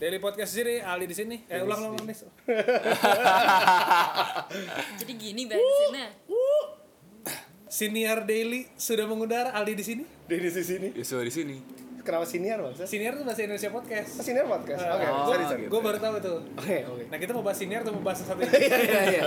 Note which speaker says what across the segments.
Speaker 1: Daily podcast sini, Ali di sini. Eh ulang ulang ulang, Nis.
Speaker 2: Jadi gini bahasannya.
Speaker 1: Senior Daily sudah mengudara Ali di sini.
Speaker 3: Denny di sini.
Speaker 4: Ya sudah di sini.
Speaker 3: Kenapa senior bangsa?
Speaker 1: Senior tuh bahasa Indonesia podcast.
Speaker 3: Oh, senior podcast.
Speaker 1: Ah.
Speaker 3: Oke,
Speaker 4: Oh.
Speaker 3: sorry sorry.
Speaker 1: Gue baru tahu tuh.
Speaker 3: Oke, oke.
Speaker 1: Nah kita mau bahas senior atau mau bahas satu ini?
Speaker 3: Iya, iya.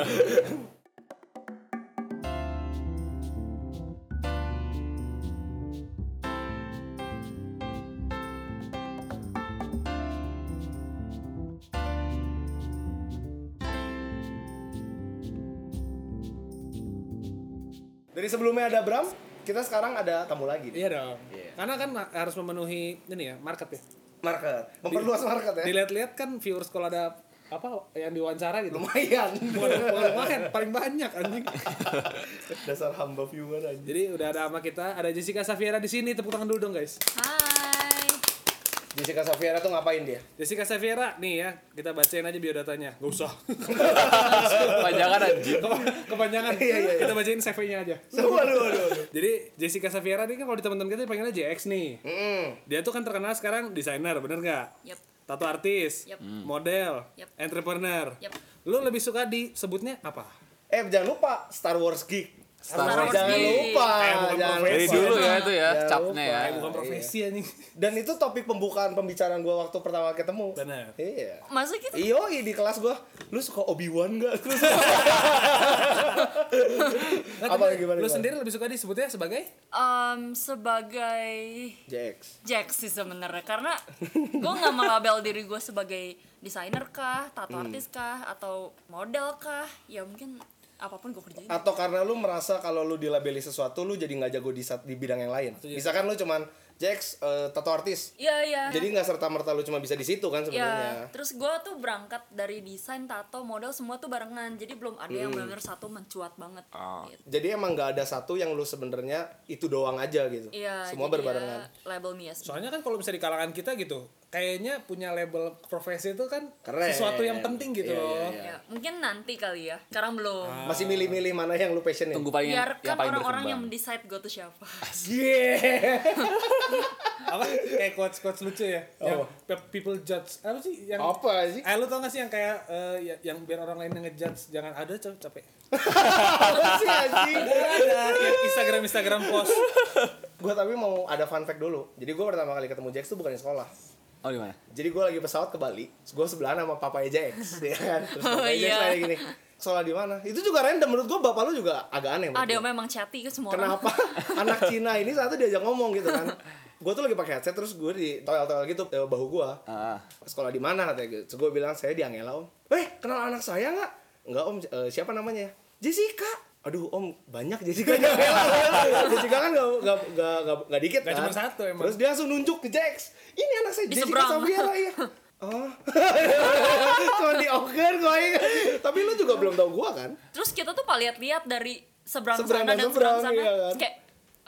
Speaker 3: Dari sebelumnya ada Bram, kita sekarang ada tamu lagi.
Speaker 1: Iya dong.
Speaker 3: Iya.
Speaker 1: Karena kan ma- harus memenuhi ini ya market ya.
Speaker 3: Market. Memperluas market ya.
Speaker 1: Dilihat-lihat kan viewers kalau ada apa yang diwawancara gitu.
Speaker 3: Lumayan.
Speaker 1: Bukan bukan lumayan, paling banyak anjing.
Speaker 3: Dasar hamba viewer aja.
Speaker 1: Jadi udah ada sama kita, ada Jessica Safiera di sini. Tepuk tangan dulu dong guys.
Speaker 2: Hai.
Speaker 3: Jessica Safiera tuh ngapain dia?
Speaker 1: Jessica Safiera nih ya, kita bacain aja biodatanya. Gak usah.
Speaker 4: Panjangan anjir.
Speaker 1: Kepanjangan.
Speaker 3: Iya, iya, iya.
Speaker 1: Kita bacain CV-nya aja.
Speaker 3: Waduh, waduh, waduh.
Speaker 1: Jadi Jessica Safiera ini kan kalau di teman-teman kita dipanggilnya JX nih.
Speaker 3: Mm.
Speaker 1: Dia tuh kan terkenal sekarang desainer, bener nggak?
Speaker 2: Yap.
Speaker 1: Tato artis,
Speaker 2: Yep.
Speaker 3: Hmm.
Speaker 1: model,
Speaker 2: Yep.
Speaker 1: entrepreneur.
Speaker 2: Yep.
Speaker 1: Lu lebih suka disebutnya apa?
Speaker 3: Eh jangan lupa Star Wars geek.
Speaker 4: Star
Speaker 2: Wars
Speaker 3: jangan
Speaker 2: geek.
Speaker 3: lupa.
Speaker 1: Eh, bukan
Speaker 3: jangan
Speaker 1: profesi.
Speaker 4: Dari
Speaker 3: lupa.
Speaker 4: dulu ya itu ya,
Speaker 3: Jangan
Speaker 4: capnya
Speaker 3: lupa.
Speaker 4: ya.
Speaker 1: Eh, bukan profesi anjing.
Speaker 3: Dan itu topik pembukaan pembicaraan gua waktu pertama ketemu.
Speaker 1: Bener.
Speaker 3: Iya.
Speaker 2: Masa kita
Speaker 3: Iyo, di kelas gua, lu suka Obi Wan gak? Terus
Speaker 1: Nah,
Speaker 3: Apa
Speaker 1: tapi
Speaker 3: lagi, gimana,
Speaker 1: Lu
Speaker 3: gimana?
Speaker 1: sendiri lebih suka disebutnya sebagai?
Speaker 2: Em, sebagai
Speaker 3: JX.
Speaker 2: Jack sih sebenarnya karena gue nggak melabel diri gue sebagai desainer kah, tato
Speaker 3: Hmm.
Speaker 2: artis kah, atau model kah? Ya mungkin apapun gue kerjain.
Speaker 3: Atau karena lu merasa kalau lu dilabeli sesuatu, lu jadi nggak jago di sat- di bidang yang lain.
Speaker 4: Iya.
Speaker 3: Misalkan lu cuman JX eh, tato artis.
Speaker 2: Iya iya.
Speaker 3: Jadi nggak serta merta lu cuma bisa di situ kan
Speaker 2: Ya,
Speaker 3: sebenarnya.
Speaker 2: terus gue tuh berangkat dari desain, tato, model semua tuh barengan. Jadi belum ada
Speaker 3: Hmm.
Speaker 2: yang benar-benar satu mencuat banget. Gitu.
Speaker 3: Jadi emang nggak ada satu yang lu sebenarnya itu doang aja gitu.
Speaker 2: Iya.
Speaker 3: Semua
Speaker 2: jadi ya,
Speaker 3: berbarengan.
Speaker 2: label Mias.
Speaker 1: Soalnya kan kalau misalnya di kalangan kita gitu, kayaknya punya label profesi itu kan
Speaker 3: Keren.
Speaker 1: sesuatu yang penting gitu
Speaker 3: Iya,
Speaker 1: loh.
Speaker 3: iya, iya.
Speaker 2: Ya, mungkin nanti kali ya. Sekarang belum.
Speaker 3: Masih milih-milih mana yang lu passionin.
Speaker 4: Tunggu paling yang,
Speaker 2: Biarkan
Speaker 4: yang paling
Speaker 2: orang-orang
Speaker 4: berkembang.
Speaker 2: yang decide gue tuh siapa.
Speaker 1: Apa kayak quotes quotes lucu ya? Yang pe- people judge. Apa sih yang
Speaker 3: Apa sih?
Speaker 1: Eh lu tau gak sih yang kayak eh, ya- yang biar orang lain yang ngejudge jangan ada capek capek.
Speaker 3: Apa sih anjing?
Speaker 1: ada kayak Instagram Instagram post.
Speaker 3: Gue tapi mau ada fun fact dulu. Jadi gue pertama kali ketemu Jax tuh bukan di sekolah.
Speaker 4: Oh di mana?
Speaker 3: Jadi gue lagi pesawat ke Bali, gue sebelahan sama papanya Jax, ya kan? Terus
Speaker 2: Oh,
Speaker 3: papanya Jax
Speaker 2: iya.
Speaker 3: kayak gini, sekolah di mana? Itu juga random menurut gue, bapak lu juga agak aneh. menurut
Speaker 2: Ada
Speaker 3: gua.
Speaker 2: yang memang chatty ke semua orang.
Speaker 3: Kenapa anak Cina ini satu diajak ngomong gitu kan? gue tuh lagi pakai headset terus gue di toel-toel gitu eh, bahu gue
Speaker 4: Ah, ah.
Speaker 3: sekolah di mana katanya gitu. Terus gue bilang saya di Angela om. Eh kenal anak saya nggak? Nggak om Eh, siapa namanya? Jessica. Aduh om banyak Jessica di Angela. Jessica kan nggak nggak nggak nggak nggak dikit
Speaker 1: Nggak
Speaker 3: kan?
Speaker 1: cuma satu emang.
Speaker 3: Terus dia langsung nunjuk ke Jax. Ini anak saya
Speaker 2: Di
Speaker 3: Jessica
Speaker 2: seberang.
Speaker 3: Sabiara ya. Oh, cuma di ogger gue. Tapi lu juga belum tahu gue kan?
Speaker 2: Terus kita tuh pak lihat-lihat dari seberang,
Speaker 3: Seberang
Speaker 2: sana
Speaker 3: dan
Speaker 2: dan seberang,
Speaker 3: seberang,
Speaker 2: sana.
Speaker 3: iya kan?
Speaker 2: Kayak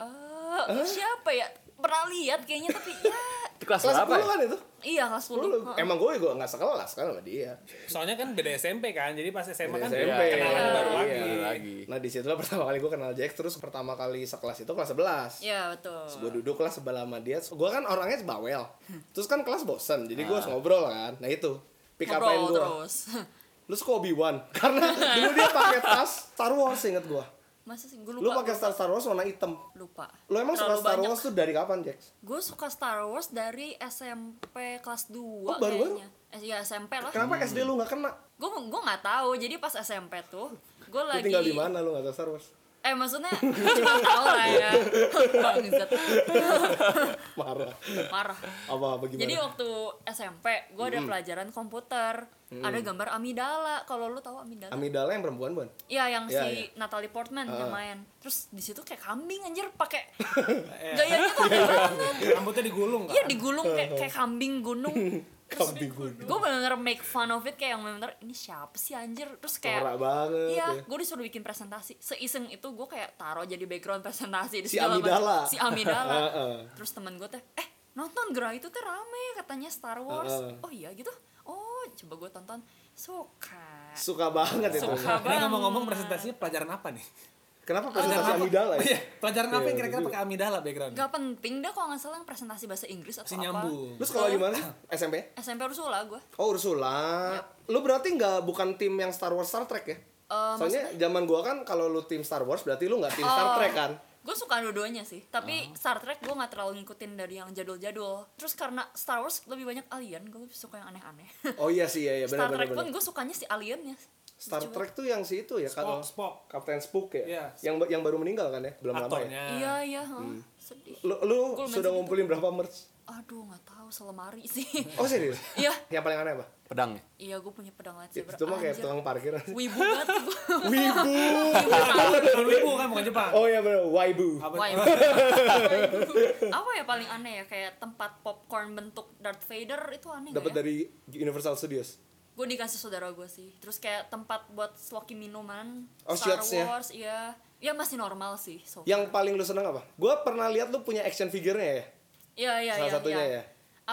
Speaker 2: eh, lu siapa ya? Pernah lihat kayaknya tapi ya
Speaker 4: Itu kelas
Speaker 3: Kelas
Speaker 4: berapa
Speaker 3: 10
Speaker 4: ya?
Speaker 3: kan itu?
Speaker 2: iya kelas 10.
Speaker 3: Lu,
Speaker 2: Heeh.
Speaker 3: emang gue gue nggak sekelas kan sama dia.
Speaker 1: Soalnya kan beda SMP kan, jadi pas SMA kan
Speaker 3: Beda SMP.
Speaker 1: kenalan baru
Speaker 4: Iya,
Speaker 1: lagi.
Speaker 4: lagi.
Speaker 3: Nah di situ pertama kali gue kenal Jack terus pertama kali sekelas itu kelas 11
Speaker 2: Iya, betul.
Speaker 3: gue duduk lah sebelah sama dia gue kan orangnya bawel terus kan kelas bosen jadi gue harus ngobrol kan nah itu pick up line
Speaker 2: Ngobrol
Speaker 3: gue
Speaker 2: terus.
Speaker 3: lu suka Obi Wan karena dulu dia pakai tas Star Wars inget gue
Speaker 2: Masa sih gue
Speaker 3: lu
Speaker 2: lupa.
Speaker 3: pakai Star Star Wars warna hitam
Speaker 2: lupa.
Speaker 3: lu emang suka Star Wars tuh dari kapan Jax
Speaker 2: Gue suka Star Wars dari SMP kelas 2
Speaker 3: Oh, baru-baru?
Speaker 2: kayaknya. Eh, Iya, SMP lah.
Speaker 3: kenapa SD lu nggak kena
Speaker 2: Gue gue nggak tahu. Jadi pas SMP tuh gue
Speaker 3: lu
Speaker 2: lagi
Speaker 3: tinggal di mana lu nggak tahu Star Wars
Speaker 2: Eh maksudnya cuma tahu lah ya. Bangsat.
Speaker 3: marah
Speaker 2: Parah.
Speaker 3: apa apa gimana Hmm.
Speaker 2: Jadi waktu SMP gue ada pelajaran komputer, ada gambar amidala. Kalau lu tahu amidala?
Speaker 3: Amidala yang perempuan bukan
Speaker 2: Iya yang
Speaker 3: Iya,
Speaker 2: si
Speaker 3: iya.
Speaker 2: Natalie Portman yang
Speaker 3: Ah.
Speaker 2: main. Terus di situ kayak kambing anjir pakai
Speaker 3: Iya.
Speaker 2: gayanya tuh aneh banget.
Speaker 1: Rambutnya digulung kan?
Speaker 2: Iya digulung kayak kayak kambing gunung.
Speaker 3: Kambing gunung.
Speaker 2: Gue bener-bener make fun of it kayak yang bener-bener ini siapa sih anjir? Terus kayak
Speaker 3: Norak banget
Speaker 2: Iya,
Speaker 3: ya.
Speaker 2: gue disuruh bikin presentasi. Seiseng itu gue kayak taruh jadi background presentasi di
Speaker 3: Si
Speaker 2: segala macam.
Speaker 3: Amidala.
Speaker 2: Si Amidala.
Speaker 3: Heeh.
Speaker 2: Terus temen gue teh, eh nonton Gra itu teh rame katanya Star Wars.
Speaker 3: Heeh.
Speaker 2: Oh iya gitu. Oh, coba gue tonton. Suka.
Speaker 3: suka banget itu
Speaker 2: Suka
Speaker 1: Nah,
Speaker 2: banget.
Speaker 1: ngomong-ngomong presentasinya pelajaran apa nih?
Speaker 3: Kenapa presentasi
Speaker 1: Pelajaran
Speaker 3: amigdala
Speaker 2: Oh,
Speaker 1: apa?
Speaker 3: ya?
Speaker 1: Iya, Pelajaran apa yang kira-kira pakai amidala background?
Speaker 2: Gak penting deh kalau nggak salah yang presentasi bahasa Inggris atau
Speaker 1: Si
Speaker 2: apa.
Speaker 1: nyambung.
Speaker 3: Lu sekolah di mana sih? SMP?
Speaker 2: SMP Ursula gue.
Speaker 3: Oh Ursula. Lu berarti nggak bukan tim yang Star Wars Star Trek ya?
Speaker 2: Ya. Eh,
Speaker 3: Soalnya zaman gua kan kalau lu tim Star Wars berarti lu nggak tim
Speaker 2: Oh.
Speaker 3: Star Trek kan?
Speaker 2: Gue suka dua-duanya sih,
Speaker 3: Oh.
Speaker 2: tapi Star Trek gue nggak terlalu ngikutin dari yang jadul-jadul. Terus karena Star Wars lebih banyak alien, gue suka yang aneh-aneh.
Speaker 3: Oh iya sih iya iya
Speaker 2: Star
Speaker 3: benar benar
Speaker 2: Trek pun
Speaker 3: benar.
Speaker 2: gue sukanya si aliennya.
Speaker 3: Star
Speaker 2: Lucu
Speaker 3: Trek tuh yang si itu ya kalau
Speaker 1: Spock, Spock.
Speaker 3: Kapten Spock ya?
Speaker 1: Iya.
Speaker 3: Yang ba- yang baru meninggal kan ya? Belum lama ya?
Speaker 1: Aktornya.
Speaker 2: banget. Iya iya, heeh.
Speaker 3: Hmm.
Speaker 2: sedih.
Speaker 3: Lu, lu
Speaker 2: Gua lumayan
Speaker 3: sudah
Speaker 2: sedih
Speaker 3: ngumpulin berapa merch?
Speaker 2: Aduh nggak tahu selemari sih.
Speaker 3: Oh serius?
Speaker 2: Iya
Speaker 3: yang paling aneh apa?
Speaker 4: pedang ya?
Speaker 2: iya gue punya pedang lightsaber.
Speaker 3: Ya, Itu mah kayak
Speaker 2: Anjir,
Speaker 3: tukang parkir.
Speaker 2: Wibu banget gue.
Speaker 3: Wibu.
Speaker 1: Bukan Wibu kan bukan Jepang.
Speaker 3: Oh iya benar, Waibu.
Speaker 1: Apa?
Speaker 2: Why? ya? apa ya paling aneh ya kayak tempat popcorn bentuk Darth Vader itu aneh
Speaker 3: Dapat
Speaker 2: gak ya?
Speaker 3: dari Universal Studios.
Speaker 2: Gue dikasih saudara gue sih. Terus kayak tempat buat sloki minuman
Speaker 3: Oh,
Speaker 2: Star
Speaker 3: shots-nya.
Speaker 2: Wars, iya. Ya masih normal sih. So.
Speaker 3: Yang paling lu seneng apa? Gua pernah lihat lu punya action figure-nya ya.
Speaker 2: Iya iya
Speaker 3: Salah
Speaker 2: iya.
Speaker 3: satunya
Speaker 2: iya.
Speaker 3: ya.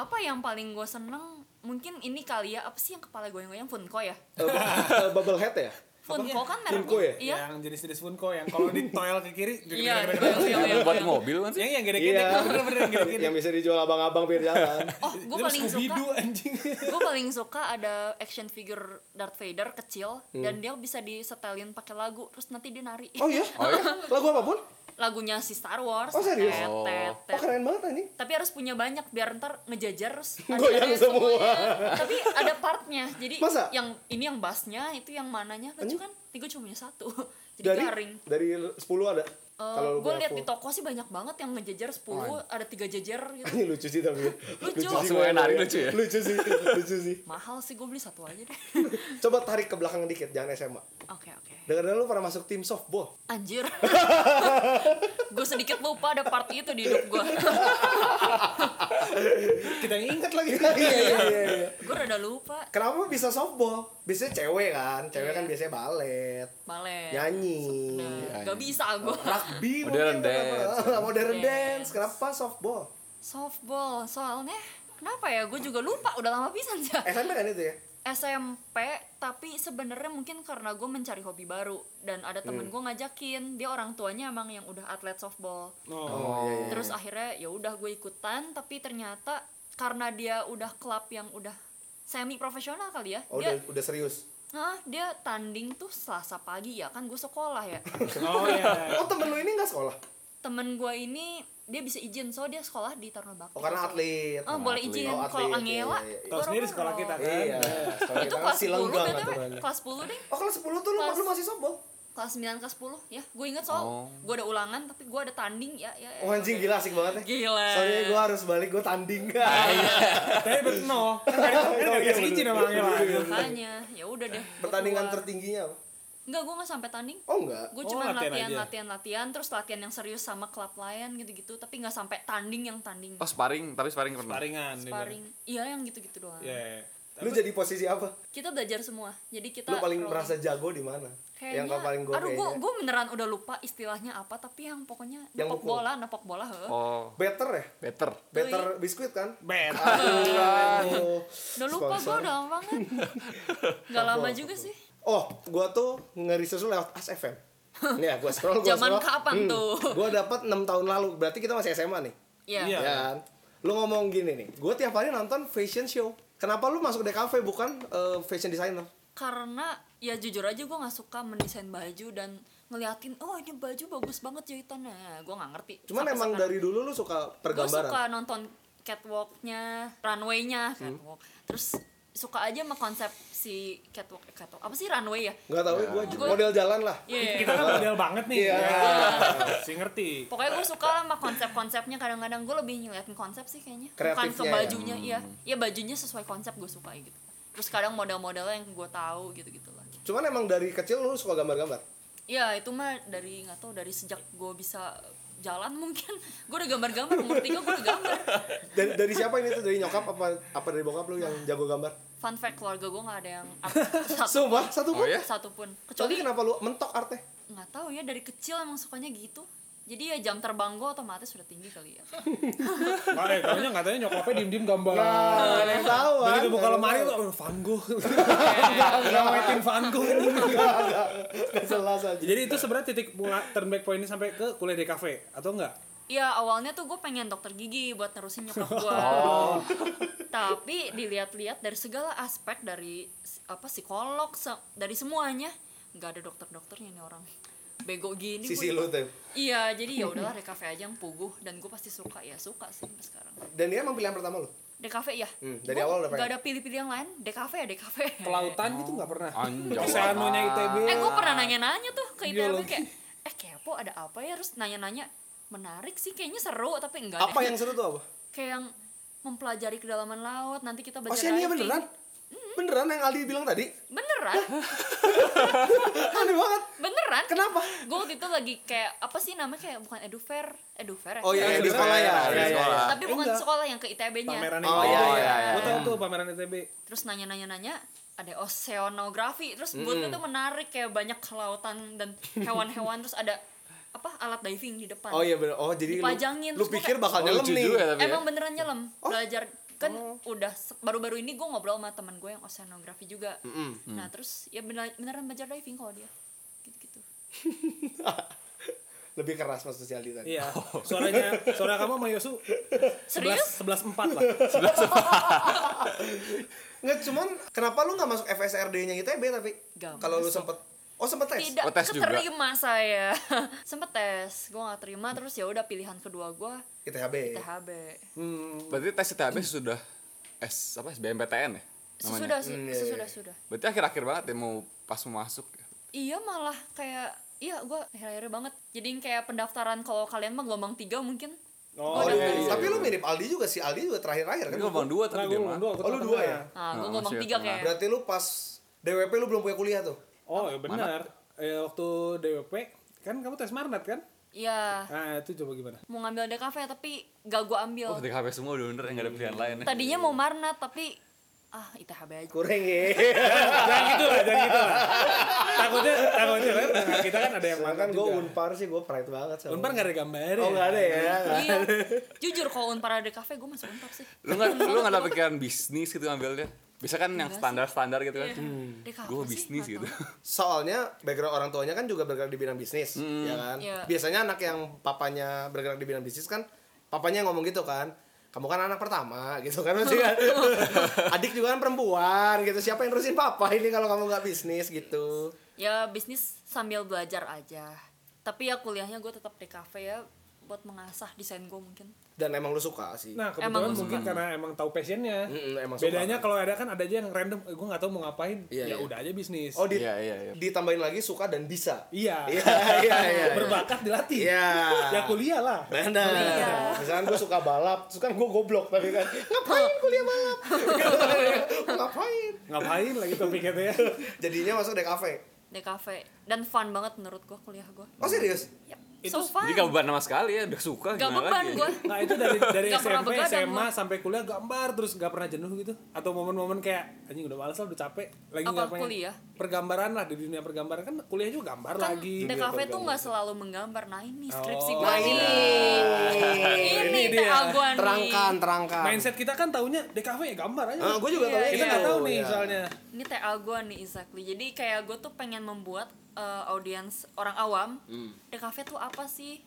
Speaker 2: Apa yang paling gue seneng? Mungkin ini kali ya apa sih yang kepala goyang-goyang Funko ya?
Speaker 3: Eh, Bubble head ya?
Speaker 2: Funko kan merek
Speaker 3: Funko ya?
Speaker 2: Iya.
Speaker 1: Yang jenis-jenis Funko yang kalau di toel ke kiri
Speaker 2: Iya.
Speaker 1: juga
Speaker 4: Yang buat mobil kan sih?
Speaker 1: Yang yang gede-gede.
Speaker 3: Iya.
Speaker 1: Bener-bener yang gede-gede.
Speaker 3: yang bisa dijual abang-abang biar jalan.
Speaker 2: Oh, gue paling suka
Speaker 1: Scooby-Doo anjing.
Speaker 2: gue paling suka ada action figure Darth Vader kecil dan dia bisa disetelin pakai lagu terus nanti dia nari
Speaker 3: Hmm. Oh iya?
Speaker 4: Oh iya?
Speaker 3: Lagu apapun?
Speaker 2: lagunya si Star Wars
Speaker 3: Oh, serius?
Speaker 2: tet,
Speaker 4: Oh.
Speaker 2: tet,
Speaker 3: Oh
Speaker 2: tet.
Speaker 3: keren banget anjing.
Speaker 2: tapi harus punya banyak biar ntar ngejajar terus
Speaker 3: Goyang
Speaker 2: acaranya
Speaker 3: semua.
Speaker 2: semuanya. tapi ada partnya jadi
Speaker 3: Masa?
Speaker 2: yang ini yang bassnya itu yang mananya lucu kan tiga cuma punya satu jadi
Speaker 3: Dari
Speaker 2: garing
Speaker 3: dari 10
Speaker 2: gue
Speaker 3: ada. lu punya
Speaker 2: lihat Eh, di
Speaker 3: 10.
Speaker 2: toko sih banyak banget yang ngejajar 10 ada tiga jajar gitu
Speaker 3: Anjing lucu sih tapi.
Speaker 2: Lucu.
Speaker 4: Langsung aja nari,
Speaker 3: Iya.
Speaker 4: lucu ya?
Speaker 3: Lucu sih, lucu sih.
Speaker 2: mahal sih gue beli satu aja deh
Speaker 3: Coba tarik ke belakang dikit, jangan SMA.
Speaker 2: oke oke
Speaker 3: Dengar lu pernah masuk tim softball.
Speaker 2: anjir gue sedikit lupa ada part itu di hidup gue
Speaker 1: Kita yang ingat lagi.
Speaker 3: Iya iya iya. iya.
Speaker 2: gue rada lupa
Speaker 3: Kenapa bisa softball? Biasanya cewek kan, cewek kan biasanya balet,
Speaker 2: malah
Speaker 3: nyanyi,
Speaker 2: Iya.
Speaker 3: Oh,
Speaker 2: Nah, gak bisa gue
Speaker 3: rugby,
Speaker 4: Modern
Speaker 3: mungkin, kenapa? modern
Speaker 2: Modern
Speaker 3: dance. Kenapa softball?
Speaker 2: softball soalnya kenapa ya gue juga lupa udah lama pisan sih
Speaker 3: SMP kan itu ya?
Speaker 2: SMP tapi sebenarnya mungkin karena gue mencari hobi baru dan ada
Speaker 3: Hmm.
Speaker 2: temen gue ngajakin dia orang tuanya emang yang udah atlet softball
Speaker 1: Oh.
Speaker 3: Iya,
Speaker 2: terus akhirnya ya udah gue ikutan tapi ternyata karena dia udah klub yang udah semi profesional kali ya
Speaker 3: Oh,
Speaker 2: dia
Speaker 3: udah, udah serius.
Speaker 2: Hah, dia tanding tuh selasa pagi ya kan gue sekolah ya
Speaker 1: Oh iya.
Speaker 3: Oh, temen lu ini nggak sekolah?
Speaker 2: temen gue ini dia bisa izin so dia sekolah di Taruna Bakti
Speaker 3: Oh, karena atlet.
Speaker 2: Oh, boleh
Speaker 4: atlet.
Speaker 2: izin
Speaker 3: Oh,
Speaker 2: kalau
Speaker 3: atlet,
Speaker 2: Angela
Speaker 3: iya, iya.
Speaker 1: Tahu sendiri sekolah kita kan.
Speaker 3: Iya. sekolah
Speaker 2: itu
Speaker 3: kita kan
Speaker 2: kelas 10
Speaker 3: Silenggang
Speaker 2: BTW,
Speaker 3: aturannya.
Speaker 2: kelas Eh, 10 deh
Speaker 3: Oh, kelas 10 tuh lu,
Speaker 2: Kelas-
Speaker 3: lu masih softball?
Speaker 2: kelas 9 kelas 10 ya gue inget soal
Speaker 4: Oh.
Speaker 2: gue ada ulangan tapi gue ada tanding ya ya, ya.
Speaker 3: Oh, anjing gila asik banget ya.
Speaker 2: Gila. Ah, iya.
Speaker 3: Soalnya gue harus balik, gue tanding.
Speaker 1: Tapi bet no. Kan tadi kan gak dikasih izin sama Angela.
Speaker 2: makanya ya udah deh gua
Speaker 3: Iya, Pertandingan
Speaker 2: keluar.
Speaker 3: tertingginya apa?
Speaker 2: enggak gue nggak sampai tanding
Speaker 3: Oh, enggak.
Speaker 2: gue
Speaker 1: Oh,
Speaker 2: cuma
Speaker 1: latihan
Speaker 2: latihan, latihan
Speaker 1: aja.
Speaker 2: latihan terus latihan yang serius sama klub lain gitu gitu tapi nggak sampai tanding yang tanding
Speaker 4: Oh sparring, tapi sparring pernah.
Speaker 1: Paringan.
Speaker 2: sparring iya yang gitu gitu doang
Speaker 1: Iya. iya.
Speaker 3: Lu jadi posisi apa?
Speaker 2: kita belajar semua jadi kita
Speaker 3: Lu paling
Speaker 2: rolling.
Speaker 3: merasa jago di mana?
Speaker 2: Kayaknya,
Speaker 3: Yang paling gue
Speaker 2: aduh gue
Speaker 3: kayaknya.
Speaker 2: gue beneran udah lupa istilahnya apa tapi yang pokoknya
Speaker 3: Yang
Speaker 2: nepok
Speaker 3: mukul.
Speaker 2: bola nepok bola he.
Speaker 4: Oh,
Speaker 3: Better ya?
Speaker 4: better.
Speaker 3: Better
Speaker 2: iya.
Speaker 3: biskuit kan?
Speaker 1: Bet.
Speaker 3: Aduh.
Speaker 2: udah lupa gue
Speaker 3: Sponsor.
Speaker 2: udah lama banget nggak lama juga sih
Speaker 3: Oh, gua tuh ngeriset lu lewat As FM. Nih ya, gua scroll, gua
Speaker 2: Zaman
Speaker 3: scroll. Hmm.
Speaker 2: kapan tuh?
Speaker 3: Gua dapat 6 tahun lalu. Berarti kita masih SMA nih.
Speaker 2: Iya.
Speaker 1: Iya.
Speaker 3: Ya kan? Lu ngomong gini nih, gue tiap hari nonton fashion show. Kenapa lu masuk DKV bukan eh, fashion designer?
Speaker 2: Karena ya jujur aja gue nggak suka mendesain baju dan ngeliatin oh ini baju bagus banget jahitannya. Gue nggak ngerti.
Speaker 3: Cuman emang dari dulu lu suka
Speaker 2: gue suka
Speaker 3: pergambaran.
Speaker 2: nonton catwalknya, runwaynya,
Speaker 3: Hmm.
Speaker 2: catwalk. Terus suka aja sama konsep si catwalk, eh, catwalk apa sih runway ya?
Speaker 3: Gak tau, gue
Speaker 2: Gua-
Speaker 3: model jalan lah.
Speaker 2: Iya.
Speaker 1: Kita kan model banget nih.
Speaker 3: Iya.
Speaker 1: Si ngerti.
Speaker 2: Pokoknya gue suka lah sama konsep-konsepnya kadang-kadang gue lebih ngeliatin konsep sih kayaknya bukan ke
Speaker 3: Kreatifnya ya.
Speaker 2: bajunya iya ya bajunya sesuai konsep gue suka gitu terus kadang model-modelnya yang gue tahu gitu-gitu lah
Speaker 3: Cuman emang dari kecil lu suka gambar-gambar.
Speaker 2: Iya itu mah dari nggak tahu dari sejak gue bisa jalan mungkin gue udah gambar-gambar umur tiga gue udah gambar
Speaker 3: Dari, dari siapa ini tuh? Dari nyokap apa apa dari bokap lu yang jago gambar?
Speaker 2: fun fact keluarga gue nggak ada yang art- satu
Speaker 3: Sumpah, satu
Speaker 4: Oh
Speaker 3: pun.
Speaker 4: ya?
Speaker 2: satu pun
Speaker 3: Tapi
Speaker 2: kecuali
Speaker 3: kenapa lu mentok artnya?
Speaker 2: nggak tahu ya dari kecil emang sukanya gitu jadi ya jam terbang gue otomatis udah tinggi kali ya
Speaker 1: Nah, eh, taunya katanya nyokapnya diem-diem gambar. Ya,
Speaker 3: Nah, ada yang tahu. kan?
Speaker 1: Begitu buka
Speaker 3: Ada yang
Speaker 1: lemari
Speaker 3: tahu.
Speaker 1: tuh, oh, Van Gogh. Ngawetin Van Gogh.
Speaker 3: Nggak selasa aja.
Speaker 1: Jadi itu sebenarnya titik mula turn back point ini sampai ke kuliah di kafe atau enggak?
Speaker 2: ya awalnya tuh gue pengen dokter gigi buat nerusin nyokap gue
Speaker 3: Oh.
Speaker 2: tapi dilihat-lihat dari segala aspek dari s- apa psikolog se- dari semuanya nggak ada dokter-dokternya nih orang bego gini
Speaker 3: Sisi
Speaker 2: gua-
Speaker 3: lu tuh.
Speaker 2: iya jadi ya udahlah Cafe aja yang puguh dan gue pasti suka ya suka sih sampai sekarang
Speaker 3: Dan dia emang pilihan pertama lu.
Speaker 2: Cafe ya
Speaker 3: Hmm, dari
Speaker 2: Gua
Speaker 3: awal udah
Speaker 2: nggak
Speaker 3: pengen.
Speaker 2: ada pilih-pilih yang lain Cafe ya Cafe
Speaker 1: Kelautan gitu enggak pernah.
Speaker 4: Anjay.
Speaker 1: Ke Seanonya ITB.
Speaker 2: eh gue pernah nanya-nanya tuh ke ITB
Speaker 1: Biologi.
Speaker 2: kayak eh kepo ada apa ya terus nanya-nanya menarik sih kayaknya seru tapi enggak
Speaker 3: Apa
Speaker 2: deh.
Speaker 3: yang seru tuh apa?
Speaker 2: kayak yang mempelajari kedalaman laut nanti kita
Speaker 3: Oh,
Speaker 2: belajar
Speaker 3: Xenia
Speaker 2: diving.
Speaker 3: beneran? Beneran yang Aldi bilang tadi?
Speaker 2: beneran
Speaker 3: Aneh banget.
Speaker 2: beneran
Speaker 3: Kenapa?
Speaker 2: gue waktu itu lagi kayak apa sih namanya kayak bukan edufair edufair ya?
Speaker 3: Oh iya,
Speaker 1: Iya,
Speaker 3: yang di
Speaker 1: iya,
Speaker 3: sekolah ya.
Speaker 4: iya,
Speaker 3: Iya, iya,
Speaker 4: sekolah.
Speaker 3: iya.
Speaker 2: tapi bukan
Speaker 1: Enggak.
Speaker 2: sekolah yang ke ITB-nya
Speaker 1: Pameran
Speaker 3: Oh,
Speaker 1: ITB.
Speaker 3: iya, iya, iya.
Speaker 1: Gua tahu tuh pameran ITB.
Speaker 2: terus nanya-nanya-nanya ada oceanografi terus buat itu menarik kayak banyak kelautan dan hewan-hewan terus ada apa alat diving di depan
Speaker 3: Oh iya bener. Oh jadi lu,
Speaker 2: Dipajangin,
Speaker 3: lu
Speaker 2: terus gua
Speaker 3: pikir
Speaker 2: kayak-
Speaker 3: bakal
Speaker 4: Oh,
Speaker 3: nyelam
Speaker 4: lucu
Speaker 3: nih.
Speaker 4: juga tapi ya. Oh.
Speaker 2: emang beneran nyelam belajar kan udah se- baru-baru ini gue ngobrol sama teman gue yang oceanografi juga
Speaker 4: Hmm.
Speaker 2: nah terus ya bener- beneran belajar diving kalau dia gitu-gitu
Speaker 3: Lebih keras maksud si Aldi tadi.
Speaker 1: Iya. Suaranya suara kamu sama Yosu
Speaker 2: Serius?
Speaker 1: 11 4 lah.
Speaker 3: Nggak, cuman kenapa lu nggak masuk FSRD-nya ITB tapi?
Speaker 2: Nggak
Speaker 3: Kalau lu
Speaker 2: masuk.
Speaker 3: sempet Oh sempet tes?
Speaker 2: tidak
Speaker 4: Oh, tes juga.
Speaker 2: keterima saya sempet tes gue nggak terima terus ya udah pilihan kedua gue
Speaker 3: ITHB.
Speaker 2: THB
Speaker 1: Hmm.
Speaker 4: Berarti tes ITB sudah S apa SBMPTN ya?
Speaker 2: sesudah
Speaker 3: Hmm,
Speaker 4: Mm,
Speaker 3: iya, iya.
Speaker 2: sesudah sudah
Speaker 4: Berarti akhir-akhir banget ya mau pas mau masuk.
Speaker 2: iya malah kayak iya gue akhir-akhir banget jadi yang kayak pendaftaran kalau kalian mah gelombang tiga mungkin
Speaker 1: Oh,
Speaker 3: Oh,
Speaker 2: Gua
Speaker 3: iya,
Speaker 2: daftar-
Speaker 3: iya. Tapi lu mirip Aldi juga sih. Aldi juga terakhir-akhir
Speaker 4: Ini
Speaker 3: kan.
Speaker 4: gelombang
Speaker 1: Nah,
Speaker 4: dua tapi
Speaker 1: gue
Speaker 4: dia mah.
Speaker 1: dua, aku
Speaker 3: Oh, lu
Speaker 1: tengah.
Speaker 3: dua ya?
Speaker 2: nah gue
Speaker 4: Oh,
Speaker 2: gelombang
Speaker 4: masih
Speaker 2: tiga
Speaker 4: tengah.
Speaker 2: kayak
Speaker 3: Berarti lu pas DWP lu belum punya kuliah tuh.
Speaker 1: Oh, ya benar. Eh waktu DWP kan kamu tes Marnat kan?
Speaker 2: iya
Speaker 1: Nah, itu coba gimana?
Speaker 2: mau ngambil DKV tapi gak gue ambil
Speaker 4: Oh, DKV semua udah bener enggak ada pilihan lain ya.
Speaker 2: tadinya mau marnat tapi ah ITHB aja
Speaker 3: Kurang ya.
Speaker 1: jangan gitu lah, jangan gitu lah. Takutnya, takutnya kan nah, kita kan ada yang makan
Speaker 3: Kan gue
Speaker 1: juga.
Speaker 3: unpar sih, gue pride banget sama.
Speaker 1: Unpar nggak ada gambar
Speaker 3: Oh nggak ada ya. nggak.
Speaker 2: iya jujur kalau unpar ada DKV gue masuk unpar sih
Speaker 4: Lu enggak lu enggak ada pikiran bisnis gitu ngambilnya. Bisa kan yang standar-standar gitu kan.
Speaker 2: Iya. DKV
Speaker 4: Gue
Speaker 2: sih,
Speaker 4: bisnis
Speaker 2: nggak
Speaker 4: gitu.
Speaker 2: tahu.
Speaker 3: Soalnya background orang tuanya kan juga bergerak di bidang bisnis,
Speaker 1: Hmm.
Speaker 3: ya kan.
Speaker 2: Iya.
Speaker 3: Biasanya anak yang papanya bergerak di bidang bisnis kan, papanya yang ngomong gitu kan. Kamu kan anak pertama gitu kan Maksudnya kan. Adik juga kan perempuan gitu. Siapa yang terusin papa ini kalau kamu nggak bisnis gitu.
Speaker 2: ya bisnis sambil belajar aja tapi ya kuliahnya gue tetap di kafe ya buat mengasah desain gue mungkin
Speaker 3: Dan emang lu suka sih.
Speaker 1: Nah, kebetulan
Speaker 2: Emang
Speaker 1: mungkin karena emang tahu passionnya.
Speaker 3: Mm-mm, emang suka.
Speaker 1: Bedanya kalau ada kan ada aja yang random, eh, gue nggak tahu mau ngapain. ya
Speaker 3: Iya, iya.
Speaker 1: udah aja bisnis.
Speaker 3: Oh di-
Speaker 4: Iya, iya, iya.
Speaker 3: ditambahin lagi suka dan bisa.
Speaker 1: iya.
Speaker 3: Iya iya iya.
Speaker 1: Berbakat dilatih.
Speaker 3: Iya.
Speaker 1: Ya kuliah lah.
Speaker 3: Benar. Misalkan gue suka balap, terus kan gue goblok tapi kan ngapain kuliah balap? Gitu. ngapain?
Speaker 1: Ngapain lagi topiknya tuh ya?
Speaker 3: Jadinya masuk dek kafe.
Speaker 2: di kafe dan fun banget menurut gue kuliah gue
Speaker 1: Hmm.
Speaker 3: Oh serius?
Speaker 2: Yep,
Speaker 1: Itu
Speaker 2: so fun
Speaker 4: Jadi gak beban sama sekali ya, udah suka
Speaker 2: gak
Speaker 4: gimana
Speaker 2: beban
Speaker 4: lagi. ya?
Speaker 2: gue
Speaker 1: Nah itu dari dari
Speaker 2: Nggak pernah
Speaker 1: SMP,
Speaker 2: begadang
Speaker 1: SMA
Speaker 2: gua.
Speaker 1: sampai kuliah gambar terus nggak pernah jenuh gitu? Atau momen-momen kayak anjing udah males lah, udah capek, lagi
Speaker 2: Apa
Speaker 1: nggak pengen.
Speaker 2: kuliah?
Speaker 1: Pergambaran lah di dunia pergambaran kan kuliah juga gambar
Speaker 2: kan
Speaker 1: lagi.
Speaker 2: di kafe tuh nggak selalu menggambar nah ini skripsi
Speaker 1: Oh,
Speaker 2: gue
Speaker 1: nah
Speaker 2: nih ini
Speaker 1: Ini
Speaker 2: TA
Speaker 1: dia.
Speaker 2: gue nih
Speaker 3: Terangkan, terangkan.
Speaker 1: Mindset kita kan taunya di kafe ya gambar aja.
Speaker 4: Ah,
Speaker 3: gue juga
Speaker 2: Iya,
Speaker 3: tahu.
Speaker 1: kita nggak tahu nih soalnya.
Speaker 2: ini TA gue nih exactly jadi kayak gue tuh pengen membuat uh, audiens orang awam
Speaker 3: Hmm.
Speaker 2: the cafe tuh apa sih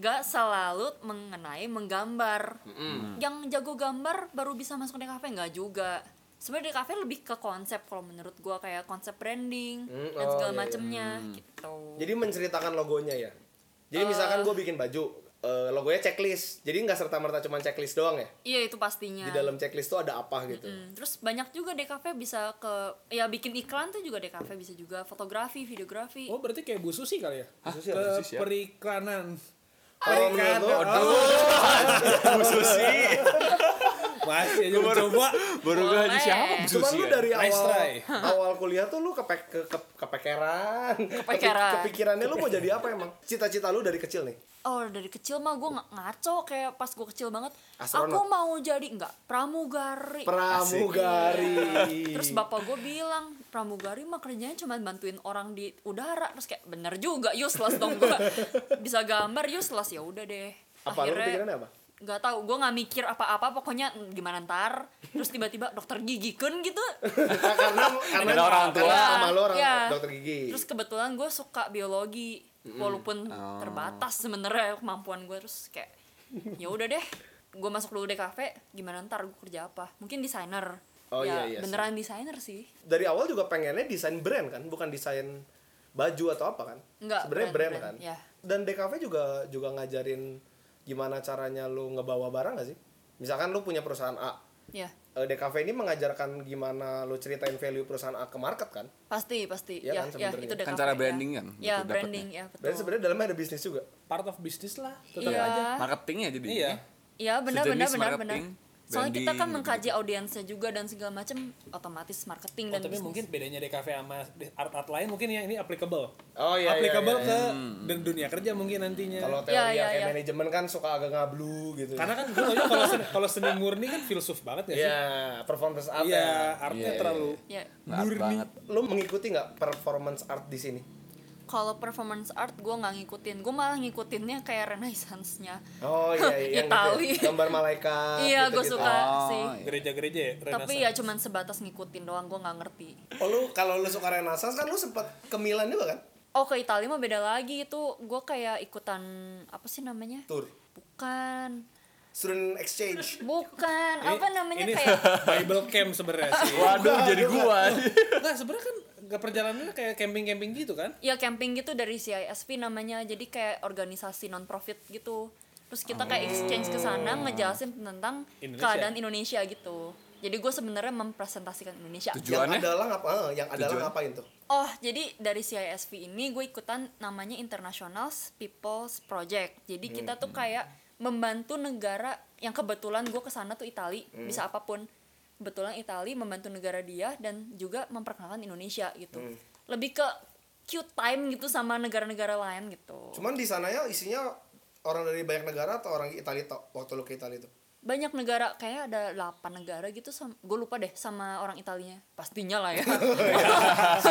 Speaker 2: gak selalu mengenai menggambar
Speaker 3: Hmm.
Speaker 2: yang jago gambar baru bisa masuk di cafe nggak juga sebenarnya di cafe lebih ke konsep kalau menurut gue kayak konsep branding
Speaker 3: Hmm,
Speaker 2: dan
Speaker 3: oh,
Speaker 2: segala
Speaker 3: iya, iya.
Speaker 2: macemnya gitu
Speaker 3: Jadi menceritakan logonya ya.
Speaker 2: Eh.
Speaker 3: Jadi misalkan gue bikin baju, eh, logonya checklist. Jadi nggak serta merta cuma checklist doang ya.
Speaker 2: iya itu pastinya
Speaker 3: Di dalam checklist tuh ada apa gitu.
Speaker 2: Mm, terus banyak juga DKV bisa ke ya bikin iklan tuh juga DKV bisa juga fotografi, videografi.
Speaker 1: Oh berarti kayak Bu Susi kali ya?
Speaker 4: Hah?
Speaker 1: Ke
Speaker 4: Bu Susi ya?
Speaker 1: periklanan. Oh.
Speaker 3: Kalau menurut lo,
Speaker 1: Aduh.
Speaker 4: Bu Susi.
Speaker 1: Masih aja coba.
Speaker 4: Baru gue aja
Speaker 2: Boleh.
Speaker 4: siapa ya?
Speaker 3: Cuman lu dari awal
Speaker 1: ya? Nice try.
Speaker 3: awal kuliah tuh lu kepe, ke, ke, kepekeran.
Speaker 2: Kepekeran.
Speaker 3: Kepikirannya lu mau jadi apa emang? Cita-cita lu dari kecil nih.
Speaker 2: Oh dari kecil mah gue ngaco kayak pas gue kecil banget
Speaker 3: Astronot.
Speaker 2: Aku mau jadi enggak pramugari
Speaker 3: Pramugari.
Speaker 2: Iya. Terus bapak gue bilang pramugari mah kerjanya cuma bantuin orang di udara Terus kayak bener juga useless dong gue Bisa gambar useless ya udah deh
Speaker 3: apa lu kepikirannya apa?
Speaker 2: nggak tahu gue nggak mikir apa-apa pokoknya "Hmm, gimana ntar terus tiba-tiba dokter gigi kun gitu
Speaker 3: karena karena
Speaker 4: Karena orang tua.
Speaker 3: karena sama lu orang
Speaker 2: Iya.
Speaker 3: dokter gigi.
Speaker 2: terus kebetulan gue suka biologi walaupun
Speaker 3: Oh.
Speaker 2: terbatas sebenarnya kemampuan gue terus kayak ya udah deh gue masuk dulu deh kafe gimana ntar gue kerja apa mungkin desainer
Speaker 3: Oh,
Speaker 2: ya
Speaker 3: iya, iya,
Speaker 2: beneran desainer sih
Speaker 3: dari awal juga pengennya desain brand kan, bukan desain baju atau apa kan?
Speaker 2: Enggak,
Speaker 3: Sebenarnya brand,
Speaker 2: brand,
Speaker 3: kan.
Speaker 2: brand, ya.
Speaker 3: Dan DKV juga juga ngajarin gimana caranya lu ngebawa barang gak sih? Misalkan lu punya perusahaan A,
Speaker 2: ya
Speaker 3: eh, DKV ini mengajarkan gimana lu ceritain value perusahaan A ke market kan?
Speaker 2: pasti pasti ya
Speaker 3: Iya kan,
Speaker 2: ya
Speaker 3: sebenarnya.
Speaker 2: itu deh
Speaker 4: Kan
Speaker 2: kafe,
Speaker 4: cara
Speaker 2: ya.
Speaker 4: branding kan,
Speaker 2: ya
Speaker 4: itu dapetnya.
Speaker 2: branding ya betul
Speaker 3: Berarti sebenarnya dalamnya ada bisnis juga.
Speaker 1: Part of bisnis lah. Tetap
Speaker 2: Iya.
Speaker 1: aja.
Speaker 4: Marketingnya jadi.
Speaker 1: Iya.
Speaker 2: Iya benar benar
Speaker 4: Sejenis
Speaker 2: benar benar.
Speaker 4: marketing,
Speaker 2: Soalnya kita kan
Speaker 4: branding,
Speaker 2: mengkaji audiensnya juga dan segala macam otomatis marketing
Speaker 1: Oh,
Speaker 2: dan
Speaker 1: tapi
Speaker 2: bisnis.
Speaker 1: mungkin bedanya DKV sama art-art lain mungkin yang ini applicable.
Speaker 3: Oh, iya, iya,
Speaker 1: Applicable
Speaker 3: iya,
Speaker 1: ke dan dunia kerja mungkin nantinya.
Speaker 3: Kalau
Speaker 2: Iya,
Speaker 3: teori
Speaker 2: iya,
Speaker 3: yang kayak
Speaker 2: iya.
Speaker 3: manajemen kan suka agak ngablu gitu.
Speaker 1: karena kan gue taunya kalau seni, kalau seni murni kan filsuf banget gak sih?
Speaker 3: ya performance art.
Speaker 1: Iya,
Speaker 3: ya.
Speaker 1: artnya
Speaker 4: Iya,
Speaker 1: terlalu
Speaker 2: Ya.
Speaker 4: Nggak
Speaker 1: murni.
Speaker 4: banget.
Speaker 3: Lu mengikuti nggak performance art di sini?
Speaker 2: Kalau performance art gue nggak ngikutin, gue malah ngikutinnya kayak renaissance-nya.
Speaker 3: Oh iya, iya yang
Speaker 2: Italy.
Speaker 3: gitu ya. gambar malaikat.
Speaker 2: Iya gue
Speaker 3: gitu-gitu.
Speaker 2: suka
Speaker 4: Oh,
Speaker 2: sih.
Speaker 4: iya.
Speaker 1: Gereja-gereja ya,
Speaker 2: Tapi
Speaker 1: Renaissance.
Speaker 2: ya cuman sebatas ngikutin doang, gue nggak ngerti.
Speaker 3: Oh lu kalau lu suka Renaissance kan lu sempet ke Milan juga kan?
Speaker 2: Oh ke Italia mah beda lagi itu, gue kayak ikutan apa sih namanya?
Speaker 3: Tour.
Speaker 2: Bukan,
Speaker 3: Student exchange.
Speaker 2: bukan
Speaker 1: Ini-
Speaker 2: apa namanya
Speaker 1: ini
Speaker 2: kayak
Speaker 1: Bible camp sebenarnya sih.
Speaker 4: Waduh, jadi gua.
Speaker 1: Enggak, sebenarnya kan nggak perjalanannya kayak camping-camping gitu kan?
Speaker 2: ya camping gitu dari CISP namanya jadi kayak organisasi non profit gitu terus kita kayak exchange ke sana ngejelasin tentang
Speaker 1: Indonesia.
Speaker 2: keadaan Indonesia gitu jadi gue sebenarnya mempresentasikan Indonesia
Speaker 4: Tujuh.
Speaker 3: Yang
Speaker 4: Tujuannya?
Speaker 3: adalah ngapa? eh, Yang adalah
Speaker 4: Tujuan?
Speaker 3: ngapain tuh?
Speaker 2: oh jadi dari CISP ini gue ikutan namanya International People's Project jadi kita tuh kayak membantu negara yang kebetulan gue kesana tuh Itali bisa apapun kebetulan Itali membantu negara dia dan juga memperkenalkan Indonesia gitu lebih ke cute time gitu sama negara-negara lain gitu
Speaker 3: Cuman di sananya isinya orang dari banyak negara atau orang Italia tok waktu lu ke Italia tuh?
Speaker 2: banyak negara kayak ada 8 negara gitu sama gue lupa deh sama orang Italinya pastinya lah ya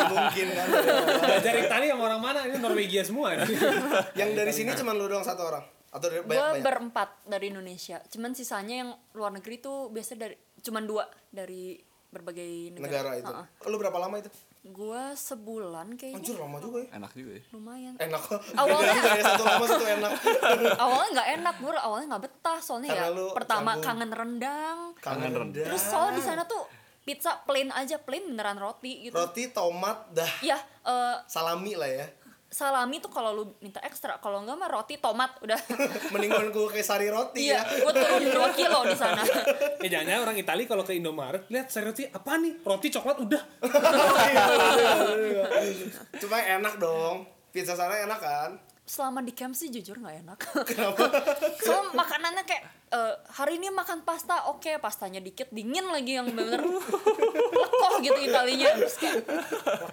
Speaker 3: Mungkin kan.
Speaker 1: Belajar Itali sama orang mana? Ini Norwegia semua. nih.
Speaker 3: yang dari sini cuman lu doang satu orang atau dari
Speaker 2: gue
Speaker 3: banyak banyak.
Speaker 2: berempat dari Indonesia cuman sisanya yang luar negeri tuh biasa dari cuman dua dari berbagai negara,
Speaker 3: negara itu. Oh, Lu berapa lama itu?
Speaker 2: gue sebulan
Speaker 3: Anjir
Speaker 2: kayaknya
Speaker 3: lama juga ya.
Speaker 4: Enak juga ya.
Speaker 2: lumayan
Speaker 3: Enak.
Speaker 2: Awalnya-
Speaker 3: Beda juga ya, satu lama satu enak.
Speaker 2: awalnya nggak enak gue awalnya nggak betah soalnya
Speaker 3: Karena
Speaker 2: ya
Speaker 3: lu Iya.
Speaker 2: pertama
Speaker 3: sambung.
Speaker 2: kangen rendang
Speaker 3: Kangen rendah.
Speaker 2: terus soalnya di sana tuh pizza plain aja plain beneran roti gitu
Speaker 3: Roti, tomat, dah
Speaker 2: ya eh,
Speaker 3: salami lah ya.
Speaker 2: salami tuh kalau lu minta ekstra kalau enggak mah roti tomat udah
Speaker 3: Mendingan gue kayak sari roti
Speaker 2: Iya,
Speaker 3: ya.
Speaker 2: gue turun 2 kilo di sana.
Speaker 1: eh jangan orang Itali kalau ke Indomaret lihat serius sih apa nih? Roti coklat udah.
Speaker 3: Cuma enak dong. Pizza sana enak kan?
Speaker 2: Selama di camp sih jujur nggak enak. Soalnya makanannya kayak eh, hari ini makan pasta, oke pastanya dikit dingin lagi yang bener lekoh gitu Italinya. Terus kayak,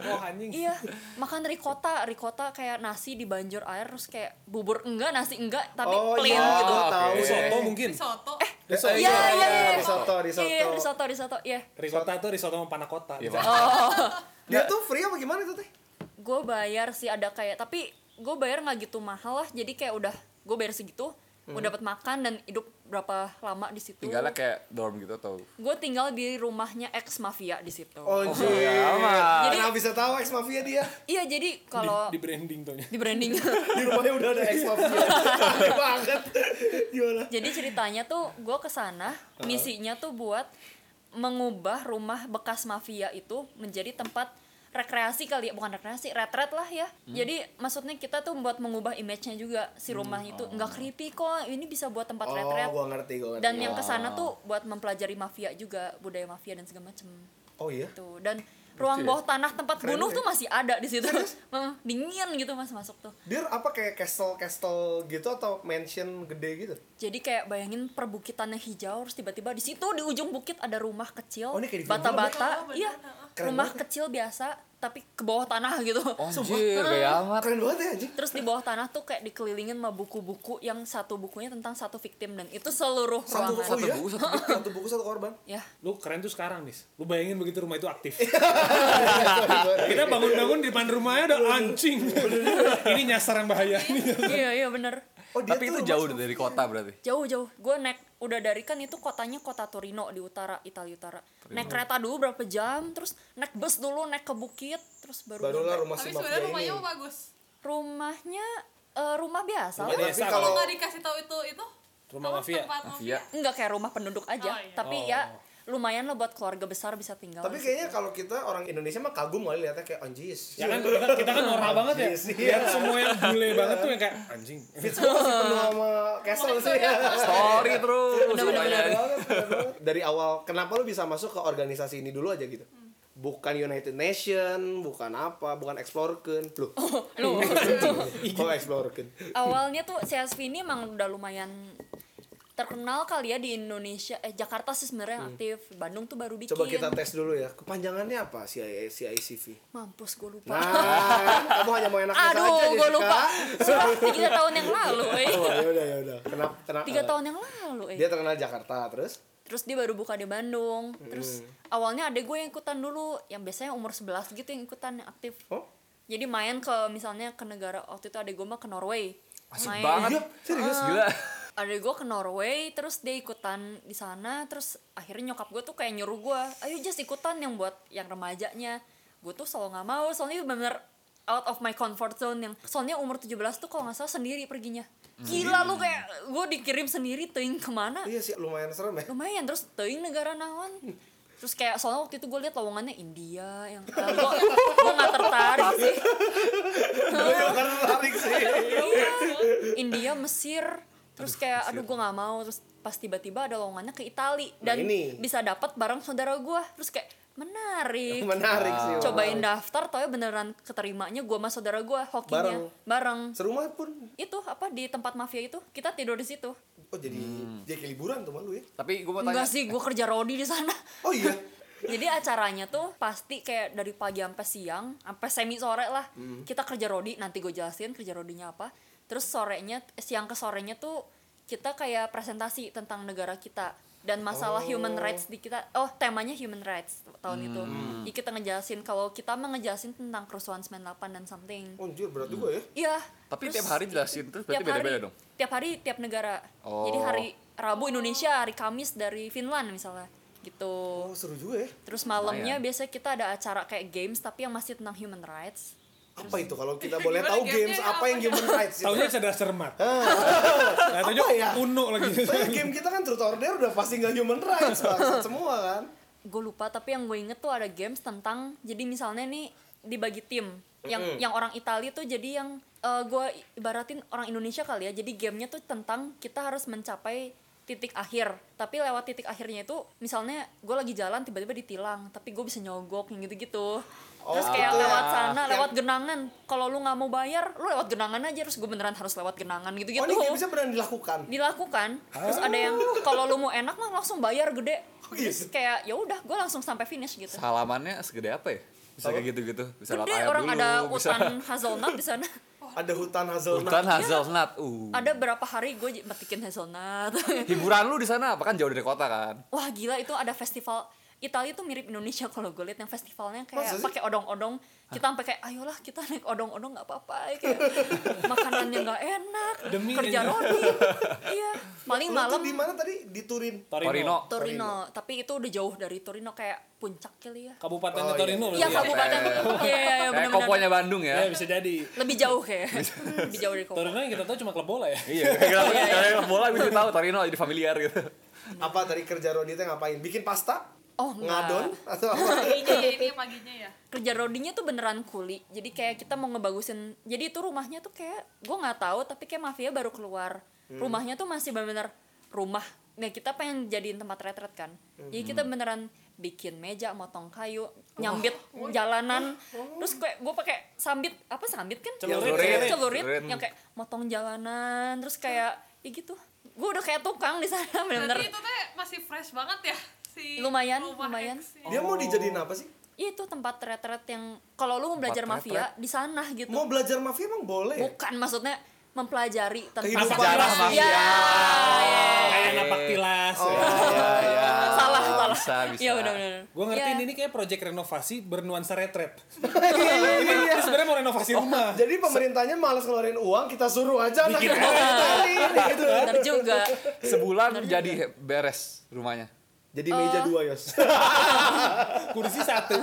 Speaker 1: Oh anjing.
Speaker 2: iya, makan ricotta, ricotta kayak nasi dibanjur air terus kayak bubur enggak, nasi enggak, tapi plain
Speaker 3: iya,
Speaker 2: gitu.
Speaker 3: gua
Speaker 4: Oke.
Speaker 3: tahu.
Speaker 1: Risotto mungkin.
Speaker 3: Risotto.
Speaker 2: Iya, iya, iya.
Speaker 3: Risotto, risotto.
Speaker 2: Iya, risotto, risotto. Iya.
Speaker 1: Ricotta itu risotto sama panakota.
Speaker 4: Iya,
Speaker 1: Bisa.
Speaker 2: Oh,
Speaker 4: Pak.
Speaker 3: Dia tuh free apa gimana itu teh?
Speaker 2: gue bayar sih ada kayak tapi gue bayar nggak gitu mahal lah jadi kayak udah gue bayar segitu gue
Speaker 3: Hmm.
Speaker 2: dapat makan dan hidup berapa lama di situ
Speaker 4: Tinggalnya kayak dorm gitu atau
Speaker 2: gue tinggal di rumahnya ex mafia di situ
Speaker 3: Oh,
Speaker 4: aman.
Speaker 3: Jadi Kenapa bisa tahu ex mafia dia?
Speaker 2: iya jadi
Speaker 1: Di,
Speaker 2: kalau
Speaker 1: di
Speaker 2: di,
Speaker 1: branding tuh.
Speaker 2: branding
Speaker 3: Di rumahnya udah ada ex mafia. Aneh banget. Gimana?
Speaker 2: jadi ceritanya tuh gue kesana misinya tuh buat mengubah rumah bekas mafia itu menjadi tempat rekreasi kali ya bukan rekreasi retret lah ya jadi maksudnya kita tuh buat mengubah image-nya juga si rumah itu nggak creepy kok ini bisa buat tempat retret
Speaker 3: Oh, gua ngerti, gua ngerti.
Speaker 2: dan yang kesana tuh buat mempelajari mafia juga budaya mafia dan segala macem
Speaker 3: oh iya.
Speaker 2: tuh gitu. dan ruang
Speaker 4: Lucu ya?
Speaker 2: bawah tanah tempat
Speaker 3: Keren
Speaker 2: bunuh
Speaker 3: ya?
Speaker 2: tuh masih ada di situ Hmm, dingin gitu mas masuk tuh
Speaker 3: Dir apa kayak castle-castle gitu atau mansion gede gitu?
Speaker 2: jadi kayak bayangin perbukitannya hijau terus tiba-tiba di situ di ujung bukit ada rumah kecil
Speaker 3: Oh, ini kayak di film
Speaker 2: bata-bata
Speaker 5: banget.
Speaker 2: iya
Speaker 3: Keren
Speaker 2: rumah
Speaker 3: banget.
Speaker 2: kecil biasa tapi ke bawah tanah gitu
Speaker 3: Oh.
Speaker 4: Anjir, gaya amat.
Speaker 3: Keren banget ya anjing.
Speaker 2: terus di bawah tanah tuh kayak dikelilingin sama buku-buku yang satu bukunya tentang satu victim dan itu seluruh
Speaker 3: Satu buku
Speaker 2: ruangan
Speaker 3: ya?
Speaker 4: buku, satu
Speaker 3: Satu buku satu korban.
Speaker 2: ya
Speaker 1: Lu keren tuh sekarang, Nis. Lu bayangin begitu rumah itu aktif.
Speaker 3: Iya, Sorry, sorry.
Speaker 1: Kita
Speaker 3: iya.
Speaker 1: bangun-bangun di depan rumahnya ada anjing. Ini nyasar yang bahaya nih.
Speaker 2: iya iya bener
Speaker 3: Oh, dia
Speaker 4: Tapi
Speaker 3: tuh
Speaker 4: itu
Speaker 3: rumah
Speaker 4: jauh gitu. dari kota berarti.
Speaker 2: jauh jauh gue naik udah dari kan itu kotanya kota Torino di utara Italia utara naik kereta dulu berapa jam terus naik bus dulu naek ke bukit terus baru
Speaker 3: barulah
Speaker 2: nyampe.
Speaker 3: rumah si
Speaker 5: Tapi
Speaker 3: mafia
Speaker 5: sebenarnya
Speaker 3: ini.
Speaker 5: rumahnya mah bagus.
Speaker 2: rumahnya eh, rumah biasa
Speaker 3: Rumah
Speaker 1: Iya,
Speaker 3: Tapi
Speaker 1: biasa
Speaker 3: kalau
Speaker 5: Kalau nggak dikasih tahu itu itu
Speaker 1: Rumah
Speaker 5: apa,
Speaker 1: mafia.
Speaker 5: Tempat mafia.
Speaker 4: Mafia.
Speaker 2: enggak kayak rumah penduduk aja
Speaker 5: Oh, iya.
Speaker 2: tapi ya lumayan lah buat keluarga besar bisa tinggal
Speaker 3: Tapi kayaknya kalau kita orang Indonesia mah kagum kali lihatnya kayak anjis.
Speaker 1: Ya kan kita, kita kan norak banget ya.
Speaker 3: Anjing Iya, sih, Iya.
Speaker 1: Lihat semua yang bule banget tuh yang kayak anjing.
Speaker 3: Fitzpatrick masih penuh sama castle sih.
Speaker 4: Story terus.
Speaker 2: Bener, bener,
Speaker 4: lumayan.
Speaker 3: Keren banget, keren banget. Dari awal kenapa lu bisa masuk ke organisasi ini dulu aja gitu?
Speaker 2: Hmm.
Speaker 3: Bukan United Nation, bukan apa, bukan Explorerkeun. Loh,
Speaker 2: Loh.
Speaker 3: kok Explorerkeun?
Speaker 2: awalnya tuh CSV ini emang udah lumayan terkenal kali ya di Indonesia eh Jakarta sih sebenarnya yang aktif Bandung tuh baru bikin
Speaker 3: Hmm. Coba kita tes dulu ya. Kepanjangannya apa si CICV?
Speaker 2: mampus gue lupa
Speaker 3: Nah, kamu hanya mau enak saja.
Speaker 2: aduh gue
Speaker 3: Jessica.
Speaker 2: lupa sudah tiga tahun yang lalu eh.
Speaker 3: Oh, ya udah ya udah. Kenapa? Kenapa?
Speaker 2: tiga tahun yang lalu eh.
Speaker 3: Dia terkenal Jakarta terus.
Speaker 2: terus dia baru buka di Bandung terus awalnya ada gue yang ikutan dulu yang biasanya umur 11 gitu yang ikutan yang aktif
Speaker 3: Oh,
Speaker 2: jadi main ke misalnya ke negara waktu itu ada gue mah ke Norway
Speaker 4: Asik
Speaker 2: Main.
Speaker 4: banget.
Speaker 3: Iya, serius?
Speaker 4: Gila.
Speaker 2: ada gue ke Norway terus dia ikutan di sana terus akhirnya nyokap gue tuh kayak nyuruh gue ayo just ikutan yang buat yang remajanya gue tuh selalu nggak mau soalnya bener out of my comfort zone yang soalnya umur 17 tuh kalau nggak salah sendiri perginya gila lu kayak gue dikirim sendiri ting kemana
Speaker 3: iya sih lumayan serem ya.
Speaker 2: lumayan terus teuing negara naon terus kayak soalnya waktu itu gue liat lowongannya India yang gue gue nggak tertarik sih
Speaker 3: Gue juga tertarik sih.
Speaker 2: Iya. India Mesir terus kayak aduh gue nggak mau terus pas tiba-tiba ada lowongannya ke Itali
Speaker 3: Nah,
Speaker 2: dan
Speaker 3: ini.
Speaker 2: bisa dapat bareng saudara gue terus kayak menarik
Speaker 3: Oh, Menarik sih. menarik.
Speaker 2: cobain daftar tau ya beneran keterimanya gue sama saudara gue hokinya
Speaker 3: Bareng.
Speaker 2: bareng
Speaker 3: Serumah pun.
Speaker 2: itu apa di tempat mafia itu kita tidur di situ
Speaker 3: Oh, jadi dia kayak liburan tuh malu ya.
Speaker 4: Tapi gue mau tanya.
Speaker 2: enggak sih gue kerja rodi di sana
Speaker 3: Oh iya.
Speaker 2: jadi acaranya tuh pasti kayak dari pagi sampai siang sampai semi sore lah
Speaker 4: Hmm.
Speaker 2: kita kerja rodi nanti gue jelasin kerja rodinya apa terus sorenya eh, siang ke sorenya tuh kita kayak presentasi tentang negara kita dan masalah human rights di kita oh temanya human rights tahun itu
Speaker 4: Hmm.
Speaker 2: jadi kita ngejelasin kalau kita mah ngejelasin tentang kerusuhan 98 dan something
Speaker 3: Oh, anjir berat juga ya.
Speaker 2: iya
Speaker 4: Tapi
Speaker 2: terus
Speaker 4: tiap hari jelasin terus berarti
Speaker 2: tiap hari
Speaker 4: beda-beda dong.
Speaker 2: tiap hari tiap negara
Speaker 4: Oh.
Speaker 2: jadi hari Rabu Indonesia hari Kamis dari Finland misalnya gitu
Speaker 3: Oh, seru juga ya.
Speaker 2: Terus malamnya
Speaker 4: Lumayan.
Speaker 2: biasanya kita ada acara kayak games tapi yang masih tentang human rights.
Speaker 3: Apa itu kalau kita boleh
Speaker 5: Gimana
Speaker 3: tahu
Speaker 5: gamenya
Speaker 3: games
Speaker 5: ya?
Speaker 3: apa yang human rights? itu?
Speaker 1: Taunya cerdas cermat. Nah, taunya
Speaker 3: Ah. Apa ya?
Speaker 1: Uno lagi.
Speaker 3: Soalnya game kita kan Truth or Dare udah pasti nggak human rights bangsat semua kan.
Speaker 2: Gue lupa tapi yang gue inget tuh ada games tentang jadi misalnya nih dibagi tim. Yang yang orang Italia tuh jadi yang eh, gue ibaratin orang Indonesia kali ya. Jadi gamenya tuh tentang kita harus mencapai titik akhir tapi lewat titik akhirnya itu misalnya gue lagi jalan tiba-tiba ditilang tapi gue bisa nyogok yang gitu-gitu terus
Speaker 3: Oh,
Speaker 2: kayak
Speaker 3: gitu ya.
Speaker 2: lewat sana
Speaker 3: Yang-
Speaker 2: lewat genangan kalau lu nggak mau bayar lu lewat genangan aja terus gue beneran harus lewat genangan gitu-gitu
Speaker 3: Oh, ini gamesnya beneran dilakukan.
Speaker 2: Iya. dilakukan terus ada yang kalau lu mau enak mah langsung bayar gede terus kayak ya udah gue langsung sampai finish gitu
Speaker 4: Halamannya segede apa ya? Bisa kayak gitu-gitu. Bisa lewat
Speaker 2: gede
Speaker 4: air
Speaker 2: orang
Speaker 4: dulu,
Speaker 2: ada
Speaker 4: bisa
Speaker 2: hutan hazelnut di sana
Speaker 3: Ada hutan
Speaker 4: hutan
Speaker 3: hazelnut.
Speaker 4: hazelnut. Uh.
Speaker 2: ada berapa hari gue metikin hazelnut
Speaker 4: Hiburan lu di sana apa kan jauh dari kota kan?
Speaker 2: wah gila itu ada festival Italia tuh mirip Indonesia kalau gue lihat yang festivalnya
Speaker 3: Masa
Speaker 2: kayak
Speaker 3: sih?
Speaker 2: pakai odong-odong kita sampai kayak ayolah kita naik odong-odong nggak apa-apa kayak makanannya nggak enak
Speaker 1: Demi
Speaker 2: kerja
Speaker 1: ini.
Speaker 2: rodi iya paling
Speaker 3: Lu
Speaker 2: malam
Speaker 3: tuh di mana tadi? Di Turin.
Speaker 4: Torino.
Speaker 2: Torino tapi itu udah jauh dari Torino kayak puncak kali ya
Speaker 1: Kabupatennya
Speaker 3: Oh, iya.
Speaker 1: Torino
Speaker 2: Iya
Speaker 1: berarti. ya?
Speaker 2: kabupaten. Iya iya iya
Speaker 4: Kayak
Speaker 2: benar-benar. Iya,
Speaker 4: koponya Bandung ya.
Speaker 1: Ya bisa jadi.
Speaker 2: Lebih jauh kayak. Lebih jauh dari Kopo.
Speaker 1: Torino yang kita tahu cuma klub bola ya.
Speaker 4: Iya, kalau kalau bola bisa tahu Torino jadi familiar gitu.
Speaker 3: Apa tadi kerja Rodi teh ngapain? Bikin pasta?
Speaker 2: Iya. Oh enggak.
Speaker 3: Ngadon atau apa?
Speaker 5: Paginya ya ini paginya ya.
Speaker 2: Kerja rodinya tuh beneran kuli. Jadi kayak kita mau ngebagusin. Jadi itu rumahnya tuh kayak gue nggak tahu tapi kayak mafia baru keluar. Rumahnya tuh masih bener-bener rumah. Nah kita pengen jadiin tempat retret kan. Jadi kita beneran bikin meja, motong kayu. nyambit jalanan terus kayak gue pakai sambit apa sambit kan
Speaker 1: Celurit.
Speaker 2: celurit,
Speaker 4: Celurit.
Speaker 2: yang kayak motong jalanan terus kayak ya gitu gue udah kayak tukang di sana
Speaker 5: Berarti
Speaker 2: bener
Speaker 5: itu teh masih fresh banget ya si
Speaker 2: Lumayan,
Speaker 5: rumah
Speaker 2: lumayan.
Speaker 5: X ini.
Speaker 6: Dia
Speaker 2: Oh.
Speaker 6: mau dijadiin apa sih?
Speaker 2: Iya, itu tempat retret yang kalau lu mau belajar
Speaker 4: Tempat
Speaker 2: mafia di sana gitu
Speaker 6: Mau belajar mafia emang boleh.
Speaker 3: ya?
Speaker 2: bukan maksudnya mempelajari tentang
Speaker 6: Kehidupan
Speaker 1: Sejarah
Speaker 2: Iya,
Speaker 1: mafia.
Speaker 2: iya.
Speaker 1: Kayak napak tilas.
Speaker 3: Oh, iya.
Speaker 4: ya, ya.
Speaker 2: salah salah
Speaker 4: Bisa, bisa.
Speaker 2: ya udah udah
Speaker 1: Gue
Speaker 3: Iya.
Speaker 1: ngerti ini kayak proyek renovasi bernuansa retret.
Speaker 2: Iya,
Speaker 1: Ini
Speaker 3: Iya.
Speaker 1: sebenarnya mau renovasi
Speaker 3: Oh.
Speaker 1: rumah.
Speaker 3: Jadi pemerintahnya malas ngeluarin uang, kita suruh aja anak
Speaker 1: Bikin
Speaker 3: kita ini gitu.
Speaker 2: iya, benar juga
Speaker 4: Sebulan jadi beres rumahnya.
Speaker 3: Jadi meja dua, Yos.
Speaker 1: Kursi satu.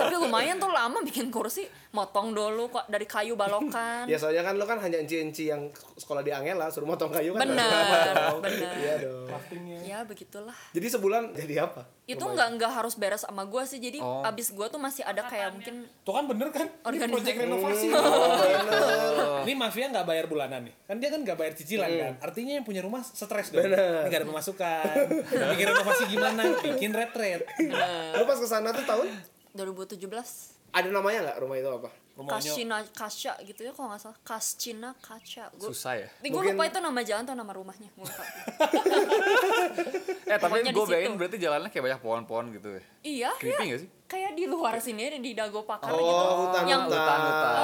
Speaker 2: tapi lumayan tuh lama bikin kursi motong dulu kok dari kayu balokan
Speaker 3: ya soalnya kan lo kan hanya enci-enci yang sekolah di Angela suruh motong kayu kan.
Speaker 2: bener bener
Speaker 3: Iya dong.
Speaker 2: ya begitulah
Speaker 3: Jadi sebulan jadi apa?
Speaker 2: itu nggak nggak harus beres sama gue sih jadi
Speaker 4: Oh.
Speaker 2: abis gue tuh masih ada kayak mungkin
Speaker 1: Tuh kan bener kan? Ini
Speaker 2: Organisasi.
Speaker 1: proyek renovasi.
Speaker 3: Oh.
Speaker 1: Ini mafia nggak bayar bulanan nih. Kan dia kan nggak bayar cicilan kan. Artinya yang punya rumah stres dong.
Speaker 3: Hmm.
Speaker 1: Ini
Speaker 3: Bener.
Speaker 1: nggak ada pemasukan. Bikin renovasi gimana? Bikin retret.
Speaker 3: Lo pas kesana tuh tahun
Speaker 2: 2017
Speaker 3: ada namanya nggak rumah itu apa?
Speaker 1: Rumahnya
Speaker 2: Kasina Kaca gitu ya kalau nggak salah Kascina Kaca gue
Speaker 4: Susah ya.
Speaker 2: gue
Speaker 3: Mungkin-
Speaker 2: lupa itu nama jalan atau nama rumahnya gua lupa.
Speaker 4: Eh tapi
Speaker 2: Pokoknya di
Speaker 4: gue bayangin
Speaker 2: situ.
Speaker 4: berarti jalannya kayak banyak pohon-pohon gitu ya.
Speaker 2: iya
Speaker 4: Creepy
Speaker 2: iya.
Speaker 4: nggak sih?
Speaker 2: kayak di luar sini di dago pakar gitu
Speaker 3: Oh, hutan
Speaker 2: Yang-
Speaker 3: hutan.
Speaker 2: Ah,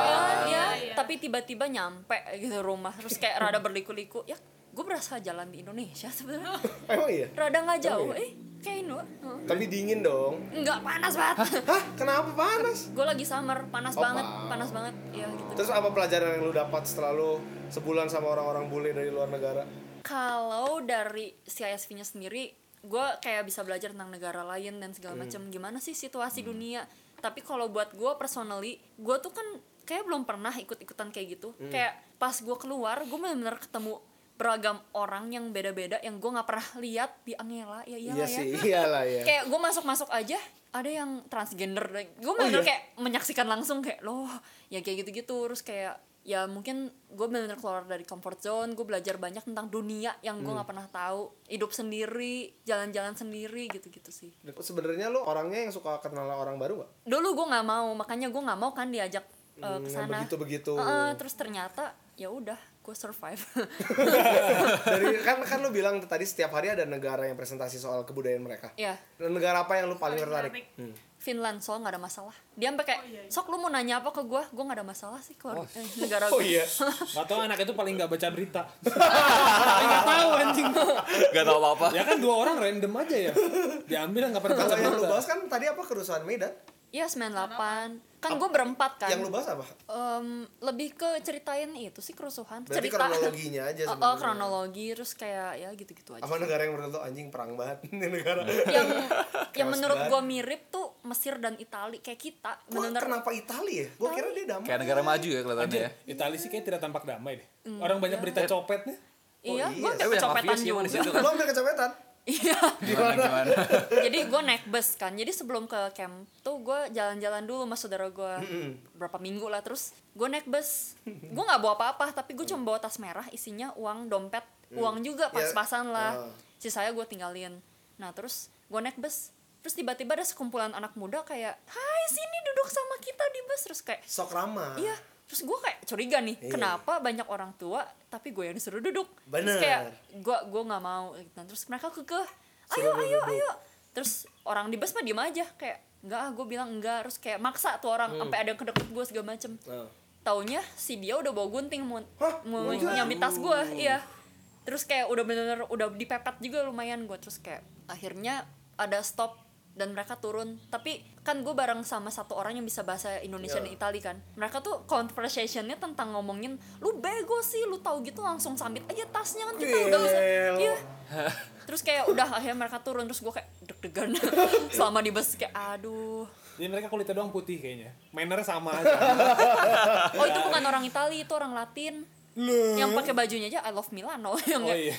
Speaker 2: ya,
Speaker 5: iya.
Speaker 2: tapi tiba-tiba nyampe gitu rumah terus kayak rada berliku-liku ya gue berasa jalan di Indonesia sebenarnya
Speaker 3: Emang iya.
Speaker 2: rada nggak jauh eh kayak Indo Heeh.
Speaker 3: Tapi dingin dong.
Speaker 2: nggak panas banget
Speaker 3: Hah, kenapa panas?
Speaker 2: gue lagi summer panas
Speaker 3: Oh,
Speaker 2: banget
Speaker 3: wow.
Speaker 2: panas banget ya gitu
Speaker 3: Terus apa pelajaran yang lu dapat setelah lu sebulan sama orang-orang bule dari luar negara?
Speaker 2: kalau dari CISV-nya sendiri gue kayak bisa belajar tentang negara lain dan segala macam gimana sih situasi dunia tapi kalau buat gue personally gue tuh kan kayak belum pernah ikut-ikutan kayak gitu kayak pas gue keluar gue bener-bener ketemu beragam orang yang beda-beda yang gue nggak pernah lihat di Angela ya
Speaker 3: Iya
Speaker 2: iyalah ya
Speaker 3: iyalah ya.
Speaker 2: kayak gue masuk-masuk aja ada yang transgender gue
Speaker 3: Oh,
Speaker 2: bener
Speaker 3: iya?
Speaker 2: kayak menyaksikan langsung kayak loh ya kayak gitu-gitu terus kayak ya mungkin gue bener keluar dari comfort zone gue belajar banyak tentang dunia yang
Speaker 3: Hmm.
Speaker 2: gue nggak pernah tahu hidup sendiri jalan-jalan sendiri gitu-gitu sih
Speaker 3: Sebenarnya lu orangnya yang suka kenal orang baru nggak?
Speaker 2: dulu gue nggak mau makanya gue nggak mau kan diajak eh, ke
Speaker 3: Hmm,
Speaker 2: sana
Speaker 3: begitu begitu.
Speaker 2: Heeh, terus ternyata ya udah gue survive
Speaker 3: Dari kan kan lu bilang tadi setiap hari ada negara yang presentasi soal kebudayaan mereka.
Speaker 2: ya
Speaker 3: Dan Negara apa yang lu paling
Speaker 5: Paling
Speaker 3: tertarik?
Speaker 5: menarik.
Speaker 3: Hmm.
Speaker 2: Finland soal nggak ada masalah dia sampai kayak
Speaker 5: Oh, iya, iya.
Speaker 2: sok lu mau nanya apa ke gue gue nggak ada masalah sih keluar eh, negara
Speaker 3: Oh,
Speaker 2: gue
Speaker 3: iya.
Speaker 1: Gak tau anak itu paling gak baca berita Paling gak tau anjing
Speaker 4: Gak tau apa-apa.
Speaker 1: Ya kan dua orang random aja ya Diambil gak pernah baca
Speaker 3: Kalau yang lu
Speaker 1: berita
Speaker 3: bahas kan tadi apa kerusuhan Medan?
Speaker 2: Iya 98 Kan gue berempat kan
Speaker 3: Yang lu bahas apa?
Speaker 2: Em, Lebih ke ceritain itu sih kerusuhan
Speaker 3: Berarti
Speaker 2: Cerita
Speaker 3: kronologinya aja
Speaker 2: Oh,
Speaker 3: sebenarnya.
Speaker 2: oh, kronologi Terus kayak ya gitu-gitu aja
Speaker 3: Apa negara yang menurut lu anjing perang banget ini negara?
Speaker 2: Yang yang
Speaker 3: Chaos
Speaker 2: menurut
Speaker 3: banget.
Speaker 2: gue mirip tuh Mesir dan Itali Kayak kita
Speaker 3: Gua
Speaker 2: bener-bener
Speaker 3: kenapa Italia ya? Gua kira dia damai.
Speaker 4: Kayak negara maju ya kelihatannya ya.
Speaker 1: Itali sih kayak tidak tampak damai deh
Speaker 3: Hmm.
Speaker 1: Orang banyak berita copet nih
Speaker 2: Iya,
Speaker 3: iya.
Speaker 2: gue
Speaker 4: Tapi banyak
Speaker 2: kecopetan
Speaker 4: mafias sih emang di
Speaker 2: juga
Speaker 4: situ.
Speaker 3: Lu hampir kecopetan.
Speaker 2: Iya,
Speaker 4: Gimana gimana.
Speaker 2: jadi gue naik bus kan Jadi sebelum ke camp tuh gue jalan-jalan dulu sama saudara gue Berapa minggu lah Terus gue naik bus Gue gak bawa apa-apa Tapi gue cuma bawa tas merah Isinya uang, dompet Uang juga
Speaker 3: Ya.
Speaker 2: pas-pasan lah
Speaker 3: Ah.
Speaker 2: Sisanya gue tinggalin Nah terus gue naik bus Terus tiba-tiba ada sekumpulan anak muda kayak Hai sini duduk sama kita di bus Terus kayak
Speaker 3: Sok ramah.
Speaker 2: Iya. Terus gue kayak curiga nih,
Speaker 3: Iya.
Speaker 2: kenapa banyak orang tua tapi gue yang disuruh duduk? Terus
Speaker 3: Bener.
Speaker 2: kayak gue gue nggak mau. Gitu. Terus mereka kekeh, ayo ayo ayo. Terus orang di bus mah diem aja kayak enggak ah gue bilang enggak terus kayak maksa tuh orang
Speaker 3: Hmm.
Speaker 2: sampai ada yang kedeket gue segala macem
Speaker 3: Nah.
Speaker 2: taunya si dia udah bawa gunting mau
Speaker 3: Hah?
Speaker 2: mau nyambit tas gue iya terus kayak udah bener-bener udah dipepet juga lumayan gue terus kayak akhirnya ada stop dan mereka turun tapi kan gue bareng sama satu orang yang bisa bahasa Indonesia dan Itali kan mereka tuh conversationnya tentang ngomongin lu bego sih lu tahu gitu langsung sambit aja tasnya kan kita udah bisa iya terus kayak udah akhirnya mereka turun terus gue kayak deg-degan selama di bus kayak aduh
Speaker 1: Jadi mereka kulitnya doang putih kayaknya Manner sama aja
Speaker 2: oh itu bukan orang Itali itu orang Latin yang pakai bajunya aja I love Milano yang
Speaker 1: Oh iya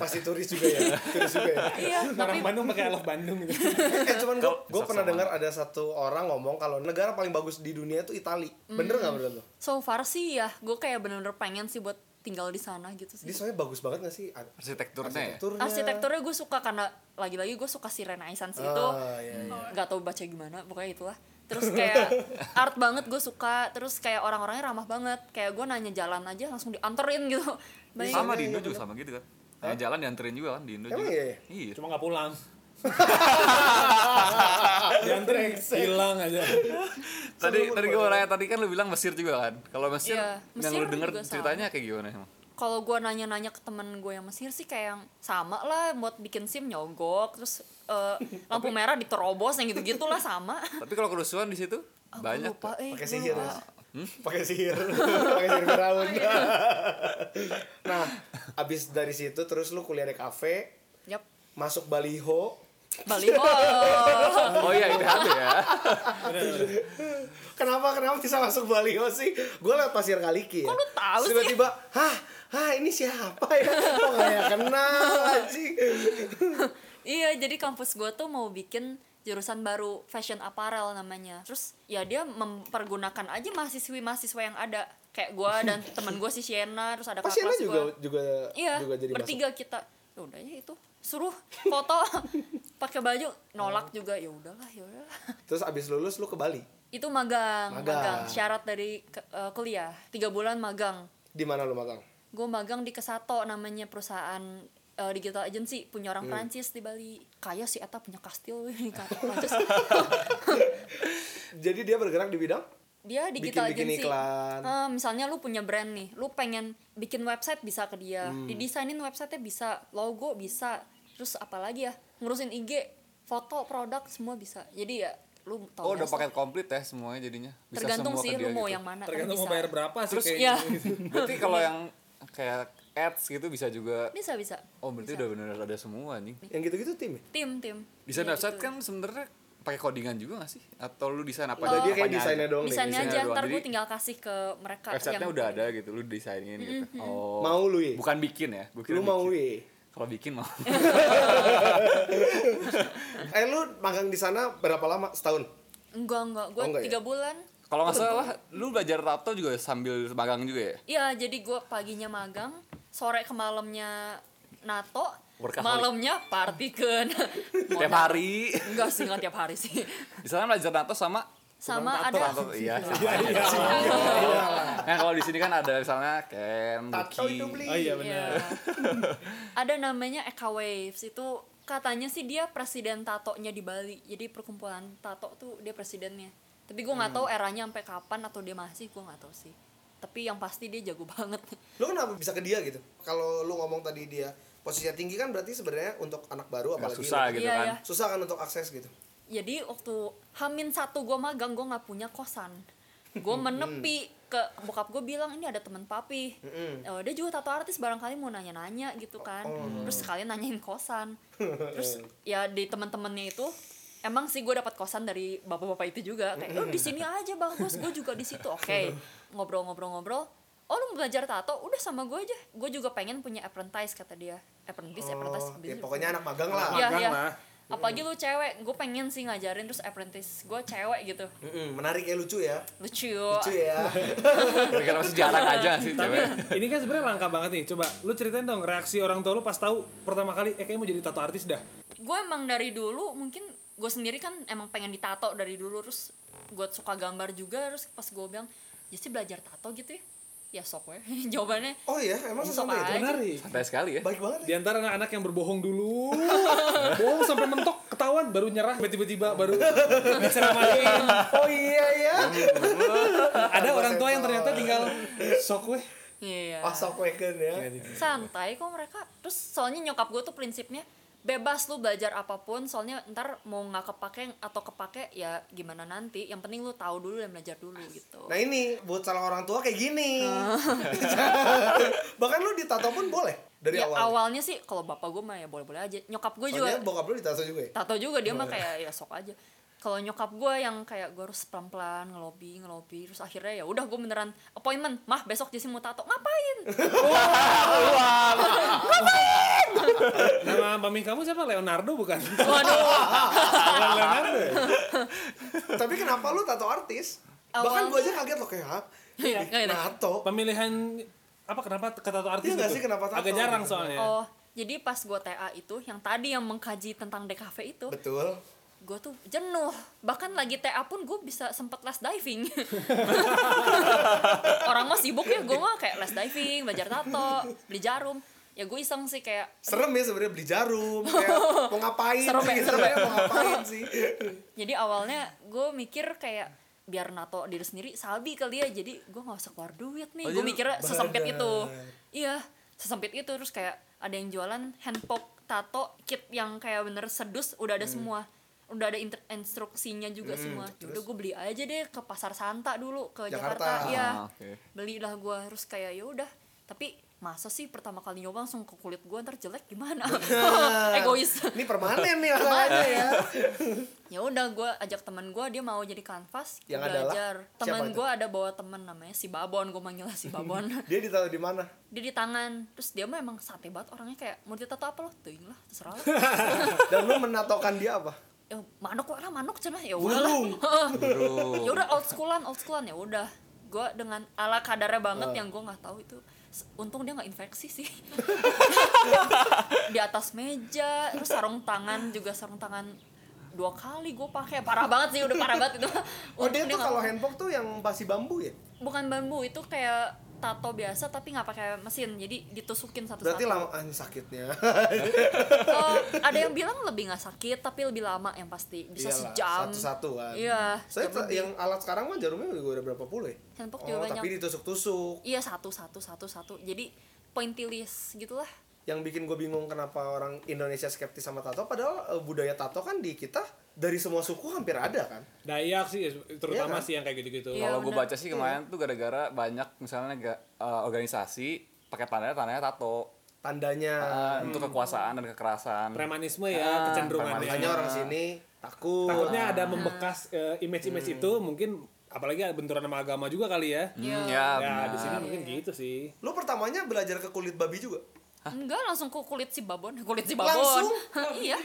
Speaker 3: Pasti turis juga ya. turis juga ya.
Speaker 2: iya tapi
Speaker 1: Orang Bandung pakai I love Bandung gitu
Speaker 3: Eh cuman gua, gua pernah dengar ada satu orang ngomong kalau negara
Speaker 2: Hmm.
Speaker 3: paling bagus di dunia itu Itali. Bener nggak menurut lu?
Speaker 2: so far sih ya gue kayak bener-bener pengen sih buat tinggal di sana gitu
Speaker 3: Dia
Speaker 2: sih
Speaker 3: soalnya bagus banget gak sih? Ar-
Speaker 4: Arsitekturnya ya?
Speaker 3: Arsitekturnya.
Speaker 2: arsitekturnya gue suka karena lagi-lagi gue suka si renaissance itu
Speaker 7: Oh,
Speaker 3: Ah, iya, iya.
Speaker 2: nggak tahu baca gimana pokoknya itulah terus kayak art banget gue suka terus kayak orang-orangnya ramah banget kayak gue nanya jalan aja langsung dianterin gitu Bayangin.
Speaker 4: Sama di Indo juga sama gitu kan. Nah, jalan dianterin juga kan di Indo
Speaker 7: Emang
Speaker 4: juga.
Speaker 7: iya ya?
Speaker 4: Iya.
Speaker 1: Cuma nggak pulang. Dianterin hilang aja.
Speaker 4: Tadi tadi gue nanya tadi kan lu bilang Mesir juga kan. Kalau Mesir,
Speaker 2: Iya,
Speaker 4: yang
Speaker 2: Mesir
Speaker 4: lu denger
Speaker 2: juga sama.
Speaker 4: ceritanya kayak gimana emang?
Speaker 2: kalau gue nanya-nanya ke temen gue yang Mesir sih kayak yang sama lah buat bikin sim nyogok terus eh, lampu merah diterobos yang gitu gitulah sama
Speaker 4: Tapi kalau kerusuhan di situ
Speaker 2: Aku
Speaker 4: banyak.
Speaker 2: lupa, eh,
Speaker 3: Pakai
Speaker 2: gua
Speaker 3: sihir
Speaker 2: lupa.
Speaker 3: ya?
Speaker 7: pakai sihir pakai sihir berawun
Speaker 2: Iya.
Speaker 3: Nah,
Speaker 7: abis dari situ terus lu kuliah di kafe
Speaker 2: Yap.
Speaker 7: masuk baliho
Speaker 2: Baliho.
Speaker 4: Oh iya itu ada ya.
Speaker 7: kenapa kenapa bisa masuk baliho sih gue lewat pasir kaliki ya
Speaker 2: Kok lu tahu sih?
Speaker 7: tiba-tiba hah hah ini siapa ya kok kayak kenal anjing
Speaker 2: iya, jadi kampus gue tuh mau bikin jurusan baru fashion apparel namanya. Terus ya dia mempergunakan aja mahasiswi-mahasiswa yang ada. Kayak gue dan temen gue si Sienna, terus ada
Speaker 7: pas
Speaker 3: Oh,
Speaker 2: kakak
Speaker 7: Yana
Speaker 2: kelas
Speaker 7: juga
Speaker 2: gue.
Speaker 7: juga
Speaker 2: Iya,
Speaker 7: juga jadi masuk
Speaker 2: bertiga kita. Ya udah ya itu. Suruh foto pakai baju nolak juga ya udahlah ya udahlah.
Speaker 7: terus abis lulus lu ke Bali
Speaker 2: Itu magang,
Speaker 7: Magang.
Speaker 2: magang, syarat dari ke- eh, kuliah. Tiga bulan magang.
Speaker 7: di mana lu magang
Speaker 2: gue magang di Kesato namanya perusahaan eh, digital agency punya
Speaker 4: Hmm.
Speaker 2: orang Prancis di Bali kaya si Eta punya kastil di Prancis
Speaker 7: jadi dia bergerak di bidang
Speaker 2: dia digital
Speaker 7: Bikin-bikin
Speaker 2: agency
Speaker 7: iklan.
Speaker 2: Eh, misalnya lu punya brand nih lu pengen bikin website bisa ke dia
Speaker 4: Hmm.
Speaker 2: didesainin websitenya bisa logo bisa terus apalagi ya ngurusin IG foto produk semua bisa jadi ya lu tau
Speaker 4: Oh
Speaker 2: ya,
Speaker 4: udah paket komplit ya semuanya jadinya. Bisa
Speaker 2: tergantung
Speaker 4: semua
Speaker 2: sih
Speaker 4: ke dia
Speaker 2: lu mau
Speaker 4: gitu.
Speaker 2: yang mana kan
Speaker 1: Tergantung mau
Speaker 2: bisa.
Speaker 1: bayar berapa sih
Speaker 4: Terus,
Speaker 1: kayaknya.
Speaker 2: ya
Speaker 4: Berarti kalau yang kayak ads gitu bisa juga.
Speaker 2: bisa bisa Iya,
Speaker 4: Oh berarti udah bener ada semua nih.
Speaker 7: yang gitu-gitu tim ya?
Speaker 2: tim tim
Speaker 4: Desain
Speaker 2: Ya,
Speaker 4: website
Speaker 2: gitu.
Speaker 4: kan sebenarnya pakai codingan juga gak sih? Atau lu desain apa?
Speaker 7: Padahal
Speaker 4: aja?
Speaker 7: dia kayak
Speaker 4: Apanya
Speaker 7: desainnya
Speaker 4: aja?
Speaker 7: doang deh
Speaker 2: desainnya
Speaker 4: desainnya
Speaker 2: aja
Speaker 4: doang.
Speaker 2: ntar gue
Speaker 4: Jadi,
Speaker 2: tinggal kasih ke mereka
Speaker 4: Websitenya
Speaker 2: yang
Speaker 4: udah ada gitu, lu desainin gitu. Oh.
Speaker 7: mau lu ya
Speaker 4: Bukan bikin ya? Gua kira
Speaker 7: lu mau
Speaker 4: bikin.
Speaker 7: ya
Speaker 4: Kalau bikin mau.
Speaker 7: eh lu magang di sana berapa lama setahun
Speaker 2: enggak enggak gue
Speaker 7: Oh,
Speaker 4: ya?
Speaker 7: enggak
Speaker 2: tiga bulan
Speaker 4: Kalau nggak salah, lu belajar tato juga sambil magang juga ya?
Speaker 2: ya jadi gue paginya magang sore ke malamnya nato
Speaker 4: Workaholic.
Speaker 2: malamnya party kan
Speaker 4: Tiap hari.
Speaker 2: enggak sih enggak tiap hari sih
Speaker 4: Di sana belajar tato sama
Speaker 2: sama
Speaker 4: tato.
Speaker 2: ada
Speaker 4: tato. Iya. sama aja.
Speaker 2: iya,
Speaker 4: Nah, kalau di sini kan ada misalnya Ken,
Speaker 7: Tato
Speaker 4: Lucky.
Speaker 7: itu beli.
Speaker 1: Oh iya
Speaker 2: Iya.
Speaker 1: benar.
Speaker 2: ada namanya Eka Waves itu katanya sih dia presiden tatonya di Bali jadi perkumpulan tato tuh dia presidennya tapi gue
Speaker 4: Hmm.
Speaker 2: nggak tahu eranya sampai kapan atau dia masih gue nggak tahu sih tapi yang pasti dia jago banget
Speaker 3: lu kenapa bisa ke dia gitu? Kalau lu ngomong tadi dia posisinya tinggi kan berarti sebenarnya untuk anak baru
Speaker 4: Nggak
Speaker 3: apalagi
Speaker 4: susah gitu
Speaker 2: Iya,
Speaker 4: kan.
Speaker 2: iya.
Speaker 3: susah kan untuk akses gitu.
Speaker 2: jadi waktu hamin satu gue magang gue nggak punya kosan gue menepi ke bokap gue bilang ini ada teman papi Eh, dia juga tato artis barangkali mau nanya-nanya gitu kan
Speaker 3: Oh,
Speaker 2: terus sekalian nanyain kosan terus ya di teman-temannya itu emang sih gue dapat kosan dari bapak-bapak itu juga kayak oh di sini aja bagus gue juga di situ oke ngobrol-ngobrol-ngobrol oh lu mau belajar tato udah sama gue aja gue juga pengen punya apprentice kata dia apprentice apprentice
Speaker 3: Oh, ya pokoknya anak magang lah.
Speaker 2: Iya,
Speaker 1: Magang
Speaker 2: iya.
Speaker 1: lah.
Speaker 2: Apalagi lu cewek, gue pengen sih ngajarin terus apprentice gue cewek gitu.
Speaker 3: Mm-mm, menarik ya lucu ya.
Speaker 2: Lucu.
Speaker 3: Lucu ya.
Speaker 4: Kira-kira masih jarang aja sih cewek.
Speaker 2: Iya.
Speaker 1: Ini kan sebenarnya langka banget nih. Coba lu ceritain dong reaksi orang tua lu pas tahu pertama kali eh kayaknya mau jadi tato artis dah.
Speaker 2: Gue emang dari dulu mungkin gue sendiri kan emang pengen ditato dari dulu terus gue suka gambar juga terus pas gue bilang ya sih belajar tato gitu ya ya sok we jawabannya
Speaker 3: Oh iya, emang
Speaker 2: Sok
Speaker 3: sesampai itu.
Speaker 2: aja. Iya.
Speaker 1: Menarik.
Speaker 4: Santai sekali ya.
Speaker 3: Baik banget. ya.
Speaker 1: Di antara anak-anak yang berbohong dulu, bohong sampai mentok, ketahuan baru nyerah, tiba-tiba baru diceramahin.
Speaker 3: Oh iya iya.
Speaker 1: Ada orang tua yang ternyata tinggal sok weh.
Speaker 2: iya
Speaker 3: Oh sok weken ya.
Speaker 4: Iya,
Speaker 2: santai kok mereka terus soalnya nyokap gue tuh prinsipnya bebas lu belajar apapun soalnya ntar mau nggak kepake atau kepake ya gimana nanti yang penting lu tahu dulu dan belajar dulu gitu
Speaker 3: Nah ini buat salah orang tua kayak gini. Bahkan lu ditato pun boleh dari
Speaker 2: ya,
Speaker 3: awal.
Speaker 2: awalnya sih kalau bapak gue mah ya boleh-boleh aja nyokap gue juga
Speaker 3: Soalnya bokap lu ditato juga ya.
Speaker 2: tato juga dia mah kayak ya sok aja kalau nyokap gue yang kayak gue harus pelan-pelan ngelobi ngelobi terus akhirnya ya udah gue beneran appointment mah besok jadi mau tato ngapain
Speaker 1: Nama mami kamu siapa? Leonardo bukan?
Speaker 2: waduh
Speaker 1: Bukan Leonardo. ya?
Speaker 3: Tapi kenapa lu tato artis? Bahkan
Speaker 2: Awalnya-
Speaker 3: gue aja kaget loh kayak, "Hah?
Speaker 2: Iya,
Speaker 3: Ih,
Speaker 2: kayak-
Speaker 3: tato.
Speaker 1: Pemilihan apa kenapa kata tato artis
Speaker 3: Iya nggak
Speaker 1: itu?
Speaker 3: sih, kenapa tato?
Speaker 1: Agak jarang
Speaker 3: ya.
Speaker 1: soalnya.
Speaker 2: Oh, jadi pas gue TA itu, yang tadi yang mengkaji tentang DKV itu,
Speaker 3: Betul.
Speaker 2: gue tuh jenuh. Bahkan lagi TA pun gue bisa sempet les diving. Orang mah sibuk ya, gue mah kayak les diving, belajar tato, beli jarum. Ya gue iseng sih kayak,
Speaker 3: Serem ya sebenarnya beli jarum kayak mau ngapain
Speaker 2: Serem ya,
Speaker 3: sih,
Speaker 2: serem ya.
Speaker 3: sebenarnya mau ngapain sih.
Speaker 2: jadi awalnya gue mikir kayak biar nato diri sendiri salbi kali ya jadi gue nggak usah keluar duit nih
Speaker 4: Oh,
Speaker 2: gue
Speaker 4: jadi
Speaker 2: mikirnya sesempit
Speaker 3: badan.
Speaker 2: itu iya sesempit itu terus kayak ada yang jualan hand pop tato kit yang kayak bener sedus udah ada semua udah ada inter- instruksinya juga semua udah gue beli aja deh ke pasar santa dulu ke
Speaker 3: Jakarta.
Speaker 2: Jakarta, iya
Speaker 4: Ah, oke.
Speaker 2: belilah gue terus kayak ya udah tapi masa sih pertama kali nyoba langsung ke kulit gue ntar jelek gimana egois
Speaker 3: Ini permanen nih masalahnya ya.
Speaker 2: ya udah gue ajak teman gue dia mau jadi kanvas
Speaker 3: Yang
Speaker 2: belajar
Speaker 3: adalah? Siapa
Speaker 2: teman
Speaker 3: itu?
Speaker 2: gue ada bawa teman namanya si babon gue manggilnya si babon
Speaker 3: Dia ditaruh di mana?
Speaker 2: dia di tangan terus dia mah emang sate banget orangnya kayak mau ditato apa lo tuh lah terserah lo
Speaker 3: Dan lu menatokan dia apa?
Speaker 2: ya manok lah manok cina ya udah lah ya udah old schoolan old schoolan ya udah gue dengan ala kadarnya banget yang gue nggak tahu itu S- untung dia nggak infeksi sih di atas meja terus sarung tangan juga sarung tangan dua kali gue pakai parah banget sih udah parah banget itu
Speaker 3: Oh dia
Speaker 2: Untung
Speaker 3: tuh
Speaker 2: nggak-
Speaker 3: kalau handpok tuh yang pasti bambu ya?
Speaker 2: bukan bambu itu kayak tato biasa tapi nggak pakai mesin jadi ditusukin satu-satu
Speaker 3: Berarti lama anjing sakitnya.
Speaker 2: Eh, ada yang bilang lebih nggak sakit tapi lebih lama yang pasti bisa
Speaker 3: Iyalah,
Speaker 2: sejam
Speaker 3: Satu-satu kan.
Speaker 2: iya
Speaker 3: Saya
Speaker 2: sejam
Speaker 3: tuh-
Speaker 2: lebih.
Speaker 3: yang alat sekarang mah jarumnya juga udah berapa puluh ya?
Speaker 2: Handphone juga
Speaker 3: oh, tapi
Speaker 2: banyak.
Speaker 3: ditusuk-tusuk.
Speaker 2: iya satu satu satu satu jadi pointilis gitulah
Speaker 3: Yang bikin gue bingung kenapa orang Indonesia skeptis sama tato padahal eh, budaya tato kan di kita dari semua suku hampir ada kan.
Speaker 1: Dayak sih terutama
Speaker 3: Iya kan?
Speaker 1: sih yang kayak gitu-gitu.
Speaker 2: Iya.
Speaker 4: Kalau gue
Speaker 2: benar.
Speaker 4: baca sih kemarin tuh gara-gara banyak misalnya ga- eh, organisasi pakai tandanya tandanya tato
Speaker 3: Tandanya
Speaker 1: Ah,
Speaker 4: Eh,
Speaker 2: Hmm.
Speaker 4: untuk kekuasaan dan kekerasan.
Speaker 1: Premanisme
Speaker 4: Ah,
Speaker 1: ya kecenderungannya.
Speaker 3: makanya orang sini takut.
Speaker 1: Takutnya ada
Speaker 2: Ah.
Speaker 1: membekas eh,
Speaker 3: Hmm.
Speaker 1: image-image itu mungkin apalagi ada benturan sama agama juga kali ya.
Speaker 4: Hmm, ya,
Speaker 1: Ya, di
Speaker 4: benar.
Speaker 1: sini mungkin gitu sih.
Speaker 3: Lu pertamanya belajar ke kulit babi juga?
Speaker 2: enggak langsung ke kulit si babon kulit si babon
Speaker 3: Langsung?
Speaker 2: iya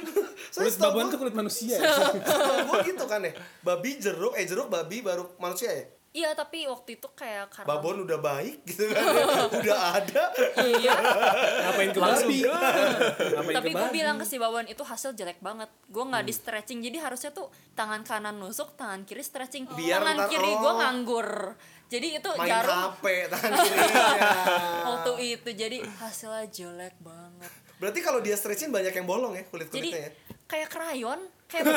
Speaker 3: Saya
Speaker 1: Kulit
Speaker 3: setahu
Speaker 1: babon
Speaker 3: gua-
Speaker 1: tuh kulit manusia ya.
Speaker 3: setahu gua gitu kan ya. Babi jeruk, eh jeruk babi baru manusia ya.
Speaker 2: iya tapi waktu itu kayak karena
Speaker 3: Babon udah baik gitu kan. ya. udah ada.
Speaker 2: iya
Speaker 1: Ngapain ke
Speaker 4: Langsung.
Speaker 1: babi? Ngapain
Speaker 2: tapi
Speaker 1: ke
Speaker 2: gue
Speaker 1: babi?
Speaker 2: bilang ke si Wawan itu hasil jelek banget gue
Speaker 3: Hmm.
Speaker 2: nggak di stretching jadi harusnya tuh tangan kanan nusuk tangan kiri stretching
Speaker 3: Biar
Speaker 2: tangan
Speaker 3: ntar-
Speaker 2: kiri gue
Speaker 3: oh.
Speaker 2: nganggur jadi itu
Speaker 3: Main
Speaker 2: jarum
Speaker 3: HP ya. tangan kirinya.
Speaker 2: waktu itu jadi hasilnya jelek banget
Speaker 3: Berarti kalau dia stretching banyak yang bolong ya
Speaker 2: jadi
Speaker 3: kulit-kulitnya ya.
Speaker 2: kayak krayon kayak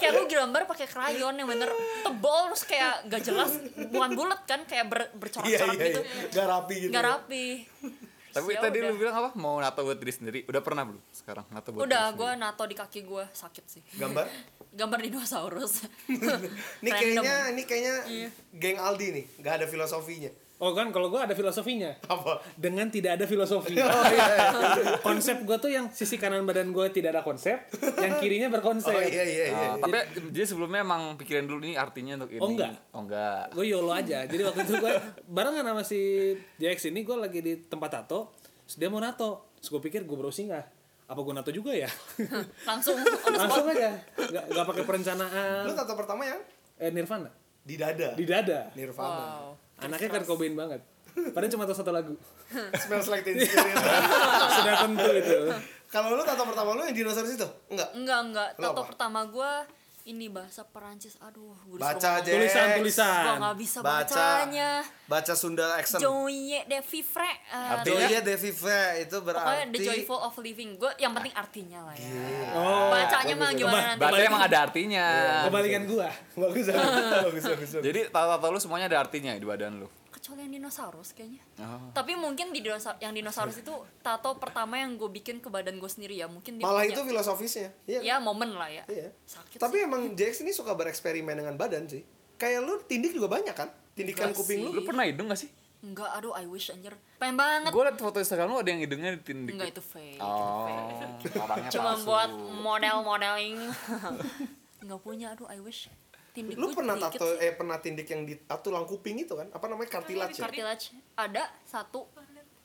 Speaker 2: kayak lu gambar pakai krayon yang bener tebol terus kayak gak jelas bukan bulat kan kayak ber, bercorak-corak gitu
Speaker 3: Iya, Gak rapi gitu.
Speaker 2: nggak rapi
Speaker 4: Tapi
Speaker 2: Ya
Speaker 4: tadi
Speaker 2: udah.
Speaker 4: lu bilang apa? Mau nato buat diri sendiri. Udah pernah belum sekarang nato buat
Speaker 2: udah
Speaker 4: diri
Speaker 2: gue
Speaker 4: sendiri?
Speaker 2: nato di kaki gue sakit sih
Speaker 3: Gambar.
Speaker 2: gambar dinosaurus
Speaker 3: Ini kayaknya ini kayaknya
Speaker 2: Iya.
Speaker 3: geng Aldi nih, nggak ada filosofinya.
Speaker 1: Oh kan kalau gue ada filosofinya.
Speaker 3: Apa?
Speaker 1: dengan tidak ada
Speaker 3: Oh,
Speaker 1: filosofi.
Speaker 3: iya,
Speaker 1: konsep gue tuh yang sisi kanan badan gue tidak ada konsep, yang kirinya berkonsep.
Speaker 3: Oh iya iya iya.
Speaker 4: Ah, tapi jadi sebelumnya emang pikirin dulu ini artinya untuk ini.
Speaker 1: Oh, enggak.
Speaker 4: Oh enggak.
Speaker 1: Gue yolo aja. Jadi waktu itu gue barengan sama si JX ini gue lagi di tempat tato, terus dia mau nato. Terus gue pikir gue browsing ah, apa gue nato juga ya?
Speaker 2: langsung
Speaker 1: Langsung aja, nggak nggak pakai perencanaan.
Speaker 3: Lu tato pertama yang
Speaker 1: Eh Nirvana
Speaker 3: di
Speaker 1: Ah.
Speaker 3: dada.
Speaker 1: di dada.
Speaker 3: Nirvana.
Speaker 1: Anaknya kan Cobain banget. Padahal cuma tahu satu lagu.
Speaker 3: Smells like teen spirit.
Speaker 1: Sudah tentu itu.
Speaker 3: Kalau lu tato pertama lu yang dinosaurus itu? Enggak.
Speaker 2: enggak enggak
Speaker 3: Lu
Speaker 2: tato
Speaker 3: apa?
Speaker 2: pertama gue ini bahasa Perancis aduh gue
Speaker 3: Baca aja.
Speaker 2: gue
Speaker 1: Tulisan-tulisan.
Speaker 2: nggak bisa
Speaker 3: Baca.
Speaker 2: bacanya
Speaker 3: Baca Sunda action.
Speaker 2: Joye de vivre eh,
Speaker 4: Artinya?
Speaker 3: Joya Devive itu
Speaker 2: pokoknya the
Speaker 3: berarti
Speaker 2: joyful of living gue yang penting artinya lah ya
Speaker 1: Oh.
Speaker 2: bacanya mah gimana nanti
Speaker 4: Berarti emang ada artinya.
Speaker 1: Kebalikan Iya, gua.
Speaker 3: bagus bagus bagus. bagus.
Speaker 4: Jadi tato-tato lu semuanya ada artinya di badan lu.
Speaker 2: kecuali yang dinosaurus kayaknya tapi mungkin di dinosa- yang dinosaurus itu tato pertama yang gue bikin ke badan gue sendiri ya mungkin dia
Speaker 3: Malah
Speaker 2: punya-
Speaker 3: itu filosofisnya. Iya.
Speaker 2: ya momen lah ya
Speaker 3: Iya.
Speaker 2: sakit
Speaker 3: Tapi
Speaker 2: sih.
Speaker 3: emang JX ini suka bereksperimen dengan badan sih. Kayak lu tindik juga banyak kan? Tindikan
Speaker 2: Enggak
Speaker 3: kuping lu.
Speaker 4: Lu pernah hidung gak sih?
Speaker 2: enggak aduh I wish anjir pengen banget
Speaker 4: Gue liat foto Instagram lu ada yang hidungnya ditindik.
Speaker 2: enggak itu fake
Speaker 4: Oh,
Speaker 3: ya
Speaker 4: orangnya
Speaker 2: cuma
Speaker 4: palsu.
Speaker 2: buat hmm, model-modeling nggak punya aduh I wish tindik
Speaker 3: Lu
Speaker 2: gua
Speaker 3: pernah
Speaker 2: dikit
Speaker 3: tato
Speaker 2: sih.
Speaker 3: eh pernah tindik yang di ah, tulang kuping itu kan? Apa namanya kartilage ya?
Speaker 2: Cartilage ada satu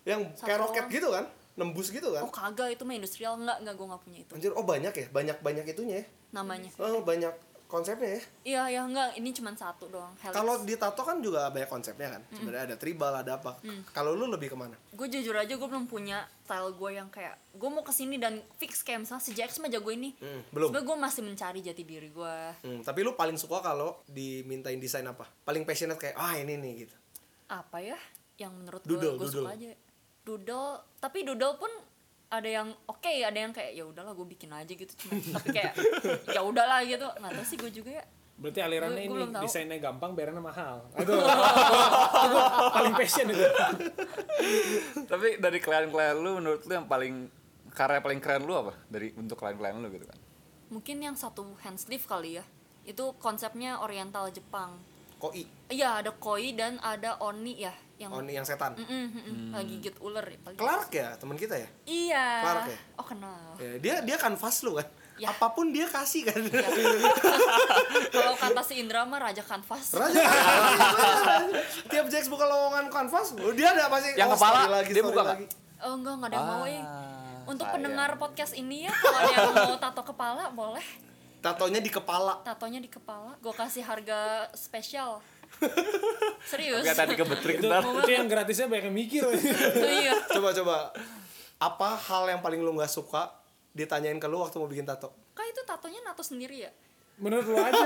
Speaker 3: Yang
Speaker 2: Satu
Speaker 3: kayak roket
Speaker 2: orang.
Speaker 3: gitu kan? Nembus gitu kan?
Speaker 2: oh kagak itu mah industrial enggak enggak gue nggak punya itu
Speaker 3: Anjir, oh banyak ya, banyak banyak itunya ya.
Speaker 2: namanya
Speaker 3: Oh banyak konsepnya ya.
Speaker 2: Iya, ya enggak, ini cuma satu doang. Helix.
Speaker 3: Kalau di tato kan juga banyak konsepnya kan. Sebenarnya ada tribal, ada apa.
Speaker 2: Mm.
Speaker 3: Kalau lu lebih kemana?
Speaker 2: gue jujur aja gue belum punya style gue yang kayak gue mau kesini dan fix kayak misalnya si Jax mah jago ini
Speaker 4: Mm.
Speaker 3: Hmm, belum.
Speaker 2: sebenernya gue masih mencari jati diri gue
Speaker 3: Hmm, tapi lu paling suka kalau dimintain desain apa? Paling passionate kayak ah ini nih gitu.
Speaker 2: apa ya yang menurut gue
Speaker 3: Doodle,
Speaker 2: gue
Speaker 3: doodle.
Speaker 2: suka aja doodle tapi doodle pun ada yang oke ada yang kayak ya udahlah gue bikin aja gitu cuma tapi kayak ya udahlah gitu nggak tahu sih gue juga ya
Speaker 1: Berarti alirannya
Speaker 2: Gua- gua
Speaker 1: ini
Speaker 2: belum tahu.
Speaker 1: desainnya gampang, bayarnya mahal. Aduh, gua paling passion itu.
Speaker 4: Tapi dari klien-klien lu menurut lu yang paling karya paling keren lu apa? Dari bentuk klien-klien lu gitu kan.
Speaker 2: mungkin yang satu hand sleeve kali ya itu konsepnya oriental Jepang
Speaker 3: Koi,
Speaker 2: iya ada koi dan ada oni ya yang
Speaker 3: oh ini yang setan.
Speaker 2: Mm-mm, mm-mm, gigit ular ya, paling-
Speaker 3: Clark ya, teman kita ya.
Speaker 2: Iya.
Speaker 3: Clark ya?
Speaker 2: Oh kenal.
Speaker 3: Ya, dia dia kanvas lu kan.
Speaker 2: Ya.
Speaker 3: Apapun dia kasih kan.
Speaker 2: Kalau kata si Indra mah raja kanvas.
Speaker 3: Raja. Tiap Jax buka lowongan kanvas, oh, dia ada pasti
Speaker 4: Yang
Speaker 3: oh,
Speaker 4: kepala,
Speaker 3: story lagi,
Speaker 4: dia
Speaker 3: story
Speaker 4: buka
Speaker 3: lagi.
Speaker 2: Oh enggak enggak ada yang mau eh.
Speaker 4: Ah,
Speaker 2: Untuk
Speaker 4: sayang.
Speaker 2: pendengar podcast ini ya, kalau ada yang mau tato kepala boleh.
Speaker 3: Tatonya di kepala.
Speaker 2: Tatonya di kepala. Gue kasih harga spesial. Serius.
Speaker 4: Gak tadi kan. kebetrik
Speaker 1: itu,
Speaker 4: ntar.
Speaker 1: itu yang gratisnya banyak yang mikir.
Speaker 2: iya.
Speaker 3: Coba coba. Apa hal yang paling lu nggak suka ditanyain ke lu waktu mau bikin tato?
Speaker 2: Kak itu tatonya nato sendiri ya?
Speaker 1: Menurut lu aja.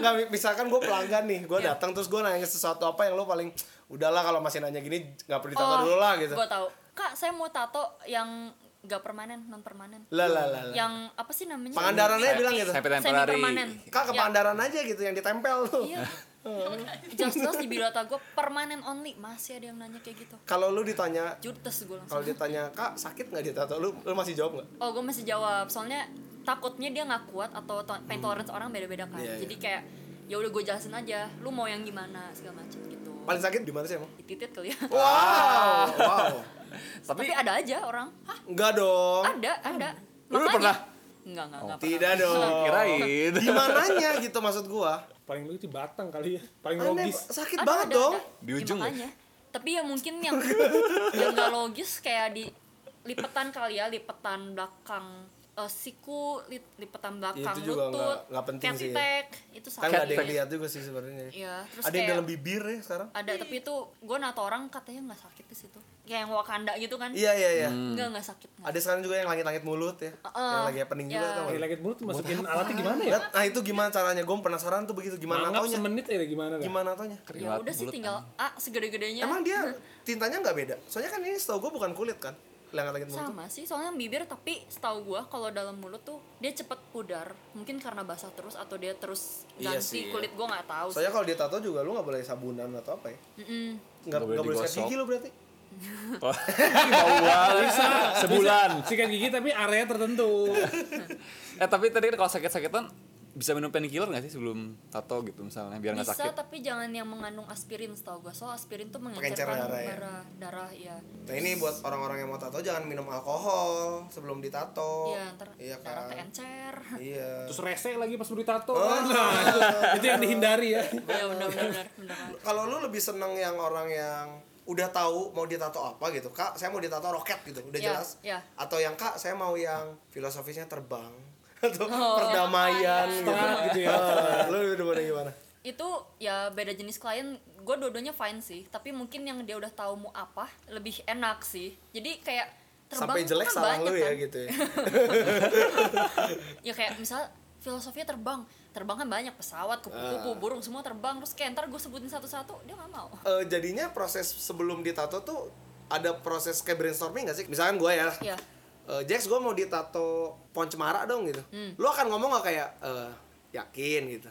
Speaker 3: Nggak, misalkan gue pelanggan nih, gue
Speaker 2: Iya.
Speaker 3: datang terus gue nanya sesuatu apa yang lo paling udahlah kalau masih nanya gini nggak perlu ditata dulu lah gitu.
Speaker 2: Gue Oh, tahu. Kak, saya mau tato yang gak permanen, non permanen.
Speaker 3: Lah lah lah. lah.
Speaker 2: Yang apa sih namanya?
Speaker 3: Pangandarannya bilang gitu.
Speaker 4: Happy
Speaker 2: Semi
Speaker 4: temporary.
Speaker 2: permanen.
Speaker 3: Kak ke Pangandaran aja gitu yang ditempel tuh.
Speaker 2: Ya. Iya. Jelas-jelas di birata gue permanen only masih ada yang nanya kayak gitu.
Speaker 3: Kalau lu ditanya
Speaker 2: Jutes gue langsung.
Speaker 3: kalau ditanya kak sakit nggak ditato lu lu masih jawab nggak?
Speaker 2: Oh gue masih jawab soalnya takutnya dia nggak kuat atau to- pain tolerance orang beda-beda kan.
Speaker 3: Hmm. Iya, iya.
Speaker 2: Jadi kayak ya udah gue jelasin aja. Lu mau yang gimana segala macam gitu.
Speaker 3: Paling sakit di mana sih emang?
Speaker 2: Di titit kali ya.
Speaker 3: Wow, wow.
Speaker 4: Tapi
Speaker 2: Tapi ada aja orang. Hah?
Speaker 3: Enggak dong.
Speaker 2: Ada, ada.
Speaker 4: Lu pernah?
Speaker 2: Enggak, enggak, enggak pernah.
Speaker 3: Oh, Tidak dong.
Speaker 4: kirain.
Speaker 3: Dimananya gitu maksud gua.
Speaker 1: paling lucu batang kali ya. Paling
Speaker 3: Aneh,
Speaker 1: logis.
Speaker 2: Ada,
Speaker 3: sakit banget
Speaker 2: ada,
Speaker 3: dong.
Speaker 2: ada.
Speaker 4: Di
Speaker 2: Ya,
Speaker 4: ujung ya?
Speaker 2: makanya. Tapi ya mungkin yang yang gak logis kayak di lipetan kali ya, lipetan belakang eh, siku, lip- lipetan belakang
Speaker 3: Itu juga
Speaker 2: lutut,
Speaker 3: nggak- nggak penting sih ya.
Speaker 2: ketek, itu
Speaker 3: Kan nggak ada yang
Speaker 2: sakit.
Speaker 3: lihat juga sih sebenarnya.
Speaker 2: Iya, terus
Speaker 3: Ada yang
Speaker 2: kayak-
Speaker 3: dalam bibir ya sekarang?
Speaker 2: ada tapi itu gue nato orang katanya nggak sakit di situ kayak yang Wakanda gitu kan
Speaker 3: Iya iya iya.
Speaker 2: nggak nggak sakit nggak.
Speaker 3: Ada sekarang juga yang langit-langit mulut ya.
Speaker 2: Heeh.
Speaker 3: yang lagi happening juga
Speaker 2: Ya.
Speaker 3: tau
Speaker 1: Dari
Speaker 3: gak?
Speaker 1: langit mulut masukin alatnya gimana ya?
Speaker 3: Lihat, Nah itu gimana caranya? Gue penasaran tuh begitu gimana
Speaker 1: Mangap
Speaker 3: taunya?
Speaker 1: semenit ya gimana dah?
Speaker 3: Gimana taunya?
Speaker 2: ya udah sih tinggal a segede-gedenya
Speaker 3: kan. Emang dia tintanya nggak beda? Soalnya kan ini setahu gue bukan kulit kan? Langit-langit mulut. tuh.
Speaker 2: sama sih soalnya bibir tapi setahu gue kalau dalam mulut tuh dia cepet pudar mungkin karena basah terus atau dia terus
Speaker 3: Iya
Speaker 2: ganti
Speaker 3: sih, iya.
Speaker 2: kulit gue nggak tahu sih.
Speaker 3: Soalnya kalau dia tato juga lu nggak boleh sabunan atau apa ya?
Speaker 2: Mm-mm.
Speaker 3: Nggak
Speaker 4: Nggak boleh
Speaker 3: nggak boleh sikat
Speaker 4: digosok.
Speaker 3: gigi lu berarti?
Speaker 4: Bau banget. Sebulan.
Speaker 1: Sikat gigi tapi area tertentu.
Speaker 4: Eh tapi tadi kan kalau sakit-sakitan bisa minum painkiller nggak sih sebelum tato gitu misalnya biar nggak
Speaker 2: bisa
Speaker 4: sakit?
Speaker 2: tapi jangan yang mengandung aspirin setahu gue soal aspirin tuh
Speaker 3: Pengencer
Speaker 2: mengencerkan
Speaker 3: darah ya?
Speaker 2: darah darah ya
Speaker 3: Nah ini buat orang-orang yang mau tato jangan minum alkohol sebelum ditato.
Speaker 2: Iya, ntar
Speaker 3: Iya
Speaker 2: darah
Speaker 3: kan?
Speaker 2: keencer
Speaker 3: Iya.
Speaker 1: Terus rese lagi pas beri tato.
Speaker 3: Oh. Iya.
Speaker 1: Nah, itu yang dihindari ya.
Speaker 2: ya benar benar benar
Speaker 3: Kalau lu lebih seneng yang orang yang udah tahu mau ditato apa gitu kak saya mau ditato roket gitu udah
Speaker 2: Ya,
Speaker 3: jelas
Speaker 2: ya.
Speaker 3: atau yang kak saya mau yang filosofisnya terbang atau
Speaker 2: Oh, iya.
Speaker 3: perdamaian gitu,
Speaker 1: Setengah gitu ya.
Speaker 3: Ah, lu lebih demen yang gimana
Speaker 2: itu ya beda jenis klien gue dua-duanya fine sih tapi mungkin yang dia udah tahu mau apa lebih enak sih jadi kayak terbang
Speaker 3: sampai jelek
Speaker 2: kan
Speaker 3: salah
Speaker 2: banyak
Speaker 3: lu ya
Speaker 2: kan.
Speaker 3: gitu ya
Speaker 2: ya kayak misal filosofinya terbang terbang kan banyak pesawat
Speaker 3: Ah.
Speaker 2: kupu-kupu burung semua terbang terus kayak ntar gue sebutin satu-satu dia nggak mau
Speaker 3: Eh, jadinya proses sebelum ditato tuh ada proses kayak brainstorming gak sih misalkan gue ya
Speaker 2: ya
Speaker 3: Eh, Jax gue mau ditato pohon cemara dong gitu
Speaker 2: Hmm.
Speaker 3: lu akan ngomong gak kayak eh, yakin gitu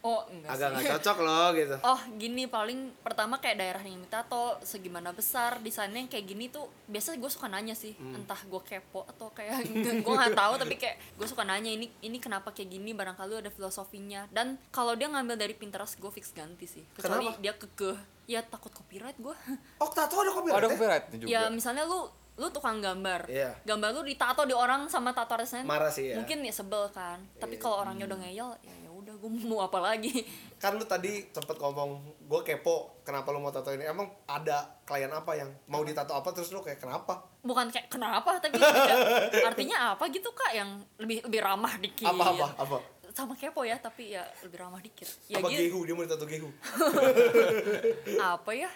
Speaker 2: oh enggak
Speaker 3: agak
Speaker 2: sih
Speaker 3: nggak cocok loh gitu
Speaker 2: Oh gini paling pertama kayak daerah yang ditato segimana besar desainnya yang kayak gini tuh biasanya gue suka nanya sih
Speaker 3: Hmm.
Speaker 2: entah gue kepo atau kayak gue nggak tahu tapi kayak gue suka nanya ini ini kenapa kayak gini barangkali ada filosofinya dan kalau dia ngambil dari Pinterest gue fix ganti sih kecuali
Speaker 3: Kenapa?
Speaker 2: dia kekeh ya takut copyright gue
Speaker 3: oh tato ada
Speaker 4: Oh,
Speaker 3: copyright
Speaker 4: ada
Speaker 3: ya?
Speaker 4: copyright juga.
Speaker 2: ya misalnya lu lu tukang gambar
Speaker 3: Iya.
Speaker 2: gambar lu ditato di orang sama tato artisnya
Speaker 3: Marah sih, Iya. ya.
Speaker 2: mungkin ya sebel kan tapi kalau orangnya udah ngeyel ya ya udah gue mau apa lagi
Speaker 3: kan lu tadi sempet ngomong gue kepo kenapa lu mau tato ini emang ada klien apa yang mau ditato apa terus lu kayak kenapa
Speaker 2: bukan kayak kenapa tapi kayak, artinya apa gitu kak yang lebih lebih ramah dikit
Speaker 3: apa apa apa
Speaker 2: sama kepo ya tapi ya lebih ramah dikit ya
Speaker 3: apa
Speaker 2: gitu
Speaker 3: gehu dia mau ditato gehu
Speaker 2: apa ya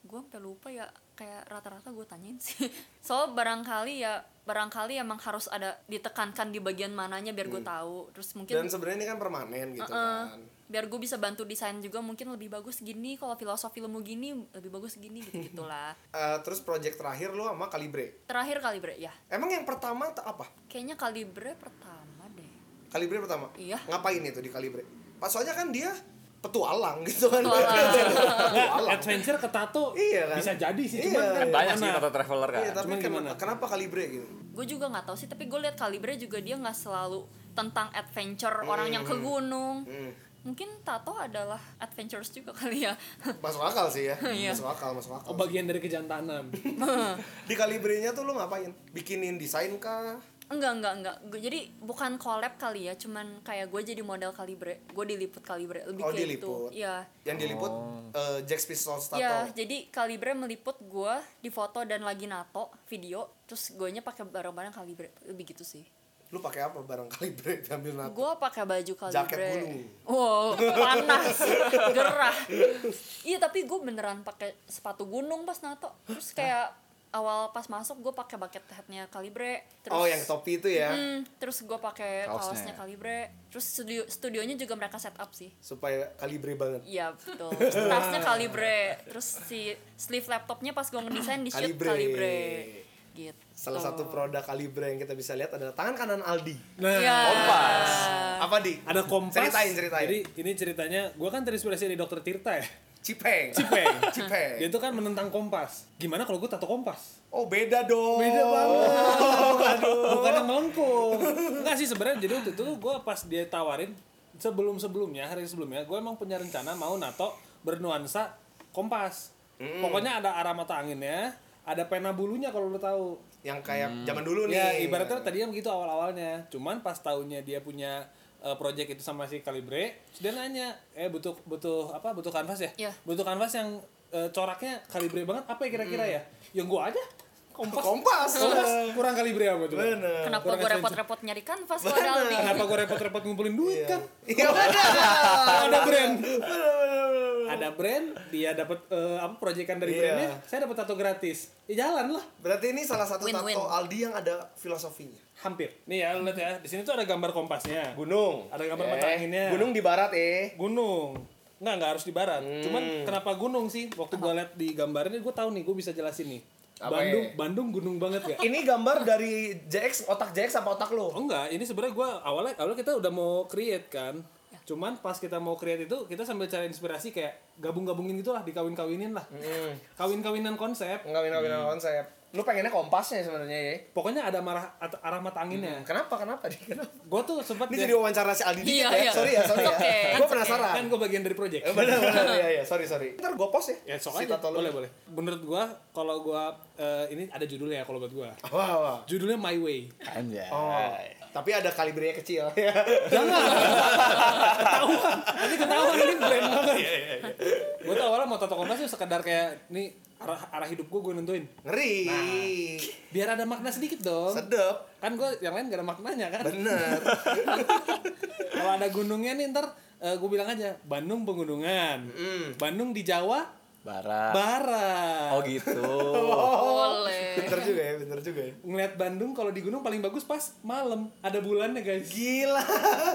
Speaker 2: gue sampai lupa ya kayak rata-rata gue tanyain sih soal barangkali ya barangkali emang harus ada ditekankan di bagian mananya biar gue tahu terus mungkin
Speaker 3: Hmm. dan sebenarnya ini kan permanen gitu
Speaker 2: Heeh.
Speaker 3: kan
Speaker 2: biar gue bisa bantu desain juga mungkin lebih bagus gini kalau filosofi ilmu gini lebih bagus gini gitu gitulah
Speaker 3: Eh, terus project terakhir lu sama kalibre
Speaker 2: terakhir kalibre ya
Speaker 3: emang yang pertama tuh apa
Speaker 2: kayaknya kalibre pertama deh
Speaker 3: kalibre pertama
Speaker 2: Iya.
Speaker 3: ngapain itu di kalibre pas soalnya kan dia petualang gitu kan
Speaker 2: Soal-
Speaker 1: Nggak, Nah, adventure ke tato
Speaker 3: Iya kan?
Speaker 1: bisa jadi sih
Speaker 3: Iya.
Speaker 1: cuman kan
Speaker 4: Banyak sih
Speaker 1: mana?
Speaker 4: kata traveler kan.
Speaker 3: Iya, tapi
Speaker 1: Cuman
Speaker 3: ken-
Speaker 1: gimana?
Speaker 3: kenapa kalibre gitu
Speaker 2: gue juga nggak tahu sih tapi gue lihat kalibre juga dia nggak selalu tentang adventure orang yang ke gunung
Speaker 3: Hmm.
Speaker 2: mungkin tato adalah adventures juga kali ya
Speaker 3: masuk akal sih ya
Speaker 2: Iya.
Speaker 3: masuk akal masuk
Speaker 1: Oh,
Speaker 3: akal
Speaker 1: bagian dari kejantanan
Speaker 3: di kalibrenya tuh lu ngapain bikinin desain kah
Speaker 2: enggak enggak enggak Gu- jadi bukan collab kali ya cuman kayak gue jadi model kalibre gue diliput kalibre lebih
Speaker 3: Oh,
Speaker 2: kayak
Speaker 3: diliput.
Speaker 2: itu ya
Speaker 3: yang diliput eh, Jack Pistols tato
Speaker 2: ya jadi kalibre meliput gue di foto dan lagi nato video terus gue nya pakai barang-barang kalibre lebih gitu sih
Speaker 3: lu pakai apa barang kalibre diambil nato
Speaker 2: gue pakai baju kalibre
Speaker 3: Jaket bulu.
Speaker 2: wow panas gerah iya tapi gue beneran pakai sepatu gunung pas nato terus kayak awal pas masuk gue pakai bucket hatnya kalibre terus
Speaker 3: oh yang topi itu ya
Speaker 2: Hmm, terus gue pakai
Speaker 4: Kaosnya.
Speaker 2: kaosnya kalibre terus studio studionya juga mereka set up sih
Speaker 3: supaya kalibre banget
Speaker 2: Iya betul. Tasnya kalibre, terus si sleeve laptopnya pas gue ngedesain di shoot
Speaker 3: Kalibre.
Speaker 2: kalibre. Gitu.
Speaker 3: salah satu produk kalibre yang kita bisa lihat adalah tangan kanan Aldi
Speaker 1: nah
Speaker 2: Iya.
Speaker 4: Kompas.
Speaker 3: apa di
Speaker 1: ada kompas
Speaker 3: ceritain ceritain
Speaker 1: jadi ini ceritanya gue kan terinspirasi dari dokter Tirta ya
Speaker 3: cipeng
Speaker 1: Cipeng
Speaker 3: Cipeng.
Speaker 1: dia tuh kan menentang kompas gimana kalau gue tato kompas
Speaker 3: oh beda dong
Speaker 1: beda banget bukan yang melengkung enggak sih sebenarnya jadi waktu itu gue pas dia tawarin sebelum sebelumnya hari sebelumnya gue emang punya rencana mau nato bernuansa kompas pokoknya ada arah mata anginnya ada pena bulunya kalau lo tahu
Speaker 3: yang kayak zaman dulu nih
Speaker 1: ya ibaratnya tadinya begitu awal awalnya cuman pas tahunnya dia punya eh, project itu sama si Kalibre terus dia nanya eh butuh butuh apa butuh kanvas ya
Speaker 2: Iya.
Speaker 1: butuh kanvas yang eh, coraknya Kalibre banget apa ya kira-kira ya yang gua aja kompas
Speaker 3: kompas
Speaker 1: kompas kurang Kalibre apa tuh
Speaker 3: Bener.
Speaker 2: Kenapa
Speaker 1: Kurang
Speaker 2: gue
Speaker 1: adventure.
Speaker 2: repot-repot nyari kanvas gue Aldi?
Speaker 1: Kenapa gue repot-repot ngumpulin duit kan?
Speaker 3: Iya bener.
Speaker 1: ada brand. ada brand, dia dapat eh, apa proyekan dari
Speaker 3: Iya.
Speaker 1: brandnya, saya dapat tato gratis. Ya jalan lah,
Speaker 3: Berarti ini salah satu
Speaker 2: Win-win.
Speaker 3: tato Aldi yang ada filosofinya.
Speaker 1: hampir. Nih ya, lu lihat ya, di sini tuh ada gambar kompasnya,
Speaker 3: Gunung. Eh,
Speaker 1: ada gambar ya. mata anginnya,
Speaker 3: Gunung di barat eh.
Speaker 1: gunung. Nggak, nggak harus di barat.
Speaker 3: Hmm.
Speaker 1: Cuman kenapa gunung sih? Waktu gue lihat di gambarnya, gue tahu nih, gue bisa jelasin nih.
Speaker 3: Apa
Speaker 1: Bandung,
Speaker 3: ya?
Speaker 1: Bandung gunung banget ya.
Speaker 3: Ini gambar dari JX otak JX apa otak lo?
Speaker 1: Oh enggak, ini sebenarnya gua awalnya awalnya kita udah mau create kan. Cuman pas kita mau create itu kita sambil cari inspirasi kayak gabung-gabungin gitu lah, dikawin-kawinin lah.
Speaker 3: Hmm.
Speaker 1: Kawin-kawinan konsep.
Speaker 3: Enggak minum minum konsep. Hmm. Lu pengennya kompasnya sebenarnya ya.
Speaker 1: Pokoknya ada marah at- arah mata anginnya.
Speaker 3: Kenapa kenapa di kenapa?
Speaker 1: Gua tuh sempat
Speaker 3: Hmm. Ini jadi wawancara si Aldi
Speaker 2: Iya,
Speaker 3: dikit ya.
Speaker 2: iya.
Speaker 3: Sorry ya, sorry ya.
Speaker 2: Oke.
Speaker 3: Gue
Speaker 2: Oke.
Speaker 3: penasaran.
Speaker 1: kan gua bagian dari project.
Speaker 3: Benar benar iya iya, sorry sorry. Ntar gue post ya.
Speaker 1: Ya sok
Speaker 3: si
Speaker 1: aja.
Speaker 3: tato lu.
Speaker 1: boleh boleh. Menurut gua kalau gua eh, ini ada judulnya ya kalau buat gua.
Speaker 3: Ah, Wah, wah.
Speaker 1: Judulnya My Way.
Speaker 4: Anjay.
Speaker 3: Oh, tapi ada kalibernya kecil.
Speaker 1: Nah.
Speaker 3: Iya.
Speaker 1: Jangan. ketahuan. Nanti ketahuan ini brand banget. Gua tuh awalnya mau tato kompas tuh sekedar kayak nih arah arah hidup gua gua nentuin.
Speaker 3: Ngeri.
Speaker 1: Biar ada makna sedikit dong.
Speaker 3: Sedep.
Speaker 1: kan gue yang lain gak ada maknanya kan
Speaker 3: Bener.
Speaker 1: kalau ada gunungnya nih ntar gue bilang aja Bandung pegunungan
Speaker 3: Mm. Hmm.
Speaker 1: Bandung di Jawa
Speaker 4: Barat.
Speaker 1: barat
Speaker 4: Oh gitu.
Speaker 1: Eh.
Speaker 2: Boleh.
Speaker 3: Bener juga ya, bener juga ya.
Speaker 1: ngeliat Bandung kalau di gunung paling bagus pas malam ada bulannya guys
Speaker 3: Gila,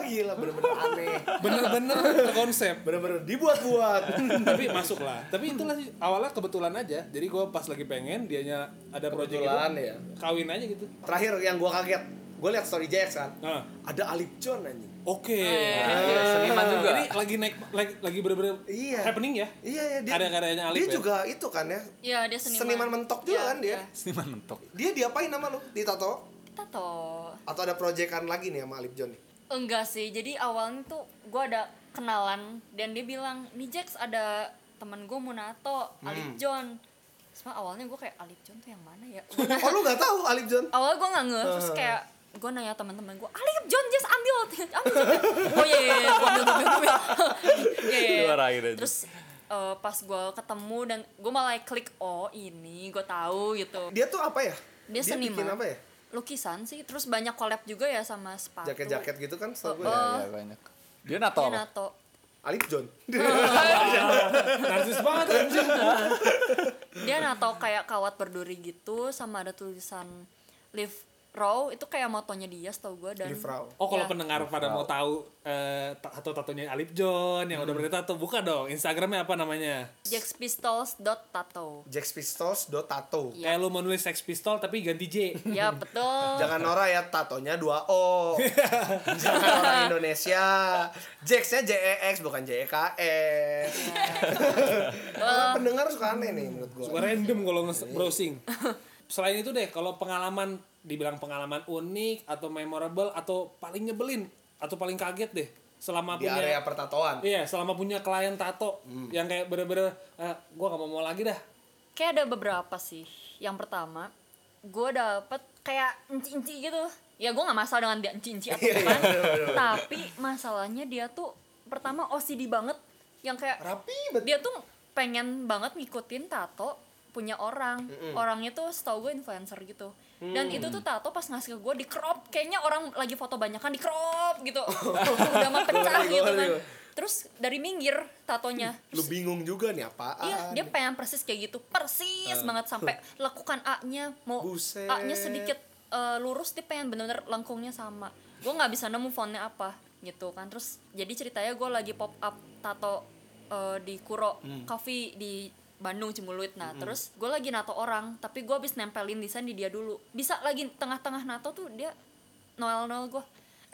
Speaker 3: gila bener-bener aneh.
Speaker 1: bener-bener konsep
Speaker 3: Bener-bener dibuat-buat.
Speaker 1: tapi masuk lah tapi itulah sih, awalnya kebetulan aja jadi gue pas lagi pengen dianya ada proyek
Speaker 3: Kebetulan
Speaker 1: itu,
Speaker 3: ya.
Speaker 1: kawin aja gitu
Speaker 3: Terakhir yang gua kaget, gua lihat story JX kan.
Speaker 1: nah
Speaker 3: Ada Alip John anjing.
Speaker 1: oke
Speaker 4: Anjay, seniman juga.
Speaker 1: ini lagi naik lagi, lagi bener-bener
Speaker 3: Iya.
Speaker 1: happening ya
Speaker 3: Iya, iya dia.
Speaker 1: Karya-karyanya Alip
Speaker 3: Dia
Speaker 1: ya?
Speaker 3: juga itu kan ya.
Speaker 2: Iya dia
Speaker 3: Seniman,
Speaker 2: seniman.
Speaker 3: mentok juga
Speaker 2: Iya,
Speaker 3: kan dia.
Speaker 2: iya.
Speaker 4: Seniman mentok.
Speaker 3: Dia diapain nama lu? Ditato?
Speaker 2: Tato.
Speaker 3: Atau ada proyekan lagi nih sama Alip John nih?
Speaker 2: Enggak sih. Jadi awalnya tuh gue ada
Speaker 3: Hmm.
Speaker 2: kenalan dan dia bilang, nih Jax ada temen gue mau nato, Alif John. Cuma awalnya gue kayak Alip John tuh yang mana ya?
Speaker 3: oh lu nggak tahu Alip John
Speaker 2: awal gue nggak ngeh terus kayak gue nanya teman-teman gue Alip John just ambil ambil oh iya iya iya gue ambil gue ambil gue ambil Iya, iya, iya.
Speaker 4: Dimarahin aja.
Speaker 2: terus eh, pas gue ketemu dan gue malah klik oh ini gue tahu gitu
Speaker 3: dia tuh apa ya
Speaker 2: dia, seniman
Speaker 3: bikin apa ya
Speaker 2: lukisan sih terus banyak collab juga ya sama sepatu
Speaker 3: jaket-jaket gitu kan setahu gue
Speaker 2: Oh,
Speaker 3: ya.
Speaker 2: oh.
Speaker 4: Ya, banyak. Dia nato
Speaker 2: Dia
Speaker 4: apa?
Speaker 2: nato
Speaker 3: Alip John
Speaker 2: Iya.
Speaker 1: Narsis banget anjing.
Speaker 2: dia nato kayak kawat berduri gitu sama ada tulisan live row itu kayak motonya dia setahu gue dan
Speaker 3: Live Row.
Speaker 1: Oh kalau
Speaker 2: Ya.
Speaker 1: pendengar pada mau tahu eh tato tatonya Alip John yang udah bertato buka dong Instagramnya apa namanya?
Speaker 2: Jax Pistols dot tato
Speaker 3: Jack Pistols do tato
Speaker 2: Iya.
Speaker 1: Kayak lu mau nulis Sex Pistol tapi ganti J.
Speaker 2: ya betul
Speaker 3: Jangan Nora ya, tatonya 2 O.
Speaker 2: Iya.
Speaker 3: Jangan orang Indonesia. Jacksnya J E X bukan J E K S. Orang pendengar suka aneh nih menurut gua.
Speaker 1: Suka random kalau nge- browsing. Selain itu deh, kalau pengalaman dibilang pengalaman unik atau memorable atau paling nyebelin atau paling kaget deh selama
Speaker 3: Di
Speaker 1: punya
Speaker 2: ya.
Speaker 3: area pertatoan.
Speaker 1: Iya, selama punya klien tato yang kayak bener-bener eh, gua gak mau mau lagi dah.
Speaker 2: kayak ada beberapa sih yang pertama gue dapet kayak inci-inci gitu ya gue nggak masalah dengan dia inci-inci
Speaker 3: Iya,
Speaker 2: atau bukan tapi masalahnya dia tuh pertama OCD banget yang kayak
Speaker 3: Rapi
Speaker 2: dia
Speaker 3: banget.
Speaker 2: tuh pengen banget ngikutin tato punya orang orangnya tuh setahu gue influencer gitu dan itu tuh tato pas ngasih ke gue di crop kayaknya orang lagi foto banyak kan di crop gitu udah mau pecah
Speaker 3: Ngeri,
Speaker 2: gitu
Speaker 3: ngeri.
Speaker 2: kan terus dari minggir tatonya
Speaker 3: Lu bingung juga nih apaan.
Speaker 2: Iya, dia pengen persis kayak gitu, persis banget sampai lekukan A-nya mau
Speaker 3: Buset.
Speaker 2: A-nya sedikit eh, lurus dia pengen bener-bener lengkungnya sama. Gue nggak bisa nemu fontnya apa gitu kan. Terus jadi ceritanya gue lagi pop up tato eh, di Kuro Coffee di Bandung Cimuluit. Nah, terus gue lagi nato orang, tapi gue habis nempelin desain di dia dulu. Bisa lagi tengah-tengah nato tuh dia noel-noel gue.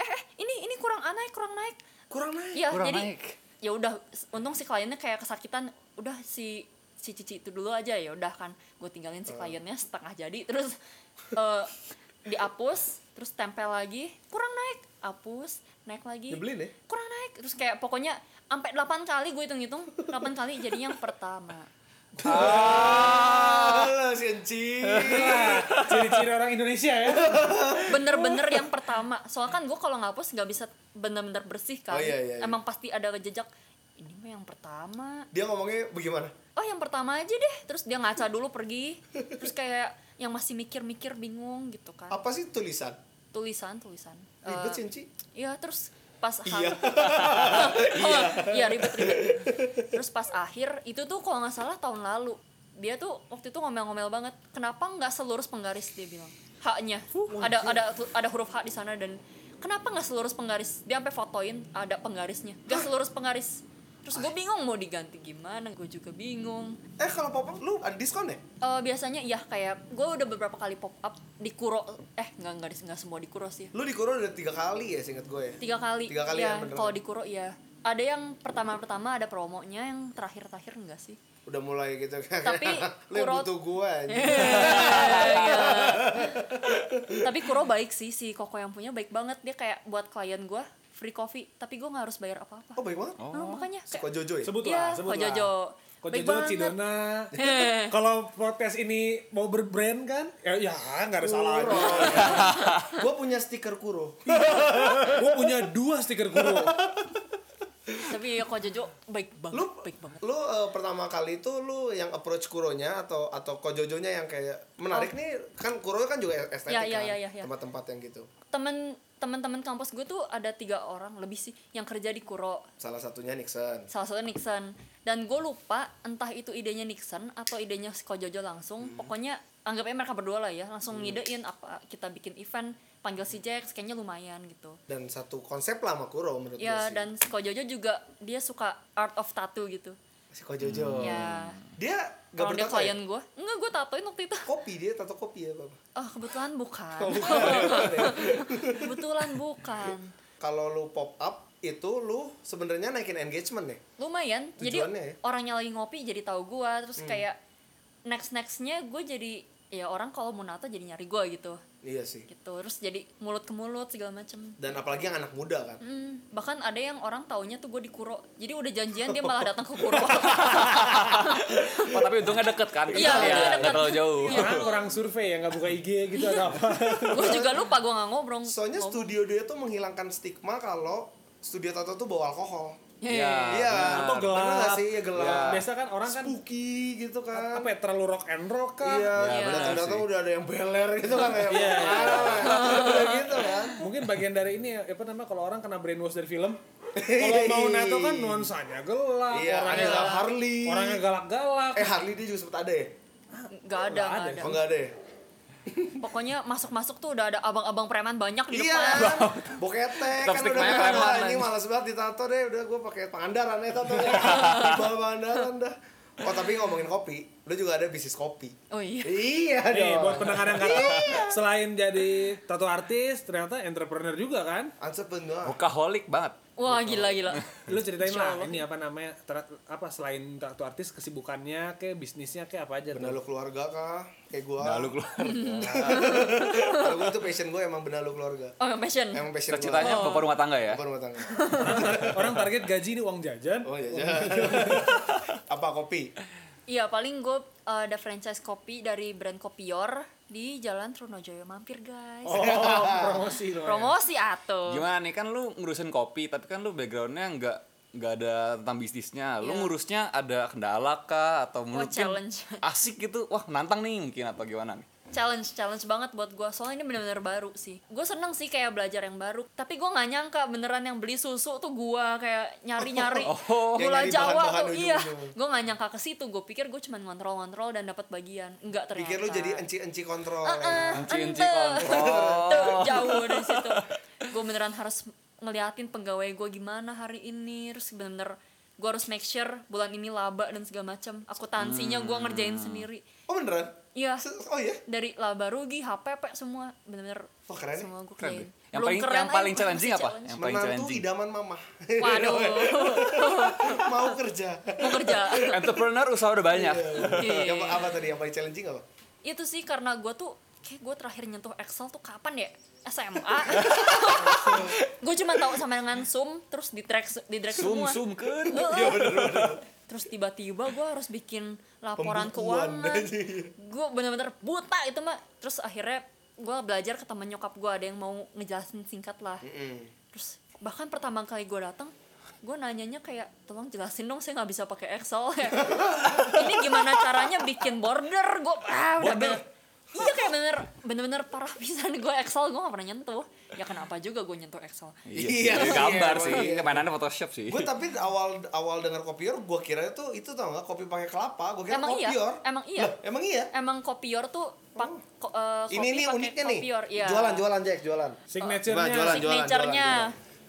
Speaker 2: Eh, eh, ini ini kurang A naik, kurang naik.
Speaker 3: Kurang naik.
Speaker 2: Iya,
Speaker 4: Kurang
Speaker 2: jadi
Speaker 4: naik.
Speaker 2: ya udah s- untung si kliennya kayak kesakitan, udah si si cici itu dulu aja ya udah kan gue tinggalin si
Speaker 3: Oh.
Speaker 2: kliennya setengah jadi terus eh, dihapus terus tempel lagi kurang naik hapus naik lagi
Speaker 3: Nyebelin ya?
Speaker 2: kurang naik terus kayak pokoknya sampai 8 kali gue hitung-hitung 8 kali jadi yang pertama Ah.
Speaker 3: Alah, si anjing.
Speaker 1: Wah, Ciri-ciri orang Indonesia ya.
Speaker 2: bener-bener yang pertama soalnya kan gue kalau ngapus nggak bisa bener-bener bersih kali
Speaker 3: Oh, iya, iya, iya.
Speaker 2: emang pasti ada jejak ini mah yang pertama
Speaker 3: Dia ngomongnya bagaimana?
Speaker 2: oh yang pertama aja deh terus dia ngaca dulu pergi terus kayak yang masih mikir-mikir bingung gitu kan
Speaker 3: Apa sih tulisan?
Speaker 2: tulisan tulisan
Speaker 3: Ribet
Speaker 2: Eh,
Speaker 3: si anjing.
Speaker 2: iya terus pas
Speaker 3: Iya.
Speaker 2: hal- oh, iya ribet ribet terus pas akhir itu tuh kalau nggak salah tahun lalu dia tuh waktu itu ngomel-ngomel banget kenapa nggak selurus penggaris dia bilang haknya ada ada ada huruf H di sana dan kenapa nggak selurus penggaris dia sampai fotoin ada penggarisnya nggak selurus penggaris terus gue bingung mau diganti gimana gue juga bingung
Speaker 3: Eh kalau pop up lu ada diskon ya?
Speaker 2: Eh, biasanya iya kayak gue udah beberapa kali pop up di kuro eh nggak nggak di- nggak semua di kuro sih
Speaker 3: Lu di Kuro udah tiga kali ya seinget gue ya.
Speaker 2: tiga kali
Speaker 3: Tiga kali ya,
Speaker 2: ya
Speaker 3: beneran.
Speaker 2: kalau di kuro iya ada yang pertama pertama ada promonya yang terakhir terakhir enggak sih
Speaker 3: Udah mulai gitu kan.
Speaker 2: Tapi
Speaker 3: lu yang
Speaker 2: Kuro-
Speaker 3: butuh gue anjing.
Speaker 2: tapi kuro baik sih si koko yang punya baik banget dia kayak buat klien gue free coffee tapi gue nggak harus bayar apa apa
Speaker 3: Oh baik banget.
Speaker 2: makanya
Speaker 3: Suka
Speaker 2: kayak
Speaker 3: Jojo Eh. ya?
Speaker 1: Sebutlah,
Speaker 2: iya
Speaker 1: sebutlah.
Speaker 2: kojojo baik
Speaker 1: Kojojo
Speaker 2: banget
Speaker 1: Cidona. Kalau podcast ini mau berbrand kan? Ya, ya nggak ada salahnya.
Speaker 3: gue punya stiker Kuro.
Speaker 1: Gue punya dua stiker guru.
Speaker 2: tapi ya kojojo baik banget
Speaker 3: Lu
Speaker 2: baik banget
Speaker 3: lu eh, pertama kali itu lu yang approach Kuronya atau atau Kojojonya yang kayak menarik nih kan Kuro kan juga estetik
Speaker 2: Oh. Ya, ya,
Speaker 3: kan
Speaker 2: ya, ya, ya.
Speaker 3: tempat-tempat yang gitu.
Speaker 2: temen teman-teman kampus gue tuh ada tiga orang lebih sih yang kerja di kuro
Speaker 3: Salah satunya Nixon.
Speaker 2: salah satunya Nixon dan gue lupa entah itu idenya Nixon atau idenya si Kojojo langsung
Speaker 3: Hmm.
Speaker 2: pokoknya anggapnya mereka berdua lah ya langsung ngidein apa kita bikin event panggil si Jax kayaknya lumayan gitu
Speaker 3: Dan satu konsep lah sama Kuro menurut gue
Speaker 2: ya
Speaker 3: Iya sih.
Speaker 2: dan si Kojojo juga dia suka art of tattoo gitu
Speaker 3: si Kojojo.
Speaker 2: ya
Speaker 3: Dia Oh. gak
Speaker 2: kalau dia
Speaker 3: bertato ya?
Speaker 2: klien gue enggak gue tatoin waktu itu
Speaker 3: Kopi dia tato kopi ya, Bapak.
Speaker 2: oh kebetulan bukan kebetulan bukan
Speaker 3: Kalau lu pop up itu lu sebenarnya naikin engagement ya.
Speaker 2: lumayan jadi
Speaker 3: Tujuannya ya? Hmm.
Speaker 2: orangnya lagi ngopi jadi tahu gua terus kayak next nextnya gue jadi ya orang kalau mau nato jadi nyari gua gitu
Speaker 3: Iya sih.
Speaker 2: gitu terus jadi mulut ke mulut segala macem
Speaker 3: Dan apalagi yang anak muda kan.
Speaker 2: Hmm, bahkan ada yang orang taunya tuh gue di Kuro jadi udah janjian dia malah datang ke Kuro
Speaker 4: Oh, tapi untungnya deket kan?
Speaker 2: Iya, untungnya
Speaker 4: nggak
Speaker 2: deket. Iya.
Speaker 4: terlalu jauh.
Speaker 3: Iya.
Speaker 1: Orang orang survei yang nggak buka IG gitu atau apa?
Speaker 2: gue juga lupa gue nggak ngobrol
Speaker 3: Soalnya
Speaker 2: Ngob-
Speaker 3: studio dia tuh menghilangkan stigma kalau studio tato tuh bawa alkohol.
Speaker 2: Iya.
Speaker 3: Iya.
Speaker 1: Atau
Speaker 3: bener nggak
Speaker 1: gelap.
Speaker 3: sih? Iya gelap.
Speaker 1: Biasa kan orang kan
Speaker 3: spooky gitu kan.
Speaker 1: apa ya, terlalu rock and roll kan?
Speaker 3: Iya,
Speaker 2: Iya.
Speaker 3: datang-datang udah ada yang beler gitu kan kayak
Speaker 1: Iya.
Speaker 3: "Wah, udah gitu kan.
Speaker 1: Mungkin bagian dari ini ya, apa namanya kalau orang kena brainwash dari film. Kalau mau nato kan nuansanya gelap,
Speaker 3: Iya, ada
Speaker 1: orangnya
Speaker 3: yang
Speaker 1: galak,
Speaker 3: Harley.
Speaker 1: orangnya galak-galak.
Speaker 3: Eh Harley dia juga sempet ada ya?
Speaker 2: nggak ada
Speaker 1: Nggak
Speaker 2: nggak
Speaker 1: ada.
Speaker 2: ada
Speaker 3: Oh enggak ada ya?
Speaker 2: pokoknya masuk masuk tuh udah ada abang-abang preman banyak di
Speaker 3: Iya,
Speaker 2: depan ya.
Speaker 3: bokete
Speaker 4: Top
Speaker 3: kan udah
Speaker 4: stigma-nya
Speaker 3: bilang,
Speaker 4: preman,
Speaker 3: "Ah, ini
Speaker 4: anjing."
Speaker 3: malas banget ditato deh, udah gue pakai Pangandaran ya tato ya. Bawa Pangandaran dah. Oh tapi ngomongin kopi, lu juga ada bisnis kopi.
Speaker 2: oh iya
Speaker 3: Iya
Speaker 1: Nih, buat
Speaker 3: dong.
Speaker 1: pendengar yang nggak tahu, selain jadi tato artis, ternyata entrepreneur juga kan?
Speaker 3: Entrepreneur.
Speaker 4: Workaholic banget.
Speaker 2: wah gila gila
Speaker 1: Lu ceritain
Speaker 2: Insya
Speaker 1: lah
Speaker 2: Allah.
Speaker 1: ini apa namanya? ter- apa selain tato artis kesibukannya, ke bisnisnya, ke apa aja? tuh?
Speaker 3: Benda lu keluarga kah? Kayak gue.
Speaker 4: Nah, lu keluar.
Speaker 3: Kalau gue itu passion gue emang benda lu keluarga.
Speaker 2: oh passion
Speaker 3: Emang passion gue.
Speaker 4: Cita-citanya bapak rumah tangga ya?
Speaker 3: Apa rumah tangga?
Speaker 1: orang target gaji ini uang jajan.
Speaker 3: Oh iya. iya. Apa kopi?
Speaker 2: iya paling gue uh, ada franchise kopi dari brand kopior di Jalan Trunojoyo mampir guys
Speaker 1: Oh, promosi
Speaker 3: iya.
Speaker 1: loh.
Speaker 2: promosi atuh
Speaker 4: Gimana nih kan lu ngurusin kopi tapi kan lu backgroundnya nggak nggak ada tentang bisnisnya. Lu
Speaker 2: Iya.
Speaker 4: ngurusnya ada kendala kah atau
Speaker 2: Wah,
Speaker 4: menurut
Speaker 2: challenge
Speaker 4: asik gitu? Wah nantang nih mungkin atau gimana nih?
Speaker 2: challenge challenge banget buat gue soalnya ini bener-bener baru sih gue seneng sih kayak belajar yang baru tapi gue nggak nyangka beneran yang beli susu tuh gue kayak nyari nyari
Speaker 4: Oh.
Speaker 2: gula
Speaker 3: Yang nyari
Speaker 2: jawa
Speaker 3: bahan-bahan
Speaker 2: tuh iya
Speaker 3: ujung-ujung.
Speaker 2: gue nggak nyangka ke situ gue pikir gue cuman ngontrol-ngontrol dan dapat bagian enggak ternyata
Speaker 3: Pikir lu jadi enci-enci kontrol.
Speaker 4: Iya,
Speaker 3: ya.
Speaker 2: Ah,
Speaker 4: Enci-enci
Speaker 2: ente.
Speaker 4: kontrol.
Speaker 2: Tuh, jauh dari situ gue beneran harus ngeliatin pegawai gue gimana hari ini terus bener-bener gue harus make sure bulan ini laba dan segala macam akuntansinya gue
Speaker 4: Hmm.
Speaker 2: ngerjain sendiri
Speaker 3: Oh beneran?
Speaker 2: iya
Speaker 3: Se- Oh iya?
Speaker 2: dari laba rugi HPP semua bener-bener
Speaker 3: Wah, keren ya.
Speaker 2: semua gue
Speaker 4: Keren deh.
Speaker 2: kerjain
Speaker 4: Yang paling yang
Speaker 2: ayo,
Speaker 4: paling
Speaker 2: masih
Speaker 4: challenging apa?
Speaker 2: challenge.
Speaker 4: Yang paling
Speaker 3: Menantu
Speaker 4: challenging.
Speaker 3: idaman mama.
Speaker 2: waduh
Speaker 3: Mau kerja.
Speaker 2: mau kerja
Speaker 4: Entrepreneur usaha udah banyak.
Speaker 2: Iya.
Speaker 3: yang apa tadi yang paling challenging apa?
Speaker 2: itu sih karena gue tuh kayak gue terakhir nyentuh Excel tuh kapan ya SMA gue cuma tahu sama dengan sum terus di track di track
Speaker 4: Sum
Speaker 2: semua
Speaker 4: sum kan.
Speaker 2: terus tiba-tiba gue harus bikin laporan
Speaker 3: Pembukuan.
Speaker 2: keuangan gue bener-bener buta itu mah terus akhirnya gue belajar ke teman nyokap gue ada yang mau ngejelasin singkat lah terus bahkan pertama kali gue datang gue nanyanya kayak tolong jelasin dong saya nggak bisa pakai Excel ya ini gimana caranya bikin border gue ah udah bener iya kayak bener bener-bener parah pisan gue Excel gue nggak pernah nyentuh ya kenapa juga gue nyentuh Excel
Speaker 4: Iya,
Speaker 3: Iya,
Speaker 4: sih, gambar
Speaker 3: iya,
Speaker 4: sih.
Speaker 3: iya.
Speaker 4: Kemainannya Photoshop sih.
Speaker 3: Gue tapi awal awal dengar kopior, gue kira itu itu tau gak kopi pakai kelapa, gue kira
Speaker 2: Emang iya,
Speaker 3: kopior.
Speaker 2: emang iya.
Speaker 3: Lah, emang iya.
Speaker 2: emang kopior tuh pak ko- eh, kopi
Speaker 3: Oh. ini ini
Speaker 2: pakai
Speaker 3: uniknya nih.
Speaker 2: kopior, iya.
Speaker 3: Jualan jualan Jack, jualan.
Speaker 1: Signature-nya.
Speaker 3: Jualan, jualan.
Speaker 2: signaturenya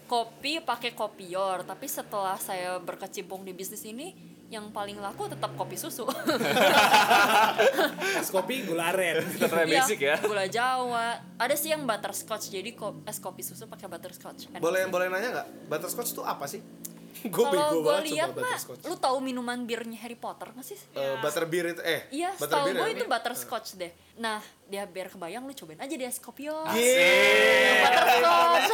Speaker 2: kopi pakai kopior tapi setelah saya berkecimpung di bisnis ini yang paling laku tetap kopi susu
Speaker 1: es kopi gula aren.
Speaker 4: Kita try
Speaker 2: Iya,
Speaker 4: basic ya.
Speaker 2: gula jawa ada sih yang butterscotch jadi ko- es kopi susu pakai butterscotch Enak
Speaker 3: Boleh
Speaker 2: sih.
Speaker 3: boleh nanya nggak? Butterscotch itu apa sih? gue
Speaker 2: kalau gue lihat mah lu tahu minuman birnya Harry Potter nggak sih
Speaker 3: butterbeer Eh, itu eh
Speaker 2: Iya, setahu
Speaker 3: butterbeer
Speaker 2: gue
Speaker 3: ya?
Speaker 2: itu butterscotch deh. Nah, dia biar kebayang lu cobain aja dia es kopior.
Speaker 4: Asik.
Speaker 2: Butterscotch.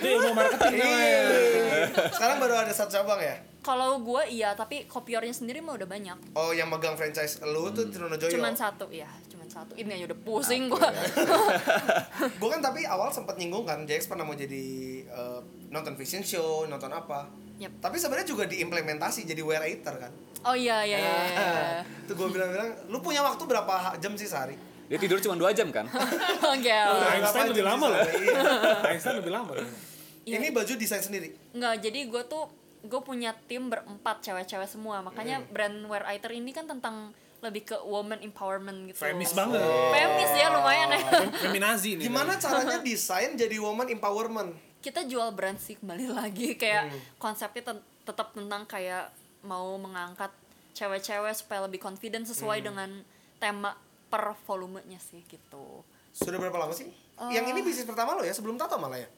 Speaker 1: Itu ilmu marketing
Speaker 3: Iya,
Speaker 1: namanya.
Speaker 3: Sekarang baru ada satu cabang ya?
Speaker 2: Kalau gue iya, tapi kopiornya sendiri mah udah banyak.
Speaker 3: Oh, yang megang franchise lu tuh Trunojoyo.
Speaker 2: Cuman satu, iya, cuman satu. Ini aja udah pusing gue.
Speaker 3: ya? Gue kan tapi awal sempat nyinggung kan, JX pernah mau jadi eh, nonton vision show, nonton apa.
Speaker 2: Yep.
Speaker 3: Tapi sebenarnya juga diimplementasi jadi wear eater kan.
Speaker 2: Oh iya iya iya. iya.
Speaker 3: Tuh gue bilang-bilang, lu punya waktu berapa ha- jam sih sehari?
Speaker 4: Dia tidur cuma 2 jam kan?
Speaker 2: Gel.
Speaker 1: Einstein
Speaker 3: Berapa
Speaker 1: lebih
Speaker 3: jam
Speaker 1: lama
Speaker 3: sih
Speaker 1: loh.
Speaker 3: sehari? Iya.
Speaker 1: Einstein lebih lama.
Speaker 2: Iya.
Speaker 3: Ini baju desain sendiri.
Speaker 2: Nggak, jadi gue tuh gue punya tim berempat cewek-cewek semua. Makanya brand Wear Eater ini kan tentang lebih ke woman empowerment gitu.
Speaker 1: Femis Oh. banget.
Speaker 2: Femis ya lumayan ya.
Speaker 1: Feminazi nih.
Speaker 3: Oh. Gimana caranya desain jadi woman empowerment?
Speaker 2: Kita jual brand sih kembali lagi kayak konsepnya ten- tetap tentang kayak mau mengangkat cewek-cewek supaya lebih confident sesuai dengan tema per volumenya sih gitu. Eh.
Speaker 3: Sudah berapa lama sih? Yang ini bisnis pertama lo ya, sebelum tato malah ya?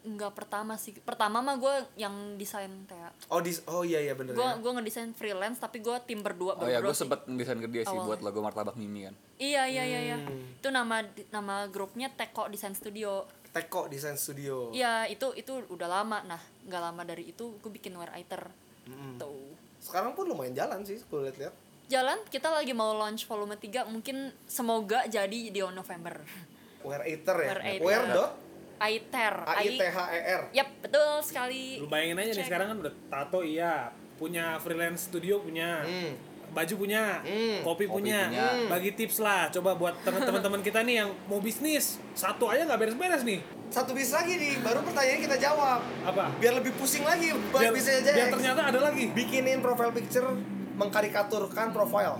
Speaker 2: nggak pertama sih pertama mah gue yang desain tea
Speaker 3: Oh, dis oh iya iya bener
Speaker 2: gue
Speaker 3: ya.
Speaker 2: gue ngedesain freelance tapi gue tim berdua
Speaker 4: Oh ya,
Speaker 2: berdua
Speaker 4: gue
Speaker 2: sih.
Speaker 4: sempet ngedesain ke dia sih
Speaker 2: Awalnya.
Speaker 4: buat logo martabak mimi kan.
Speaker 2: iya iya iya iya
Speaker 7: Hmm.
Speaker 2: itu nama nama grupnya Teko Design Studio
Speaker 3: Teko Design
Speaker 7: Oh.
Speaker 3: Studio.
Speaker 2: iya itu itu udah lama nah nggak lama dari itu gue bikin wear iter tuh
Speaker 3: Sekarang pun lumayan jalan sih, gue lihat-lihat.
Speaker 2: jalan kita lagi mau launch volume 3 mungkin semoga jadi di on November
Speaker 3: Wear Eater ya.
Speaker 2: Wear Eater.
Speaker 3: Wear dot
Speaker 2: Aiter
Speaker 7: Ah, iya,
Speaker 3: A I T H E R.
Speaker 2: Yap, betul sekali.
Speaker 1: Lu bayangin aja nih sekarang kan udah tato iya, punya freelance studio punya.
Speaker 3: Hmm.
Speaker 1: Baju punya,
Speaker 2: Hmm.
Speaker 1: kopi, punya.
Speaker 4: punya.
Speaker 1: Bagi tips lah, coba buat teman-teman kita nih yang mau bisnis, satu aja nggak beres-beres nih.
Speaker 3: Satu bis lagi nih, baru pertanyaan kita jawab.
Speaker 1: Apa?
Speaker 3: Biar lebih pusing lagi, biar, bisa aja. ya.
Speaker 1: biar ternyata ada lagi.
Speaker 3: bikinin profile picture mengkarikaturkan profile.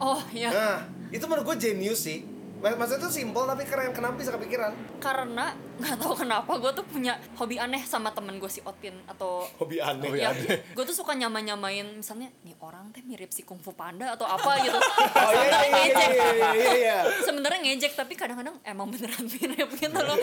Speaker 2: Oh ya,
Speaker 3: Nah, itu menurut gue genius sih. Mak- Maksudnya itu simpel tapi keren. Kenapa bisa kepikiran?
Speaker 2: karena nggak tahu kenapa gue tuh punya hobi aneh sama temen gue si Otin atau
Speaker 7: Hobi aneh.
Speaker 2: ya, gue tuh suka nyama nyamain misalnya nih orang teh mirip si kungfu panda atau apa gitu.
Speaker 7: Oh iya iya iya,
Speaker 2: Ngejek.
Speaker 7: iya iya iya iya.
Speaker 2: Sebenarnya ngejek tapi kadang-kadang emang beneran mirip gitu loh.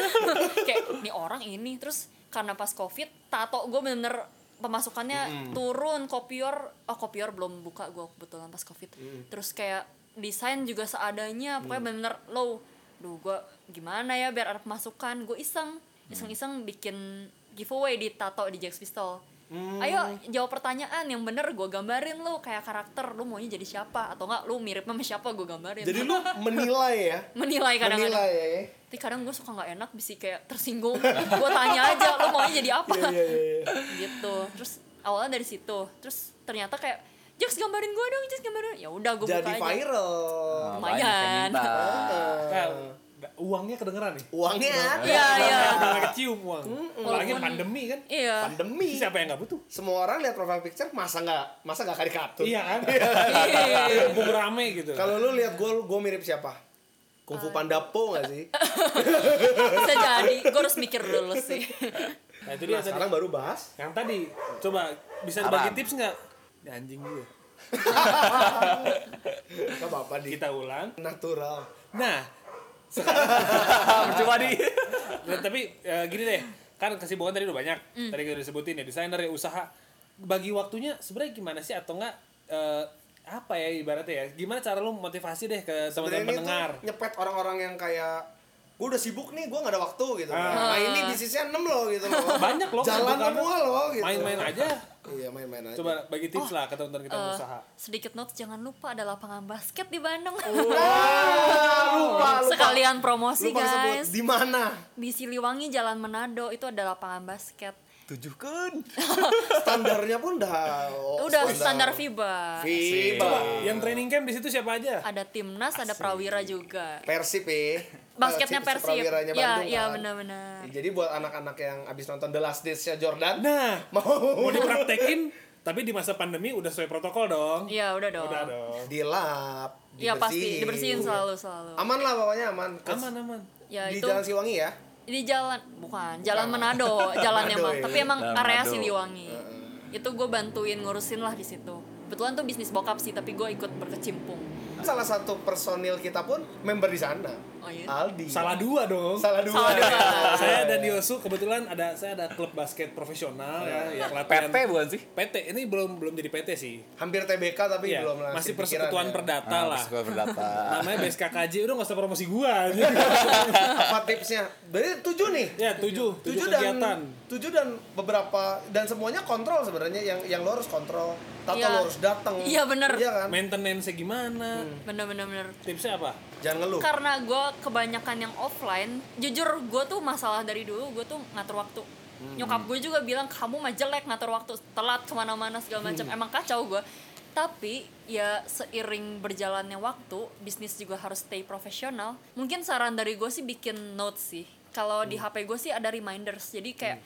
Speaker 2: Kayak nih orang ini terus karena pas covid tato gue bener-bener pemasukannya turun kopior oh kopior belum buka gue kebetulan pas covid
Speaker 3: Mm.
Speaker 2: terus kayak desain juga seadanya pokoknya bener-bener low duh gue gimana ya biar ada pemasukan gue iseng
Speaker 3: Mm.
Speaker 2: iseng-iseng bikin giveaway di tato di Jax Pistol
Speaker 3: Mm.
Speaker 2: ayo jawab pertanyaan yang bener gue gambarin lu kayak karakter lu maunya jadi siapa atau enggak lu mirip sama siapa gue gambarin
Speaker 3: Jadi lu menilai ya.
Speaker 2: menilai kadang-kadang
Speaker 3: Menilai ya.
Speaker 2: tapi kadang gue suka nggak enak bisa kayak tersinggung gue tanya aja lo maunya jadi apa
Speaker 3: Iya, ya,
Speaker 2: gitu terus awalnya dari situ terus ternyata kayak Jaks gambarin gue dong Jaks gambarin ya udah gue buka
Speaker 3: Jadi
Speaker 2: aja
Speaker 3: viral.
Speaker 4: Nah,
Speaker 2: Lumayan.
Speaker 4: banyak yang minta.
Speaker 3: Oh.
Speaker 1: Nah, uangnya kedengeran nih.
Speaker 3: Uangnya kan?
Speaker 2: iya iya
Speaker 1: Udah kecium uang. Apalagi
Speaker 2: Walaupun-
Speaker 1: pandemi kan.
Speaker 2: iya
Speaker 3: pandemi.
Speaker 1: Siapa yang nggak butuh?
Speaker 3: Semua orang lihat profile picture masa nggak masa nggak karikatur.
Speaker 1: Iya kan?
Speaker 2: Iya.
Speaker 1: Bung rame gitu.
Speaker 3: Kalau lu lihat gue, gue mirip siapa?
Speaker 2: Ah.
Speaker 3: Kungfu Panda Po nggak sih?
Speaker 2: bisa jadi gue harus mikir dulu sih
Speaker 1: Nah, itu dia
Speaker 2: Iya,
Speaker 3: Nah,
Speaker 1: tadi.
Speaker 3: sekarang baru bahas.
Speaker 1: Yang tadi, coba bisa
Speaker 4: Saran.
Speaker 1: dibagi tips nggak? Ya, anjing gue.
Speaker 3: Gak apa-apa di
Speaker 1: Kita ulang.
Speaker 3: natural.
Speaker 1: Nah,
Speaker 4: Percuma di.
Speaker 1: Nah, tapi eh, gini deh, kan kesibukan tadi udah banyak. Tadi kita udah sebutin ya, desainer ya, usaha. Bagi waktunya sebenarnya gimana sih atau enggak eh, apa ya ibaratnya ya? Gimana cara lu motivasi deh ke teman-teman
Speaker 3: Sebenarnya
Speaker 1: pendengar?
Speaker 3: itu nyepet orang-orang yang kayak gue udah sibuk nih, gue gak ada waktu gitu.
Speaker 1: Ah.
Speaker 3: Nah ini bisnisnya 6 loh gitu loh.
Speaker 1: Banyak loh
Speaker 3: Jalan
Speaker 1: kesibukan.
Speaker 3: semua loh gitu.
Speaker 1: Main-main aja.
Speaker 3: Iya main-main aja.
Speaker 1: Coba bagi tips lah ke teman-teman kita yang
Speaker 2: Eh,
Speaker 1: usaha.
Speaker 2: sedikit notes jangan lupa ada lapangan basket di Bandung
Speaker 3: Ah, Oh, lupa, lupa.
Speaker 2: sekalian promosi
Speaker 3: lupa disebut.
Speaker 2: guys
Speaker 3: Di mana?
Speaker 2: di Siliwangi Jalan Menado itu ada lapangan basket
Speaker 4: Tujuh kan.
Speaker 3: Standarnya pun udah oh,
Speaker 2: udah standar FIBA
Speaker 3: FIBA.
Speaker 1: Coba yang training camp di situ siapa aja?
Speaker 2: ada timnas ada prawira juga
Speaker 3: Persib ya.
Speaker 2: basketnya persib
Speaker 3: Prawiranya
Speaker 2: ya
Speaker 3: Bandung,
Speaker 2: ya
Speaker 3: kan.
Speaker 2: benar-benar
Speaker 3: Jadi buat anak-anak yang abis nonton The Last Dance-nya Jordan,
Speaker 1: Nah,
Speaker 3: mau
Speaker 1: mau dipraktekin tapi di masa pandemi udah sesuai protokol dong.
Speaker 2: ya udah dong
Speaker 1: Udah dong.
Speaker 3: dilap,
Speaker 2: ya pasti dibersihin selalu selalu
Speaker 3: Aman lah pokoknya aman. Kes-
Speaker 1: Aman aman.
Speaker 2: ya
Speaker 3: di
Speaker 2: itu
Speaker 3: Jalan Siwangi ya.
Speaker 2: di jalan bukan jalan Manado jalannya
Speaker 3: Manado,
Speaker 2: mah
Speaker 3: ya.
Speaker 2: tapi emang
Speaker 4: Jalan
Speaker 2: area
Speaker 4: Manado.
Speaker 2: Siliwangi itu gue bantuin ngurusin lah di situ kebetulan tuh bisnis bokap sih tapi gue ikut berkecimpung
Speaker 3: Salah satu personil kita pun member di sana.
Speaker 2: oh iya
Speaker 3: Aldi.
Speaker 1: Salah dua dong.
Speaker 3: Salah dua.
Speaker 2: Salah dua.
Speaker 1: saya dan Yosu kebetulan ada saya ada klub basket profesional ya
Speaker 3: Iya.
Speaker 1: yang latihan
Speaker 4: PP bukan sih?
Speaker 1: PT ini belum belum jadi PT sih.
Speaker 3: Hampir TBK tapi
Speaker 1: Iya,
Speaker 3: belum ya. lah.
Speaker 1: masih persekutuan Ah, perdata lah.
Speaker 4: Sekolah berdata.
Speaker 1: Namanya BSKKJ udah nggak usah promosi gua. anjing.
Speaker 3: Apa tipsnya? Berarti tujuh nih.
Speaker 1: ya tujuh, tujuh,
Speaker 3: Tujuh
Speaker 1: kegiatan.
Speaker 3: dan tujuh dan beberapa dan semuanya kontrol sebenarnya yang yang lo harus kontrol. Tato
Speaker 2: Iya.
Speaker 3: lo harus datang.
Speaker 2: Iya, bener.
Speaker 3: Iya kan?
Speaker 1: Maintenance gimana?
Speaker 3: Hmm.
Speaker 2: bener bener bener
Speaker 1: Tipsnya apa?
Speaker 3: Jangan ngeluh.
Speaker 2: karena gue kebanyakan yang offline jujur gue tuh masalah dari dulu gue tuh ngatur waktu
Speaker 3: Hmm.
Speaker 2: nyokap gue juga bilang kamu mah jelek ngatur waktu telat kemana-mana
Speaker 3: Hmm.
Speaker 2: segala macam emang kacau gue tapi ya seiring berjalannya waktu bisnis juga harus stay profesional mungkin saran dari gue sih bikin notes sih kalau
Speaker 3: Hmm.
Speaker 2: di hp gue sih ada reminders jadi kayak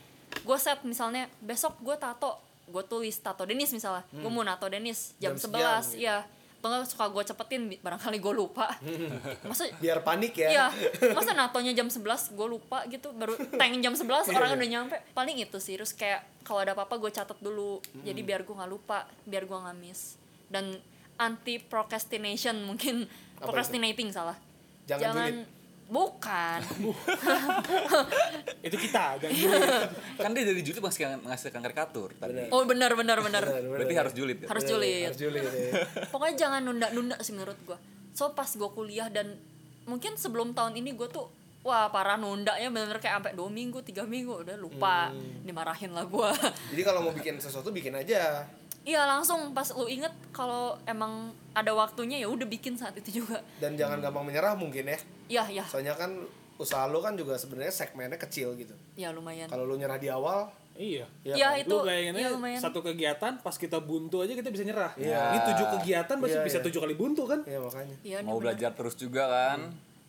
Speaker 2: gue set misalnya besok gue tato gue tulis tato Denis misalnya gue mau nato Denis jam,
Speaker 3: Hmm. Jam
Speaker 2: 11
Speaker 3: sekian, gitu.
Speaker 2: iya atau nggak suka gue cepetin bi- barangkali gue lupa masa
Speaker 3: Biar panik
Speaker 2: Iya,
Speaker 3: ya.
Speaker 2: masa natonya jam 11 gue lupa gitu baru tank jam 11 orang udah nyampe. Paling itu sih terus kayak kalau ada apa-apa gue catat dulu. Jadi biar gue nggak lupa, biar gue nggak miss. Dan anti procrastination mungkin procrastinating salah.
Speaker 3: Jangan
Speaker 2: Jangan,
Speaker 3: julid.
Speaker 2: Bukan.
Speaker 1: itu kita jangan dulu.
Speaker 4: Kan dia dari julid masih ngang- menghasilkan karikatur tadi.
Speaker 2: Oh benar benar benar.
Speaker 4: Berarti harus julid ya.
Speaker 2: Harus julid.
Speaker 7: Harus Juli
Speaker 3: iya.
Speaker 7: deh.
Speaker 2: Pokoknya jangan nunda-nunda sih menurut gua. So pas gua kuliah dan mungkin sebelum tahun ini gua tuh wah parah nundanya bener-bener kayak sampai dua minggu tiga minggu udah lupa dimarahin lah gua.
Speaker 3: Jadi kalau mau bikin sesuatu bikin aja.
Speaker 2: Iya langsung pas lu inget kalau emang ada waktunya ya udah bikin saat itu juga.
Speaker 3: Dan jangan gampang menyerah mungkin ya.
Speaker 2: Iya ya
Speaker 3: Soalnya kan usaha lo kan juga sebenarnya segmennya kecil gitu.
Speaker 2: ya lumayan.
Speaker 3: Kalau lo nyerah di awal,
Speaker 1: iya
Speaker 3: ya
Speaker 2: Iya
Speaker 3: kan?
Speaker 2: itu
Speaker 1: lu bayangin
Speaker 2: ya
Speaker 1: aja
Speaker 2: lumayan.
Speaker 1: satu kegiatan pas kita buntu aja kita bisa nyerah ini
Speaker 3: Iya.
Speaker 1: tujuh kegiatan pasti
Speaker 3: Iya,
Speaker 1: bisa
Speaker 3: iya.
Speaker 1: tujuh kali buntu kan
Speaker 3: ya makanya.
Speaker 2: Iya,
Speaker 4: Mau
Speaker 2: bener.
Speaker 4: belajar terus juga kan.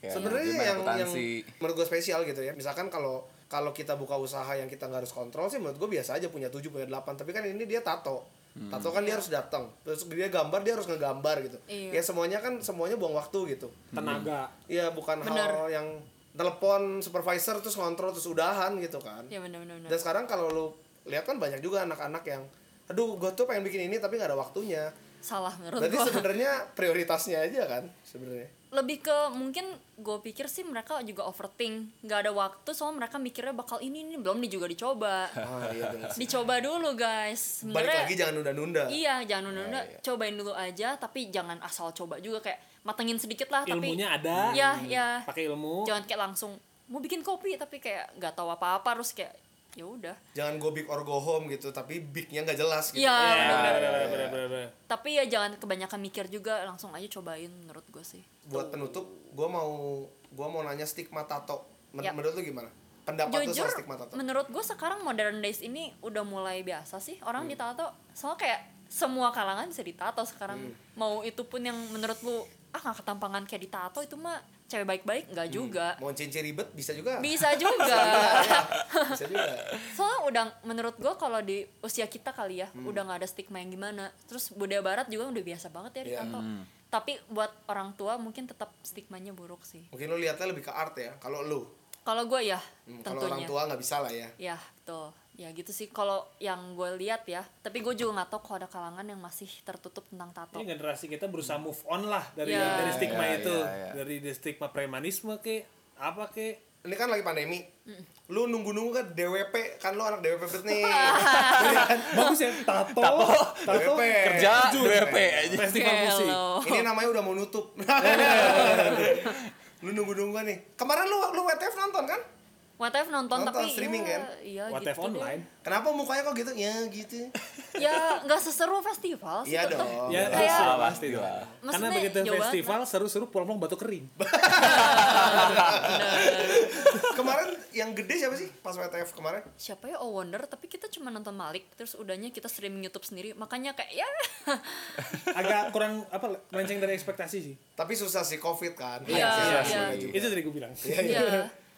Speaker 4: Kayak
Speaker 3: sebenarnya
Speaker 4: manajemen,
Speaker 3: yang yang
Speaker 4: akuntansi.
Speaker 3: menurut gue spesial gitu ya misalkan kalau kalau kita buka usaha yang kita nggak harus kontrol sih menurut gue biasa aja punya 7 punya 8 tapi kan ini dia tato
Speaker 4: Hmm.
Speaker 3: tato kan dia harus datang terus dia gambar dia harus ngegambar gitu
Speaker 2: Iya.
Speaker 3: ya semuanya kan semuanya buang waktu gitu
Speaker 4: Hmm.
Speaker 1: tenaga
Speaker 3: ya bukan hal yang telepon supervisor terus ngontrol terus udahan gitu kan
Speaker 2: Iya benar benar. benar.
Speaker 3: dan sekarang kalau lu lihat kan banyak juga anak-anak yang aduh gue tuh pengen bikin ini tapi nggak ada waktunya
Speaker 2: Salah menurut
Speaker 3: berarti
Speaker 2: gua.
Speaker 3: sebenarnya prioritasnya aja kan sebenarnya
Speaker 2: lebih ke mungkin gue pikir sih mereka juga overthink nggak ada waktu soalnya mereka mikirnya bakal ini ini belum nih juga dicoba
Speaker 3: ah iya bener sih.
Speaker 2: dicoba dulu guys
Speaker 3: balik lagi
Speaker 2: sebenarnya
Speaker 3: jangan nunda-nunda
Speaker 2: iya jangan nunda cobain dulu aja tapi jangan asal coba juga kayak matengin sedikit lah tapi
Speaker 1: ilmunya ada
Speaker 2: ya ya
Speaker 1: pakai ilmu
Speaker 2: jangan kayak langsung mau bikin kopi tapi kayak nggak tahu apa apa harus kayak ya udah
Speaker 3: jangan go big or go home gitu tapi bignya nggak jelas gitu
Speaker 2: Iya,
Speaker 1: Ya,
Speaker 2: bener.
Speaker 1: bener, bener, bener, bener, bener.
Speaker 2: tapi ya jangan kebanyakan mikir juga langsung aja cobain menurut gue sih
Speaker 3: buat penutup gue mau gua mau nanya stigma tato Men-
Speaker 2: Yap.
Speaker 3: menurut lu gimana pendapat lu
Speaker 2: Iya. jujur
Speaker 3: soal stigma tato
Speaker 2: menurut gue sekarang modern days ini udah mulai biasa sih orang
Speaker 3: Hmm.
Speaker 2: ditato soalnya kayak semua kalangan bisa ditato sekarang
Speaker 3: Hmm.
Speaker 2: mau itu pun yang menurut lu ah nggak ketampangan kayak ditato itu mah cewek baik-baik nggak juga
Speaker 3: Hmm. mau cincin ribet bisa ya. juga
Speaker 2: bisa juga
Speaker 3: bisa juga
Speaker 2: soalnya udah menurut gue kalau di usia kita kali ya
Speaker 3: Hmm.
Speaker 2: udah nggak ada stigma yang gimana terus budaya barat juga udah biasa
Speaker 3: Iya.
Speaker 2: banget ya ditato tapi buat orang tua mungkin tetap stigmanya buruk sih
Speaker 3: mungkin lu lihatnya lebih ke art ya kalau lu
Speaker 2: kalau gue ya
Speaker 3: Hmm, kalau
Speaker 2: tentunya
Speaker 3: orang tua nggak bisa lah ya
Speaker 2: Ya, betul. Ya gitu sih kalau yang gue lihat ya. Tapi gue juga nggak tahu kalau ada kalangan yang masih tertutup tentang tato.
Speaker 1: Ini Iya, generasi kita berusaha move on lah dari
Speaker 2: Ya.
Speaker 1: dari stigma
Speaker 4: Ya, ya,
Speaker 1: itu,
Speaker 4: ya.
Speaker 1: dari dari stigma premanisme ke apa ke
Speaker 3: ini kan lagi pandemi lu nunggu nunggu kan DWP kan lu anak DWP bet nih
Speaker 1: bagus ya tato tato,
Speaker 3: DWP
Speaker 4: kerja WP aja.
Speaker 1: festival
Speaker 2: Iya,
Speaker 1: musik
Speaker 2: Hello.
Speaker 3: ini namanya udah mau nutup lu nunggu nunggu nih kemarin lu lu WTF nonton kan
Speaker 2: WTF nonton,
Speaker 3: Nonton
Speaker 2: tapi
Speaker 3: streaming,
Speaker 2: ya,
Speaker 3: kan?
Speaker 2: Iya,
Speaker 1: WTF
Speaker 2: gitu deh.
Speaker 1: online
Speaker 3: kenapa mukanya kok gitu ya gitu
Speaker 2: Ya nggak seseru festival sih
Speaker 3: iya
Speaker 2: tetep.
Speaker 3: dong
Speaker 1: ya
Speaker 2: Kayak-
Speaker 1: seru pasti lah karena
Speaker 2: Maksudnya
Speaker 1: begitu
Speaker 2: jauh banget.
Speaker 1: festival seru-seru pulang-pulang batu kering
Speaker 3: kemarin yang gede siapa sih pas WTF kemarin?
Speaker 2: Siapa ya Oh Wonder tapi kita cuma nonton Malik terus udahnya kita streaming YouTube sendiri. Makanya kayak ya
Speaker 1: agak kurang apa melenceng dari ekspektasi sih
Speaker 3: Tapi susah sih COVID kan.
Speaker 2: Iya,
Speaker 3: Susah
Speaker 2: iya.
Speaker 3: sih,
Speaker 2: Iya.
Speaker 3: juga.
Speaker 1: itu tadi gue bilang
Speaker 2: ya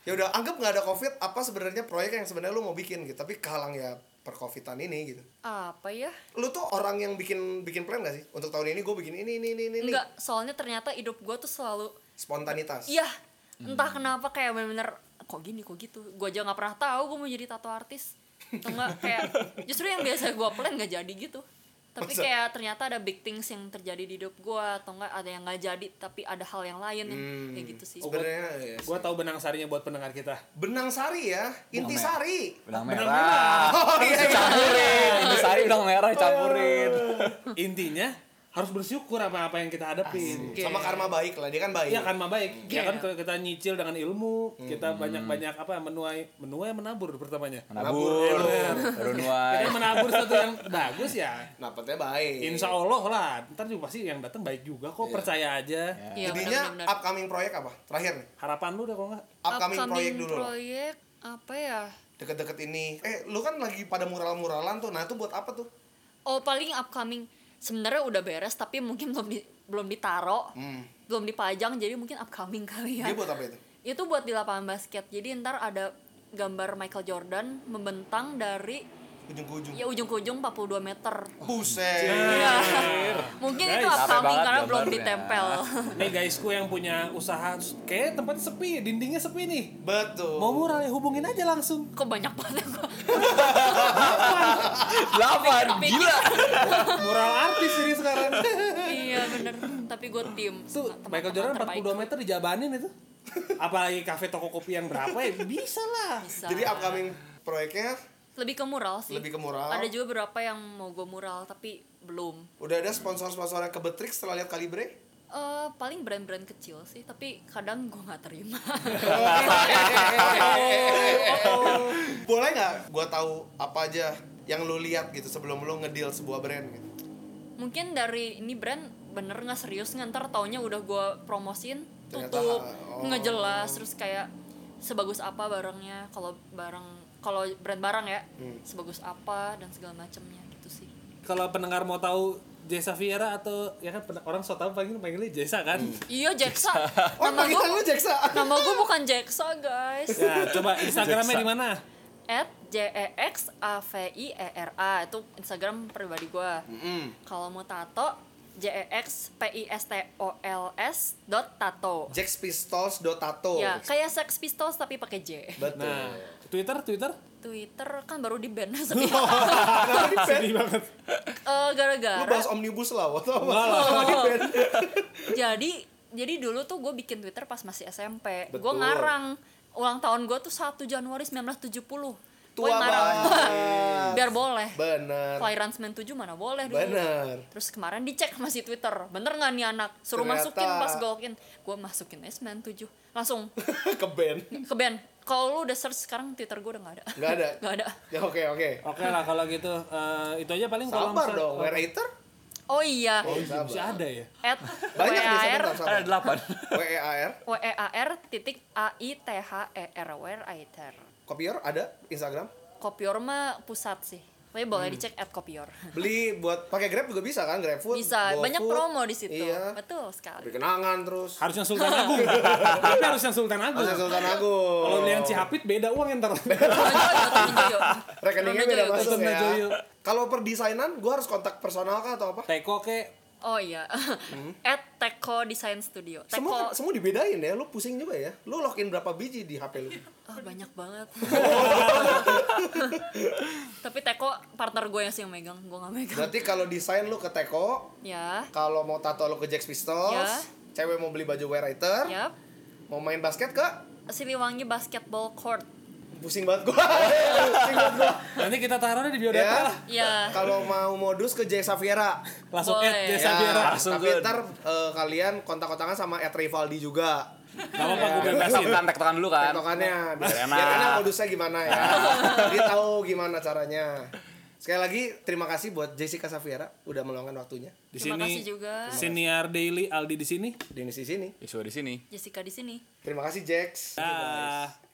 Speaker 3: Ya udah anggap nggak ada COVID apa sebenarnya proyek yang sebenarnya lu mau bikin gitu. Tapi kalang ya per COVIDan ini gitu.
Speaker 2: apa ya?
Speaker 3: Lu tuh orang yang bikin bikin plan gak sih? Untuk tahun ini gue bikin ini ini ini ini. ini.
Speaker 2: Enggak, soalnya ternyata hidup gue tuh selalu
Speaker 3: Spontanitas.
Speaker 2: Iya,
Speaker 3: Hmm.
Speaker 2: entah kenapa kayak bener-bener kok gini kok gitu. Gue aja nggak pernah tahu gue mau jadi tato artis. Atau enggak kayak justru yang biasa gue plan nggak jadi gitu. Tapi
Speaker 3: Masa?
Speaker 2: kayak ternyata ada big things yang terjadi di hidup gue atau enggak ada yang nggak jadi tapi ada hal yang lain yang
Speaker 3: Hmm.
Speaker 2: kayak gitu sih.
Speaker 3: Sebenarnya ya.
Speaker 1: gue tahu benang sarinya buat pendengar kita
Speaker 3: benang sari ya, inti sari.
Speaker 4: Benang merah.
Speaker 3: Oh iya. iya.
Speaker 4: Campurin, industri benang merah campurin.
Speaker 1: intinya harus bersyukur apa apa yang kita hadapin
Speaker 3: Sama karma baik lah, dia kan baik.
Speaker 1: Iya kan mah baik. Ya
Speaker 2: Iya.
Speaker 1: kan kalau kita nyicil dengan ilmu, kita banyak-banyak apa menuai menuai menabur pertamanya.
Speaker 4: Menabur,
Speaker 1: Kita
Speaker 4: Renuai.
Speaker 1: menabur satu yang bagus ya.
Speaker 3: Napatnya baik.
Speaker 2: Iya.
Speaker 1: Insya Allah lah, ntar juga pasti yang datang baik juga kok percaya aja.
Speaker 2: Iya,
Speaker 3: Jadinya
Speaker 2: benar-benar.
Speaker 3: upcoming proyek apa? Terakhir nih.
Speaker 1: Harapan lu deh kalau nggak
Speaker 3: Upcoming, proyek
Speaker 2: Upcoming
Speaker 3: dulu. lah.
Speaker 2: proyek apa ya?
Speaker 3: deket-deket ini eh lu kan lagi pada mural-muralan tuh nah itu buat apa tuh
Speaker 2: Oh paling upcoming sebenarnya udah beres tapi mungkin belum di- belum ditaro,
Speaker 1: Hmm.
Speaker 2: belum dipajang jadi mungkin upcoming kali ya.
Speaker 3: Hmm. dia buat apa itu
Speaker 2: itu buat di lapangan basket jadi ntar ada gambar Michael Jordan membentang dari
Speaker 3: ujung ke ujung
Speaker 2: ya ujung ke ujung 42 meter
Speaker 3: buset
Speaker 1: Iya.
Speaker 2: ya mungkin itu
Speaker 1: Guys.
Speaker 2: upcoming
Speaker 4: Capek
Speaker 2: karena
Speaker 4: banget
Speaker 2: belum
Speaker 4: gambarnya.
Speaker 2: ditempel
Speaker 1: Nih guysku yang punya usaha, kayak tempat sepi, dindingnya sepi nih.
Speaker 3: betul
Speaker 1: Mau mural ya hubungin aja langsung.
Speaker 2: kok banyak banget gua
Speaker 4: Delapan, gila.
Speaker 1: Mural artis ini sekarang.
Speaker 2: iya bener tapi tapi gue tim
Speaker 1: Itu Michael Jordan 42 meter dijabanin itu. Apalagi kafe toko kopi yang berapa ya bisa lah.
Speaker 3: Jadi upcoming proyeknya
Speaker 2: lebih ke mural sih
Speaker 3: Lebih ke mural.
Speaker 2: ada juga beberapa yang mau gue mural tapi belum
Speaker 3: udah ada sponsor-sponsornya ke Betrix setelah lihat Kalibre.
Speaker 2: Eh, paling brand-brand kecil sih tapi kadang gue nggak terima
Speaker 1: Oh.
Speaker 3: Boleh nggak gua tahu apa aja yang lu lihat gitu sebelum lu ngedeal sebuah brand gitu.
Speaker 2: mungkin dari ini brand bener nggak serius nggak ntar taunya udah gue promosin
Speaker 3: Ternyata,
Speaker 2: tutup
Speaker 3: oh.
Speaker 2: nggak jelas terus kayak sebagus apa barangnya kalau barang kalau brand barang ya
Speaker 3: Hmm.
Speaker 2: sebagus apa dan segala macamnya gitu sih
Speaker 1: Kalau pendengar mau tahu Jesa Fiera atau ya kan pen- orang so tau panggil panggilnya Jesa kan.
Speaker 3: Hmm.
Speaker 2: iya Jacksa
Speaker 3: Oh,
Speaker 2: nama
Speaker 3: panggilan
Speaker 2: gue
Speaker 3: lu Jacksa.
Speaker 2: nama gue bukan Jacksa guys
Speaker 1: Ya, coba Instagramnya di mana?
Speaker 2: at j e x a v i e r a itu Instagram pribadi gue
Speaker 3: Hmm.
Speaker 2: kalau mau tato j e x p i s t o l s dot tato
Speaker 3: Jax Pistols Dotato.
Speaker 2: ya kayak Sex Pistols tapi pakai J
Speaker 3: Betul.
Speaker 1: Nah,
Speaker 3: iya.
Speaker 1: Twitter, Twitter.
Speaker 2: Twitter kan baru di ban sedih
Speaker 3: Kenapa di Nah, band?
Speaker 1: Sedih banget.
Speaker 2: Eh,
Speaker 3: Oh. Lu
Speaker 2: gara-gara Oh.
Speaker 3: bahas omnibus law atau apa?
Speaker 1: Enggak lah.
Speaker 2: jadi jadi dulu tuh gue bikin Twitter pas masih SMP gue
Speaker 3: Betul.
Speaker 2: ngarang ulang tahun gue tuh 1 Januari 1970 Gua
Speaker 3: Tua
Speaker 2: ngarang.
Speaker 3: banget.
Speaker 2: biar boleh
Speaker 3: Bener.
Speaker 2: kelahiran 97 mana boleh dulu
Speaker 3: Bener.
Speaker 2: Terus kemarin dicek masih Twitter, bener nggak nih anak? Suruh
Speaker 3: Ternyata.
Speaker 2: masukin pas golokin, gue masukin aja 97 langsung
Speaker 3: ke band.
Speaker 2: ke band. Kalau lu udah search sekarang Twitter gue udah nggak ada.
Speaker 3: Nggak ada.
Speaker 2: Nggak ada.
Speaker 3: Ya oke oke.
Speaker 1: Oke lah kalau gitu eh, itu aja paling kalau
Speaker 3: Sabar
Speaker 1: misal-
Speaker 3: dong, Werator.
Speaker 2: Oh iya,
Speaker 3: Oh,
Speaker 1: Masih
Speaker 3: sabar.
Speaker 1: ada ya.
Speaker 2: at
Speaker 3: Banyak nih
Speaker 2: WEAR,
Speaker 4: Ada
Speaker 3: sabar, sabar.
Speaker 4: delapan.
Speaker 3: WEAR,
Speaker 2: WEAR E titik A I T H E R WEAR.
Speaker 3: Kopior ada Instagram.
Speaker 2: Kopior mah pusat sih. Tapi boleh
Speaker 3: Hmm.
Speaker 2: dicek at kopior.
Speaker 3: Beli buat pakai Grab juga bisa kan? GrabFood.
Speaker 2: Bisa,
Speaker 3: GoFood.
Speaker 2: banyak promo di situ.
Speaker 3: Iya.
Speaker 2: Betul
Speaker 3: Beli
Speaker 2: sekali.
Speaker 3: kenangan terus.
Speaker 1: Harus yang Sultan Agung. Tapi harus yang Sultan Agung.
Speaker 3: Masih Sultan Agung.
Speaker 1: Kalau beli yang Cihapit beda uang ntar.
Speaker 3: rekeningnya
Speaker 2: Rondo
Speaker 3: beda
Speaker 2: Joyo,
Speaker 3: masuk
Speaker 1: Rondo
Speaker 3: ya.
Speaker 1: Joyo.
Speaker 3: Kalau per desainan, gue harus kontak personal kah atau apa?
Speaker 1: Teko ke
Speaker 2: Oh iya. At Teko Design Studio. Teko
Speaker 3: Hmm.
Speaker 2: Ah,
Speaker 3: Semua semua dibedain ya, lu pusing juga ya. Lu login berapa biji di HP lu?
Speaker 2: Oh,
Speaker 3: kan-
Speaker 2: banyak banget. Tapi Teko partner gue yang sih yang megang, gue gak megang.
Speaker 3: Berarti kalau desain lu ke Teko,
Speaker 2: Ya,
Speaker 3: kalau mau tato lu ke Jax Pistols,
Speaker 2: Ya.
Speaker 3: cewek mau beli baju wear writer,
Speaker 2: yap.
Speaker 3: mau main basket ke
Speaker 2: Siliwangi Basketball Court.
Speaker 3: pusing
Speaker 4: Oh,
Speaker 3: banget gua.
Speaker 4: iya,
Speaker 3: pusing banget gua.
Speaker 1: nanti kita taruhnya di biodata
Speaker 3: ya.
Speaker 1: lah.
Speaker 2: Ya,
Speaker 3: Kalau mau modus ke Jax Safiera.
Speaker 1: Langsung
Speaker 2: Boleh.
Speaker 1: add Jesa
Speaker 3: Ya,
Speaker 1: Fiera.
Speaker 4: langsung
Speaker 3: tapi
Speaker 4: ke-
Speaker 3: ntar eh, kalian kontak-kontakan sama Ed Rivaldi juga.
Speaker 1: Gak apa-apa gue bebasin.
Speaker 4: Tektokan, tektokan dulu kan.
Speaker 3: tektokannya biar
Speaker 4: Biar
Speaker 3: enak.
Speaker 4: enak.
Speaker 3: modusnya gimana ya jadi tahu gimana caranya sekali lagi terima kasih buat Jessica Safiera udah meluangkan waktunya
Speaker 1: Di sini
Speaker 2: Terima kasih juga.
Speaker 1: Senior Daily Aldi di sini.
Speaker 3: di sini sini
Speaker 4: Isu di sini.
Speaker 2: Jessica di sini.
Speaker 3: terima kasih Jax
Speaker 1: Dah.